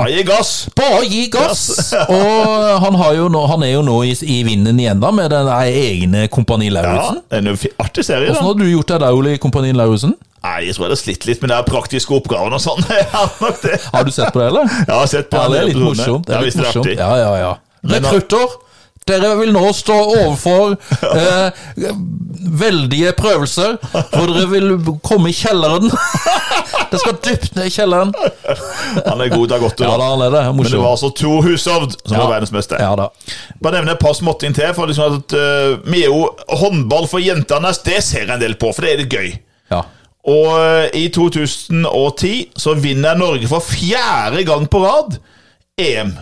Speaker 2: Bayer Gass.
Speaker 1: Bare gi gass! Og han, har jo nå, han er jo nå i, i vinden igjen, da, med den der egne Kompani
Speaker 2: Ja,
Speaker 1: Lauritzen.
Speaker 2: sånn. det er en fi- artig serie,
Speaker 1: Åssen
Speaker 2: da.
Speaker 1: har du gjort deg der, Ole, i Kompani Lauritzen?
Speaker 2: Nei, jeg tror jeg har slitt litt med de praktiske oppgavene og sånn. Jeg har nok det.
Speaker 1: Har du sett på det, eller?
Speaker 2: Jeg har sett på
Speaker 1: Ja, det
Speaker 2: en del
Speaker 1: er litt
Speaker 2: episoder.
Speaker 1: morsomt. Det
Speaker 2: Ja,
Speaker 1: er
Speaker 2: visst
Speaker 1: litt
Speaker 2: det er
Speaker 1: morsomt.
Speaker 2: artig.
Speaker 1: Ja, ja, ja.
Speaker 2: Men-
Speaker 1: Rekrutter, dere vil nå stå overfor eh, veldige prøvelser, hvor dere vil komme i kjelleren. Dere skal dypt ned i kjelleren.
Speaker 2: Han er god, det er godt å
Speaker 1: Ja da,
Speaker 2: da.
Speaker 1: han er det.
Speaker 2: Men det var
Speaker 1: Morsom.
Speaker 2: altså Tor Hushovd som var verdensmester.
Speaker 1: Ja da.
Speaker 2: Bare nevne et par småting til. For liksom at eh, vi er jo Håndball for jentene, det ser jeg en del på, for det er litt gøy.
Speaker 1: Ja.
Speaker 2: Og eh, i 2010 så vinner Norge for fjerde gang på rad E EM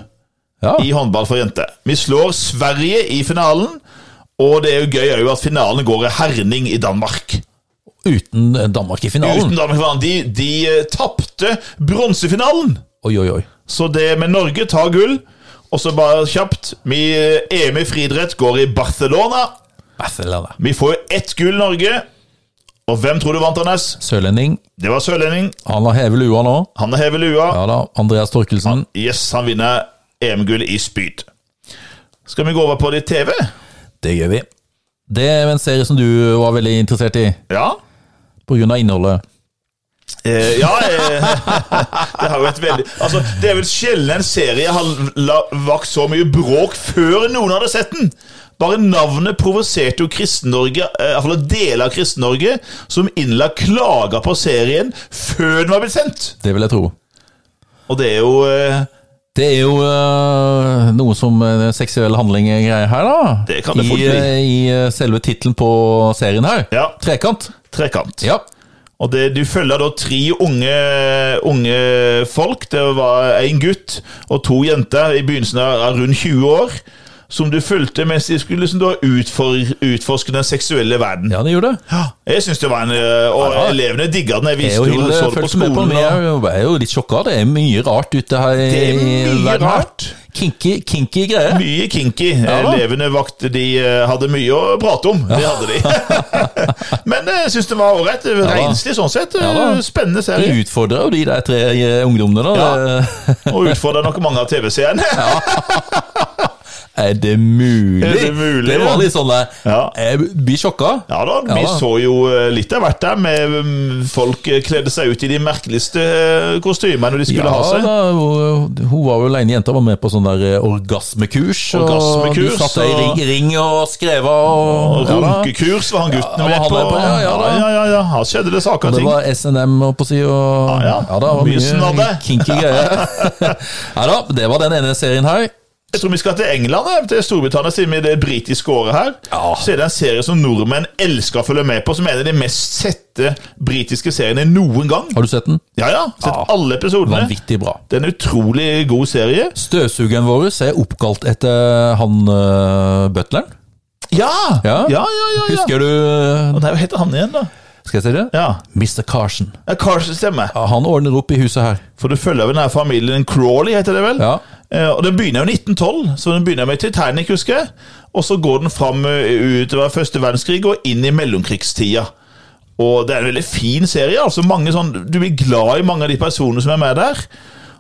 Speaker 1: ja.
Speaker 2: i håndball for jenter. Vi slår Sverige i finalen, og det er jo gøy er jo at finalen går i Herning i Danmark.
Speaker 1: Uten Danmark i
Speaker 2: Uten
Speaker 1: finalen.
Speaker 2: Danmark, for de, de eh, tapte bronsefinalen!
Speaker 1: Oi, oi, oi.
Speaker 2: Så det med Norge tar gull. Og så bare kjapt vi, eh, EM i friidrett går i Barcelona.
Speaker 1: Barcelona.
Speaker 2: Vi får jo ett gull, Norge. Og hvem tror du vant, Anders?
Speaker 1: Sørlending.
Speaker 2: Det var sørlending.
Speaker 1: Han har hevet lua nå.
Speaker 2: Han hever lua.
Speaker 1: Ja da, Andreas Torkelsen.
Speaker 2: Yes, han vinner EM-gull i spyd. Skal vi gå over på litt TV?
Speaker 1: Det gjør vi. Det er en serie som du var veldig interessert i,
Speaker 2: Ja.
Speaker 1: pga. innholdet.
Speaker 2: Eh, ja eh, Det har jo et veldig Altså, Det er vel sjelden en serie har la, vakt så mye bråk før noen hadde sett den. Bare navnet provoserte jo Kristen-Norge, eh, iallfall deler av Kristen-Norge, som innla klager på serien før den var blitt sendt.
Speaker 1: Det vil jeg tro.
Speaker 2: Og det er jo eh,
Speaker 1: Det er jo øh, noe som øh, seksuell handling er greie her, da.
Speaker 2: Det kan det fort
Speaker 1: I,
Speaker 2: bli.
Speaker 1: øh, I øh, selve tittelen på serien her.
Speaker 2: Ja.
Speaker 1: Trekant.
Speaker 2: trekant.
Speaker 1: Ja.
Speaker 2: Og det, du følger da tre unge, unge folk. Det var en gutt og to jenter i begynnelsen av av rundt 20 år. Som du fulgte mens de skulle liksom da utfor, utforske den seksuelle verden.
Speaker 1: ja, det gjorde det.
Speaker 2: Jeg synes det var en, øh, Og
Speaker 1: Ja, ja.
Speaker 2: elevene digga den. Jeg
Speaker 1: Jeg
Speaker 2: viste
Speaker 1: og
Speaker 2: jo
Speaker 1: Hilde
Speaker 2: så det på
Speaker 1: fulgte med på
Speaker 2: skolen.
Speaker 1: den. Jeg er
Speaker 2: og-
Speaker 1: jo- jeg er jo litt sjokka. Det er mye rart ute her. i
Speaker 2: Det er mye
Speaker 1: verden her.
Speaker 2: rart.
Speaker 1: Kinky, kinky greier.
Speaker 2: Mye kinky.
Speaker 1: da.
Speaker 2: Elevene vakt, de øh, hadde mye å prate om. Det hadde de. Men øh, jeg syns det var ålreit. Renslig sånn sett.
Speaker 1: Ja, da.
Speaker 2: Spennende
Speaker 1: Det
Speaker 2: serie.
Speaker 1: utfordrer jo de der tre eh, ungdommene, da.
Speaker 2: Ja.
Speaker 1: Det-
Speaker 2: Og utfordra nok mange av TV-seerne.
Speaker 1: Er det mulig?
Speaker 2: Er det mulig,
Speaker 1: Det var
Speaker 2: ja?
Speaker 1: litt sånn der
Speaker 2: Ja.
Speaker 1: Jeg blir sjokka.
Speaker 2: Ja da, vi
Speaker 1: Ja da.
Speaker 2: så jo eh, litt av hvert der, med mm, folk eh, kledde seg ut i de merkeligste eh, kostymene de skulle ha seg.
Speaker 1: da, hun, hun var jo aleine jenta, var med på sånn der eh, orgasmekurs. og
Speaker 2: Orgasmekurs,
Speaker 1: du satt deg i
Speaker 2: og-
Speaker 1: ring, ring og skrev og,
Speaker 2: Og
Speaker 1: ja da.
Speaker 2: Runkekurs var han gutten
Speaker 1: Ja,
Speaker 2: med
Speaker 1: han
Speaker 2: på.
Speaker 1: var på, ja, ja da.
Speaker 2: ja, ja, ja. Her skjedde det saker og
Speaker 1: Det
Speaker 2: ting.
Speaker 1: var SNM, holdt på å si. Og,
Speaker 2: Ja, Ah, ja.
Speaker 1: da, det var
Speaker 2: Mye snadde.
Speaker 1: kinky greier. ja da, det var den ene serien her.
Speaker 2: Jeg tror vi skal til England, eh, til Storbritannia, siden vi er det britiske året her.
Speaker 1: Ja.
Speaker 2: Så er det en serie som nordmenn elsker å følge med på, som er en av de mest sette beste britiske serien jeg noen gang.
Speaker 1: Har du sett den?
Speaker 2: Ja, ja. Sett
Speaker 1: Ja.
Speaker 2: alle episodene.
Speaker 1: Vanvittig bra.
Speaker 2: Det er en utrolig god serie.
Speaker 1: Støvsugeren vår er oppkalt etter han uh, butleren.
Speaker 2: Ja!
Speaker 1: Ja.
Speaker 2: Ja, ja, ja. ja,
Speaker 1: Husker du eh,
Speaker 2: Og det er jo helt han igjen, da.
Speaker 1: Skal jeg si det?
Speaker 2: Ja.
Speaker 1: Mr. Carson.
Speaker 2: ja Carson stemmer.
Speaker 1: Ja, Han ordner opp i huset her.
Speaker 2: For du følger jo denne familien Crawley, heter det vel?
Speaker 1: Ja.
Speaker 2: Eh, Og Den begynner jo i 1912, så den begynner med Titanic, husker jeg. Og så går den fram eh, utover første verdenskrig og inn i mellomkrigstida. Og Det er en veldig fin serie. altså mange sånn, Du blir glad i mange av de personene som er med der.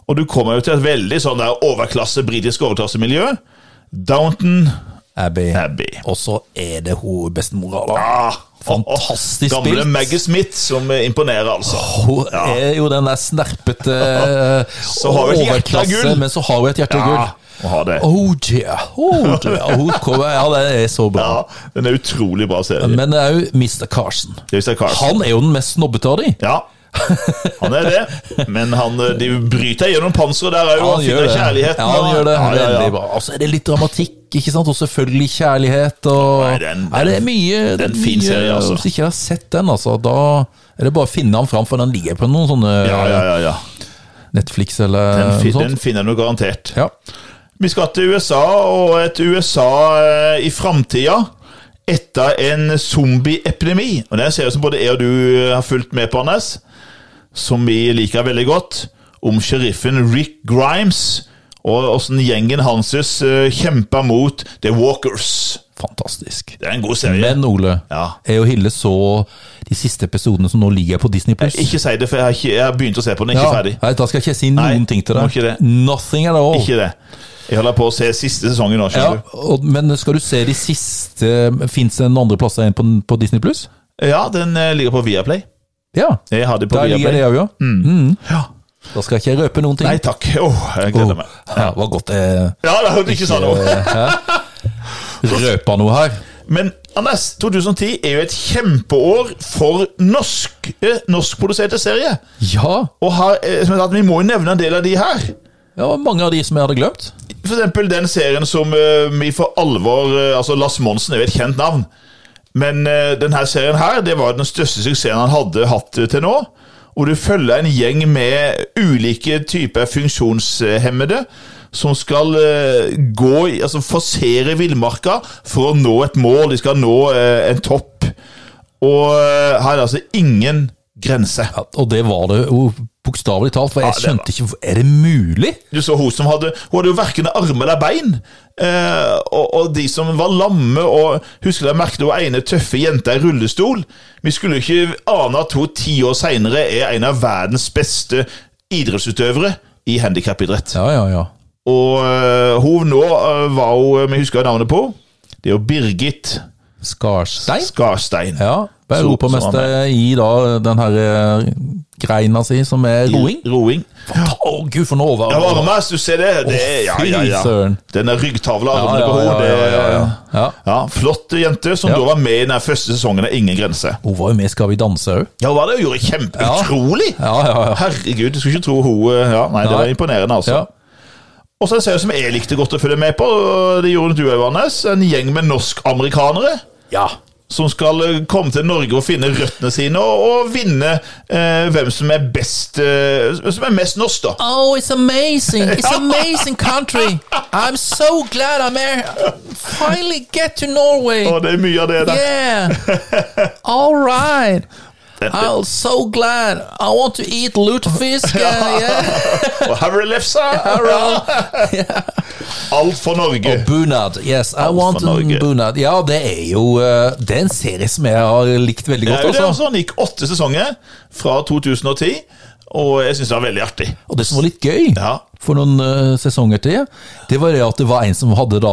Speaker 2: Og du kommer jo til et veldig sånn der overklasse, britisk overklassemiljø. Downton
Speaker 1: Abbey.
Speaker 2: Abbey.
Speaker 1: Og så er det hun bestemora, da.
Speaker 2: Ah,
Speaker 1: Fantastisk
Speaker 2: gamle
Speaker 1: spilt.
Speaker 2: Maggie Smith som eh, imponerer, altså.
Speaker 1: Hun er jo den der snerpete eh,
Speaker 2: Så har hun et hjerte av gull.
Speaker 1: men så har hun et hjerte av
Speaker 2: Ja,
Speaker 1: gull.
Speaker 2: Ah, må ha det.
Speaker 1: Oh dear, oh dear. Og Hun kommer, ja, det er så bra.
Speaker 2: Ja, Den er utrolig bra serie.
Speaker 1: Men det er jo Mr. Carson.
Speaker 2: Jason Carson.
Speaker 1: Han er jo den mest snobbete av de.
Speaker 2: Ja, han er det. Men han, eh, de bryter gjennom panseret der òg.
Speaker 1: Ja,
Speaker 2: Han finner kjærligheten.
Speaker 1: Ja, han gjør det.
Speaker 2: Ja, ja,
Speaker 1: Veldig
Speaker 2: ja.
Speaker 1: bra. Og så er det litt dramatikk, ikke sant? Og selvfølgelig kjærlighet og
Speaker 2: Nei, den-
Speaker 1: Nei, det er mye det er
Speaker 2: den fin
Speaker 1: mye-
Speaker 2: serie, altså.
Speaker 1: Hvis ikke jeg har sett den, altså, da er det bare å finne den fram, for den ligger på noen sånne
Speaker 2: Ja, ja, ja, ja.
Speaker 1: Netflix eller
Speaker 2: Den, fin,
Speaker 1: noe
Speaker 2: den
Speaker 1: sånt.
Speaker 2: finner du garantert.
Speaker 1: Eh, sånn. Ja.
Speaker 2: Vi skal til USA, og et USA eh, i framtida etter en zombieepidemi. Og Det er en serie som både jeg og du eh, har fulgt med på, Anders, som vi liker veldig godt. Om sheriffen Rick Grimes og åssen gjengen hans eh, kjemper mot The Walkers.
Speaker 1: Fantastisk.
Speaker 2: Det er en god serie.
Speaker 1: Men Ole,
Speaker 2: Ja.
Speaker 1: jeg og Hille så de siste episodene som nå ligger på Disney pluss.
Speaker 2: Ikke si det, for jeg har, ikke, jeg har begynt å se på den. Ikke ferdig.
Speaker 1: Nei, da skal jeg ikke si noen
Speaker 2: Nei,
Speaker 1: ting til
Speaker 2: må
Speaker 1: deg.
Speaker 2: ikke det.
Speaker 1: Nothing at all.
Speaker 2: Ikke det. Jeg holder på å se siste sesongen nå,
Speaker 1: ja,
Speaker 2: skjønner du.
Speaker 1: og, men skal du se de siste Fins det noen andre plasser enn på, på Disney pluss?
Speaker 2: Ja, den eh, ligger på Viaplay.
Speaker 1: Ja.
Speaker 2: Jeg har det på
Speaker 1: Der ligger det òg,
Speaker 2: Viaplay.
Speaker 1: ja.
Speaker 2: Ja.
Speaker 1: Da skal jeg ikke røpe noen ting.
Speaker 2: Nei takk. Åh, jeg gleder meg.
Speaker 1: Ja, det var godt eh, jeg
Speaker 2: Ja, da hørte du ikke sa noe.
Speaker 1: røpa noe her.
Speaker 2: Men Anders, 2010 er jo et kjempeår for norsk, eh, norskproduserte serier.
Speaker 1: Ja,
Speaker 2: Og har, eh, som jeg sa, vi må jo nevne en del av de her.
Speaker 1: det var mange av de som jeg hadde glemt.
Speaker 2: For eksempel den serien som eh, vi for alvor eh, Altså, Lars Monsen er jo et kjent navn. Men eh, denne serien her, det var den største suksessen han hadde hatt eh, til nå. Hvor du følger en gjeng med ulike typer funksjonshemmede som skal eh, gå i- Altså forsere villmarka for å nå et mål. De skal nå eh, en topp. Og eh, her er det altså ingen grense.
Speaker 1: Ja, og det var det jo bokstavelig talt, for jeg
Speaker 2: Ja, det var-
Speaker 1: skjønte ikke Er det mulig?
Speaker 2: Du så hun som hadde Hun hadde jo verken arm eller bein. Eh, og, og de som var lamme og Husker dere jeg merket hun ene tøffe jenta i rullestol? Vi skulle jo ikke ane at hun ti år seinere er en av verdens beste idrettsutøvere i handikapidrett.
Speaker 1: Ja, ja, ja.
Speaker 2: Og eh, hun nå eh, var hun Vi husker navnet på henne. Det er jo Birgit
Speaker 1: Skarstein?
Speaker 2: Skarstein.
Speaker 1: Ja. ble
Speaker 2: Så- som han
Speaker 1: Europamester i da den her eh, greina si, som er roing.
Speaker 2: Roing.
Speaker 1: Å, gud, for noe over.
Speaker 2: Ja, Armas, du ser det? det er, ja,
Speaker 1: Å,
Speaker 2: ja,
Speaker 1: fy
Speaker 2: ja.
Speaker 1: søren.
Speaker 2: Den der ryggtavla,
Speaker 1: Ja,
Speaker 2: armene
Speaker 1: ja,
Speaker 2: på
Speaker 1: ja,
Speaker 2: hodet.
Speaker 1: ja, ja, ja. Ja.
Speaker 2: Ja, flott jente som
Speaker 1: Ja.
Speaker 2: da var med i den her første sesongen av Ingen grense.
Speaker 1: Hun var jo med i Skal vi danse òg.
Speaker 2: Ja, hun var det og gjorde kjempe
Speaker 1: Ja.
Speaker 2: utrolig!
Speaker 1: Ja, ja, ja.
Speaker 2: Herregud, du skulle ikke tro hun eh, ja, Nei, det
Speaker 1: Nei.
Speaker 2: var imponerende, altså.
Speaker 1: Ja.
Speaker 2: Og så en serie som jeg likte godt å følge med på, og det gjorde du òg, Anders. En gjeng med norsk-amerikanere
Speaker 1: ja.
Speaker 2: som skal eh, komme til Norge og finne røttene sine, og, og vinne eh, hvem som er best eh, Som er mest norsk, da.
Speaker 1: Oh, it's amazing! It's amazing country! I'm so glad I'm here! Finally get to Norway!
Speaker 2: Og det er mye av Oh, det der.
Speaker 1: Yeah. All right. I'm so glad. I want to eat lutefisk. Uh, yeah.
Speaker 2: Og Harry Lefsa! Alt for Norge.
Speaker 1: Bunad. Yes, I want
Speaker 2: for Norge.
Speaker 1: a bunad. Ja, det er jo eh, Det er en serie som jeg har likt veldig
Speaker 2: Det er
Speaker 1: godt,
Speaker 2: jo det,
Speaker 1: altså.
Speaker 2: altså. Han gikk åtte sesonger fra 2010, og jeg syns det var veldig artig.
Speaker 1: Og det som var litt gøy
Speaker 2: Ja.
Speaker 1: for noen eh, sesonger til, det var det at det var en som hadde da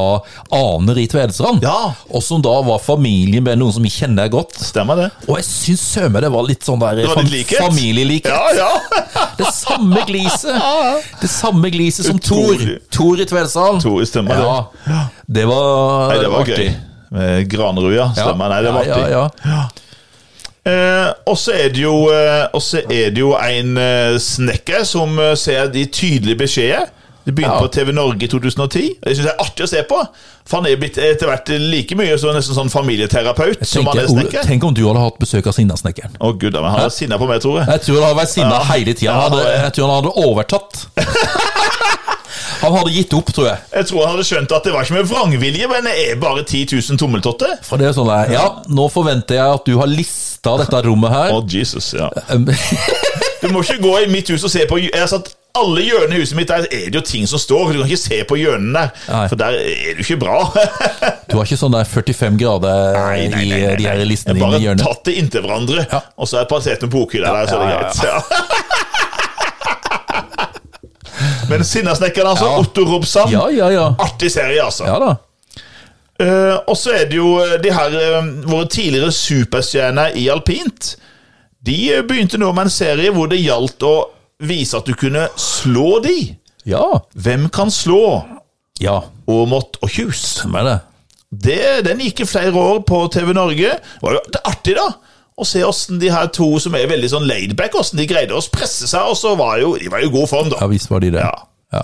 Speaker 1: aner i Tvedestrand,
Speaker 2: Ja.
Speaker 1: og som da var familien med noen som vi kjenner godt.
Speaker 2: Stemmer det?
Speaker 1: Og jeg syns sømme det var litt sånn der
Speaker 2: var litt likhet.
Speaker 1: familielikhet.
Speaker 2: Ja, ja!
Speaker 1: Det samme gliset Det samme gliset som Thor.
Speaker 2: Utrolig.
Speaker 1: Thor i Tvedestrand.
Speaker 2: Tor, stemmer det.
Speaker 1: ja. det. var
Speaker 2: Nei, det var
Speaker 1: artig.
Speaker 2: gøy. Med Granerud, ja. Stemmer. Nei, det var
Speaker 1: ja,
Speaker 2: artig.
Speaker 1: ja, ja.
Speaker 2: Eh, og så er det jo eh, Og så er det jo en eh, snekker som eh, ser de tydelige beskjedene. Det begynte
Speaker 1: Ja.
Speaker 2: på TV Norge i 2010. og Det syns jeg er artig å se på. For han er blitt etter hvert like mye så nesten sånn familieterapeut som han
Speaker 1: Tenker,
Speaker 2: er
Speaker 1: Ole,
Speaker 2: snekker.
Speaker 1: tenk om du hadde hatt besøk av Sinnasnekkeren.
Speaker 2: Å, gud da, men han er sinna på meg, tror jeg.
Speaker 1: Jeg tror han hadde vært sinna
Speaker 2: Ja.
Speaker 1: hele tida.
Speaker 2: Ja,
Speaker 1: Han hadde-
Speaker 2: han-
Speaker 1: Jeg tror han hadde overtatt. han hadde gitt opp, tror jeg.
Speaker 2: Jeg tror han hadde skjønt at det var ikke med vrangvilje, men det er bare 10 000 tommeltotter.
Speaker 1: For det er sånn der, ja, nå forventer jeg at du har lista dette rommet her.
Speaker 2: Å, Jesus, ja.
Speaker 1: Um,
Speaker 2: Du må ikke gå i mitt hus og se på Jeg har satt alle hjørnene i huset mitt, der er det jo ting som står. Du kan ikke se på hjørnene der,
Speaker 1: Nei.
Speaker 2: for der er det jo ikke bra.
Speaker 1: Du har ikke sånn der 45 grader
Speaker 2: Nei, nei, nei,
Speaker 1: i eh, de her listene
Speaker 2: Jeg
Speaker 1: dine
Speaker 2: bare
Speaker 1: i hjørnet.
Speaker 2: tatt det inntil hverandre,
Speaker 1: Ja.
Speaker 2: og så har jeg plassert en bokhylle der, så er det
Speaker 1: ja,
Speaker 2: greit. Ja. Men Sinnasnekkeren, altså.
Speaker 1: Ja.
Speaker 2: Otto Robsam.
Speaker 1: Ja, ja, ja.
Speaker 2: Artig serie, altså.
Speaker 1: Ja da.
Speaker 2: Eh, og så er det jo eh, de her eh, våre tidligere superstjerner i alpint. De eh, begynte nå med en serie hvor det gjaldt å vise at du kunne slå de.
Speaker 1: Ja.
Speaker 2: Hvem kan slå
Speaker 1: Ja,
Speaker 2: Aamodt og Kjus?
Speaker 1: hvem er det?
Speaker 2: Det, den gikk i flere år på TV Norge. Det var jo det er artig, da. Å se åssen de her to som er veldig sånn laidback, åssen de greide å presse seg. Og så var jo, de var jo i god form, da.
Speaker 1: Ja visst var de det.
Speaker 2: Ja.
Speaker 1: Ja.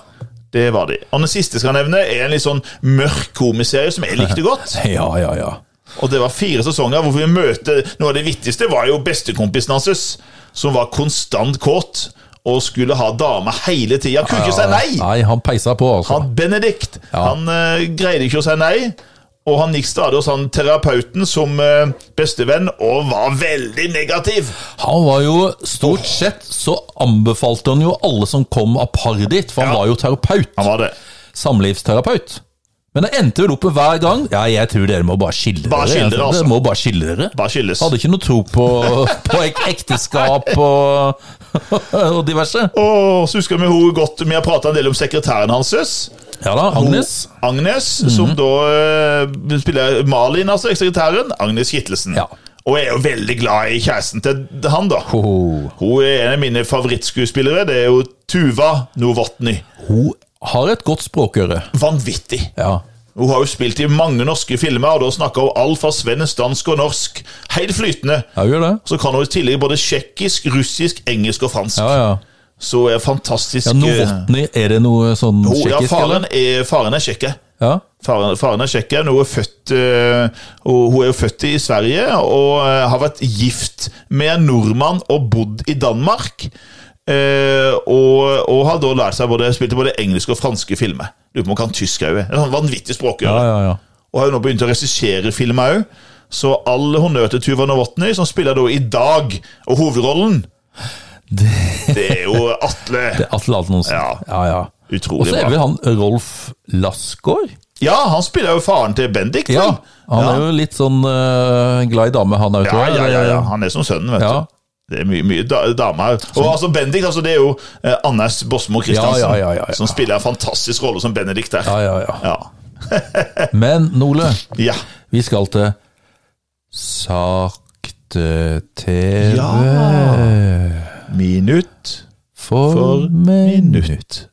Speaker 2: Det var de. Og den siste jeg skal nevne, er en litt sånn mørk komiserie som jeg likte godt.
Speaker 1: ja, ja, ja.
Speaker 2: Og det var fire sesonger hvor vi møtte Noe av det vittigste var jo bestekompisen hans, som var konstant kåt og skulle ha dame hele tida. Kunne ikke si nei!
Speaker 1: Nei, han peisa på, altså.
Speaker 2: Han Benedikt
Speaker 1: Ja.
Speaker 2: Han eh, greide ikke å si nei, og han gikk stadig hos han terapeuten som eh, bestevenn og var veldig negativ.
Speaker 1: Han var jo Stort sett så anbefalte han jo alle som kom av paret ditt, for han
Speaker 2: Ja.
Speaker 1: var jo terapeut.
Speaker 2: Han var det.
Speaker 1: Samlivsterapeut. Men det endte vel opp med hver gang Ja, jeg tror dere må bare skille
Speaker 2: Bare
Speaker 1: dere.
Speaker 2: skille dere, altså.
Speaker 1: Dere må bare skille dere.
Speaker 2: Bare skyldes.
Speaker 1: Hadde ikke noe tro på, på ek ekteskap og, og diverse.
Speaker 2: Og så husker vi hun godt Vi har prata en del om sekretæren hans.
Speaker 1: Ja da, Agnes. Mhm.
Speaker 2: Agnes, som da eh, spiller Malin, altså sekretæren. Agnes Kittelsen.
Speaker 1: Ja.
Speaker 2: Og jeg er jo veldig glad i kjæresten til han, da.
Speaker 1: Ho.
Speaker 2: Hun er en av mine favorittskuespillere. Det er jo Tuva Novotny.
Speaker 1: Hun har et godt språkøre.
Speaker 2: Vanvittig.
Speaker 1: Ja.
Speaker 2: Hun har jo spilt i mange norske filmer, og da snakker hun alt fra svensk, dansk og norsk. Helt flytende.
Speaker 1: Ja, hun gjør det.
Speaker 2: Så kan hun i tillegg både tsjekkisk, russisk, engelsk og fransk.
Speaker 1: Ja, ja.
Speaker 2: Så er fantastisk
Speaker 1: ja
Speaker 2: eh,
Speaker 1: Novotny, er det noe sånn
Speaker 2: hun- ja,
Speaker 1: tsjekkisk,
Speaker 2: faren
Speaker 1: eller?
Speaker 2: er, faren er tsjekker.
Speaker 1: Ja.
Speaker 2: Faren, faren er sjekker, hun er, født, eh, og hun er jo født i Sverige og eh, har vært gift med en nordmann og bodd i Danmark. Eh, og, og har da lært seg både, spilt i både engelske og franske filmer. Lurer på om hun kan tysk òg. Sånn vanvittig
Speaker 1: ja,
Speaker 2: språkøre.
Speaker 1: ja, ja.
Speaker 2: Og har jo nå begynt å regissere filmer òg. Så all honnør til Tuva Novotny, som spiller da i dag, og hovedrollen. Det, er jo Atle.
Speaker 1: Atle Antonsen.
Speaker 2: Ja.
Speaker 1: ja, ja. Og
Speaker 2: Utrolig
Speaker 1: så er
Speaker 2: bra.
Speaker 1: vel han Rolf Lassgaard?
Speaker 2: Ja, han spiller jo faren til Bendik.
Speaker 1: Ja.
Speaker 2: vel?
Speaker 1: Han er jo litt sånn eh, glad i dame, han òg,
Speaker 2: Ja,
Speaker 1: tror jeg.
Speaker 2: ja, ja, ja. Han er som sønnen, vet
Speaker 1: Ja.
Speaker 2: du. Det er mye, mye da, damer. Og altså Bendik altså, det er jo eh, Anders Bosmo Christiansen,
Speaker 1: Ja, ja, ja, ja, ja.
Speaker 2: som spiller en fantastisk rolle som Benedikt der.
Speaker 1: Ja, ja, ja.
Speaker 2: Ja.
Speaker 1: Men Nole,
Speaker 2: Ja.
Speaker 1: vi skal til Sakte-TV
Speaker 2: Minutt
Speaker 1: for,
Speaker 2: for
Speaker 1: minutt.
Speaker 2: minutt.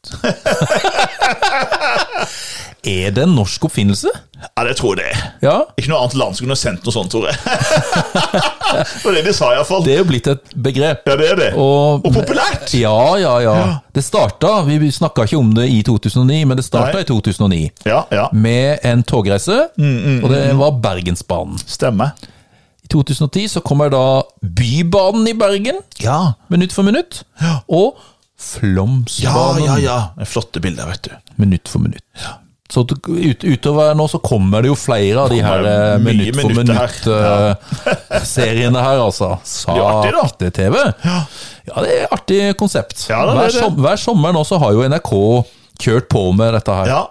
Speaker 1: Er det en norsk oppfinnelse?
Speaker 2: Ja, det tror jeg det er.
Speaker 1: Ja.
Speaker 2: Ikke noe annet land som kunne sendt noe sånt, tror jeg. det var det de sa, iallfall.
Speaker 1: Det er jo blitt et begrep.
Speaker 2: Ja, det er det.
Speaker 1: Og,
Speaker 2: Og populært!
Speaker 1: Ja, ja, ja. Det starta, vi snakka ikke om det i 2009, men det starta
Speaker 2: Nei.
Speaker 1: i 2009
Speaker 2: Ja, ja.
Speaker 1: med en togreise, og det var Bergensbanen.
Speaker 2: Stemmer.
Speaker 1: I 2010 så kommer da Bybanen i Bergen,
Speaker 2: Ja.
Speaker 1: minutt for minutt, og
Speaker 2: Ja,
Speaker 1: Flåmsbanen,
Speaker 2: ja, ja. Det er Flotte bilder, vet du.
Speaker 1: minutt for minutt. Så du- ut, utover nå så kommer det jo flere av de her eh,
Speaker 2: Kommer mye
Speaker 1: minutt for
Speaker 2: minutter
Speaker 1: minutt-seriene her. altså.
Speaker 2: jo artig, da.
Speaker 1: Sakte-TV. Ja, det er et artig konsept.
Speaker 2: Ja, det er
Speaker 1: hver,
Speaker 2: det.
Speaker 1: som, hver sommer nå så har jo NRK kjørt på med dette her.
Speaker 2: Ja.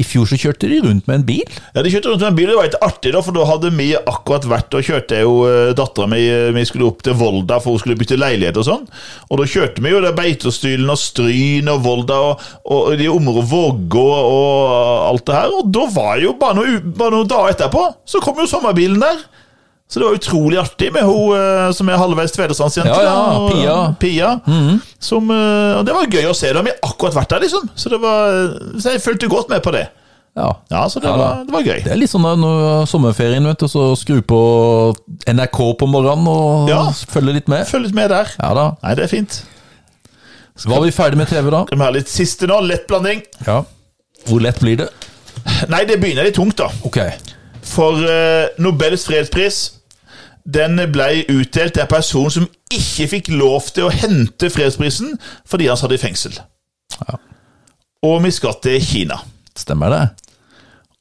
Speaker 1: I fjor så kjørte de rundt med en bil.
Speaker 2: Ja, De kjørte rundt med en bil, det var litt artig, da, for da hadde vi akkurat vært og eh, kjørte jo dattera mi Vi skulle opp til Volda for hun skulle bytte leilighet og sånn. Og da kjørte vi jo der Beitostylen og Stryn og Volda og, og de områdene Vågå og alt det her. Og da var jo bare noen, u- bare noen dager etterpå, så kom jo sommerbilen der. Så det var utrolig artig med hun eh, som er halvveis Tvedestandsjente.
Speaker 1: Ja, ja,
Speaker 2: da, og-
Speaker 1: Pia. Mhm.
Speaker 2: Pia. som, eh, og det var gøy å se. Da har vi akkurat vært der, liksom. Så, det var, så jeg fulgte godt med på det.
Speaker 1: Ja.
Speaker 2: Ja, så det,
Speaker 1: Ja, da.
Speaker 2: var, det var gøy.
Speaker 1: Det er litt sånn da, når sommerferien, vet du, så skru på NRK på morgenen og
Speaker 2: Ja.
Speaker 1: følge litt med.
Speaker 2: Følg litt med der.
Speaker 1: Ja da.
Speaker 2: Nei, det er fint.
Speaker 1: Var vi ferdig med TV da?
Speaker 2: Skal vi ha litt siste nå? Lett blanding.
Speaker 1: Ja. Hvor lett blir det?
Speaker 2: Nei, det begynner litt tungt, da.
Speaker 1: Ok.
Speaker 2: For eh, Nobels fredspris den ble utdelt til en person som ikke fikk lov til å hente fredsprisen fordi han satt i fengsel.
Speaker 1: Ja.
Speaker 2: Og vi skal til Kina.
Speaker 1: Stemmer det?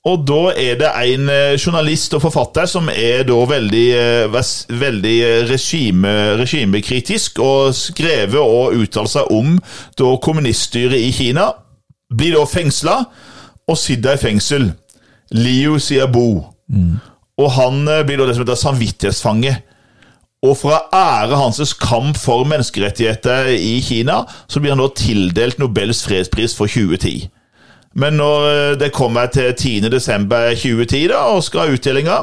Speaker 2: Og da er det en eh, journalist og forfatter som er da veldig, eh, vers- veldig eh, regime, regimekritisk og skrevet og uttalt seg om da kommuniststyret i Kina. Blir da fengsla og sitter i fengsel. Liu Xiaobo. Og han eh, blir da det som heter samvittighetsfange. Og for å ære hans kamp for menneskerettigheter i Kina, så blir han da tildelt Nobels fredspris for 2010. Men når eh, det kommer til 10. desember 2010 da, og skal ha utdelinga,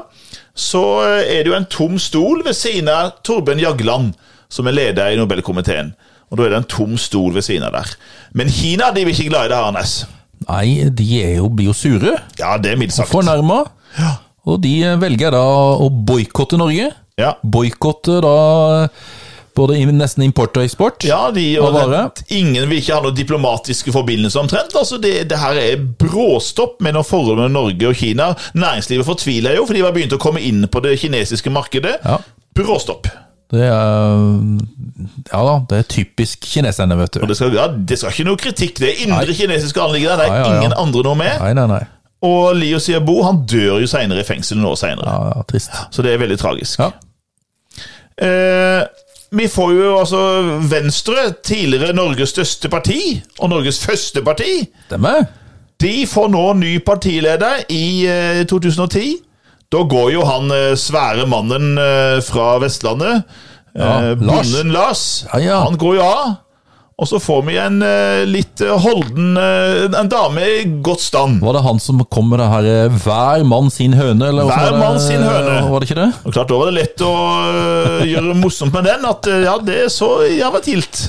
Speaker 2: så eh, er det jo en tom stol ved siden av Torbjørn Jagland, som er leder i Nobelkomiteen. Og da er det en tom stol ved siden av der. Men Kina de blir ikke glad i det her, Anders.
Speaker 1: Nei, de er jo, blir jo sure.
Speaker 2: Ja, det er mildt sagt.
Speaker 1: Fornærma. Og de velger da å boikotte Norge.
Speaker 2: Ja.
Speaker 1: Boikotte da både i- nesten import og eksport.
Speaker 2: Ja, de
Speaker 1: Hva var det?
Speaker 2: Ingen vil ikke ha noen diplomatiske forbindelser omtrent. Altså, det, det her er bråstopp mellom forholdet mellom Norge og Kina. Næringslivet fortviler jo, for de har begynt å komme inn på det kinesiske markedet.
Speaker 1: Ja.
Speaker 2: Bråstopp.
Speaker 1: Det er Ja da, det er typisk kineserne, vet du.
Speaker 2: Og det skal, ja, det skal ikke noe kritikk. Det er indre
Speaker 1: Nei.
Speaker 2: kinesiske anliggender. Det er
Speaker 1: Ja, ja, ja.
Speaker 2: ingen andre noe med.
Speaker 1: Nei, nei, nei.
Speaker 2: Og Liu Xiaobo han dør jo seinere i fengsel noen år seinere.
Speaker 1: Ja, ja, trist.
Speaker 2: Så det er veldig tragisk.
Speaker 1: Ja.
Speaker 2: Eh, vi får jo altså Venstre, tidligere Norges største parti, og Norges første parti,
Speaker 1: Stemmer.
Speaker 2: de får nå ny partileder i eh, 2010. Da går jo han eh, svære mannen eh, fra Vestlandet, eh,
Speaker 1: Ja, Lars.
Speaker 2: bonden Lars,
Speaker 1: Ja, ja.
Speaker 2: han går jo av. Og så får vi en eh, litt eh, holden eh, En dame i godt stand.
Speaker 1: Var det han som kom med det her eh, 'hver mann sin høne'? Eller hvordan
Speaker 2: Hver
Speaker 1: var det?
Speaker 2: mann sin høne.
Speaker 1: Var det ikke det?
Speaker 2: Og klart, Da var det lett å eh, gjøre morsomt med den at eh, ja, det er så jævla tilt.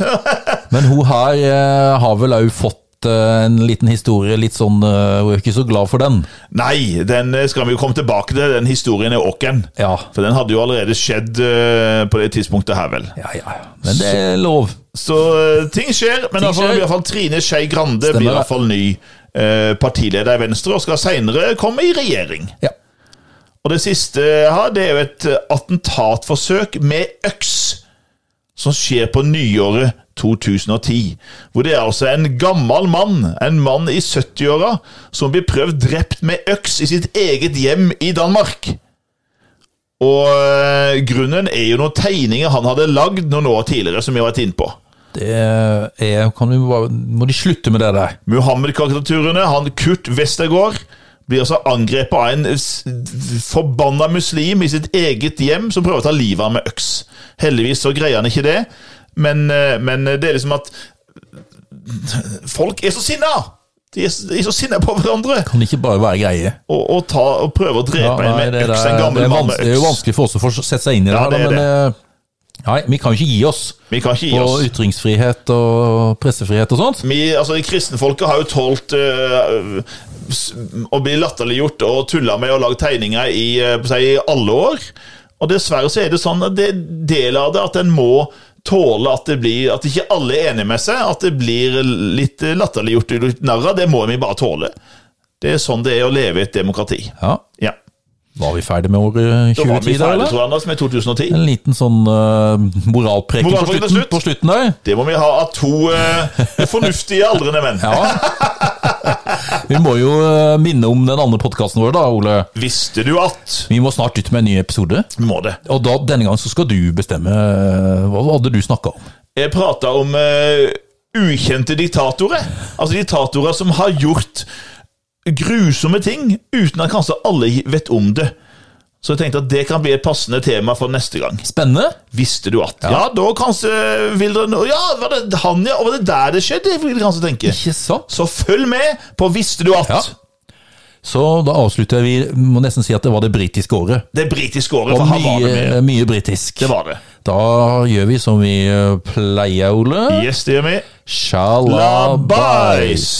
Speaker 1: Men hun her eh, har vel òg fått eh, en liten historie, litt sånn eh, Hun er ikke så glad for den.
Speaker 2: Nei, den eh, skal vi jo komme tilbake til. Den historien er åken.
Speaker 1: Ja.
Speaker 2: For den hadde jo allerede skjedd eh, på det tidspunktet her, vel.
Speaker 1: Ja, ja. Men det er lov.
Speaker 2: Så eh, ting skjer, men
Speaker 1: Ting
Speaker 2: altså,
Speaker 1: skjer.
Speaker 2: i hvert fall Trine Skei Grande
Speaker 1: Stemmer
Speaker 2: blir i
Speaker 1: det.
Speaker 2: hvert fall ny eh, partileder i Venstre, og skal seinere komme i regjering.
Speaker 1: Ja.
Speaker 2: Og det siste jeg har, det er jo et eh, attentatforsøk med øks som skjer på nyåret 2010. Hvor det er altså en gammel mann, en mann i 70-åra, som blir prøvd drept med øks i sitt eget hjem i Danmark. Og eh, grunnen er jo noen tegninger han hadde lagd noen år tidligere, som vi har vært inne på.
Speaker 1: Det er kan vi bare, Må de slutte med det der?
Speaker 2: Muhammed-karikaturene, han Kurt Westergaard, blir altså angrepet av en s- forbanna muslim i sitt eget hjem som prøver å ta livet av ham med øks. Heldigvis så greier han ikke det, men, eh, men det er liksom at Folk er så sinna! De er s- de er så sinna på hverandre!
Speaker 1: Kan det ikke bare være greie?
Speaker 2: Og, og, ta, og prøve å
Speaker 1: Ja,
Speaker 2: drepe en
Speaker 1: nei,
Speaker 2: med
Speaker 1: det,
Speaker 2: øks,
Speaker 1: der-
Speaker 2: en
Speaker 1: det,
Speaker 2: gammel
Speaker 1: er
Speaker 2: mann
Speaker 1: vans-
Speaker 2: med
Speaker 1: det er jo
Speaker 2: øks.
Speaker 1: vanskelig for oss å få sette seg inn i det.
Speaker 2: Ja,
Speaker 1: her,
Speaker 2: det er
Speaker 1: men eh, Nei, vi kan jo ikke gi oss
Speaker 2: Vi kan ikke gi
Speaker 1: på
Speaker 2: oss.
Speaker 1: ytringsfrihet og pressefrihet og sånt.
Speaker 2: Vi, altså, Kristenfolket har jo tålt øh, s- å bli latterliggjort og tulla med og lagd tegninger i, øh, på seg, i alle år. Og dessverre så er det sånn at det er del av det at en må tåle at det blir At ikke alle er enige med seg. At det blir litt øh, latterliggjort og litt narr av. Det må vi bare tåle. Det er sånn det er å leve i et demokrati.
Speaker 1: Ja,
Speaker 2: Ja.
Speaker 1: Var vi ferdig med året
Speaker 2: Da var vi
Speaker 1: 2010, da?
Speaker 2: ferdig,
Speaker 1: eller?
Speaker 2: tror jeg, Anders, med 2010.
Speaker 1: En liten sånn uh, moralpreken på
Speaker 2: Moralpreken til
Speaker 1: slutten,
Speaker 2: slutt.
Speaker 1: på slutten der.
Speaker 2: Det må vi ha av to øh, fornuftige aldrende menn.
Speaker 1: Ja. Vi må jo eh, minne om den andre podkasten vår, da, Ole.
Speaker 2: Visste du at
Speaker 1: Vi må snart ut med en ny episode.
Speaker 2: Må det.
Speaker 1: Og da, denne gangen så skal du bestemme eh, Hva hadde du snakka om?
Speaker 2: Jeg prata om eh, ukjente diktatorer. Altså diktatorer som har gjort grusomme ting uten at kanskje alle vet om det. Så jeg tenkte at det kan bli et passende tema for neste gang.
Speaker 1: Spennende?
Speaker 2: Visste du at? Ja, da kanskje vil dere nå Ja, var det han, ja? Og var det der det skjedde? Vil dere kanskje tenke.
Speaker 1: Ikke sant?
Speaker 2: Så følg med på Visste du at?
Speaker 1: Ja. Så da avslutter vi Må nesten si at det var det britiske året.
Speaker 2: Det britiske året,
Speaker 1: Og
Speaker 2: for han var det med.
Speaker 1: mye, mye britisk.
Speaker 2: Det var det.
Speaker 1: Da gjør vi som vi eh, pleier, Ole.
Speaker 2: Yes, det gjør vi.
Speaker 1: Shalabais.
Speaker 2: Labais!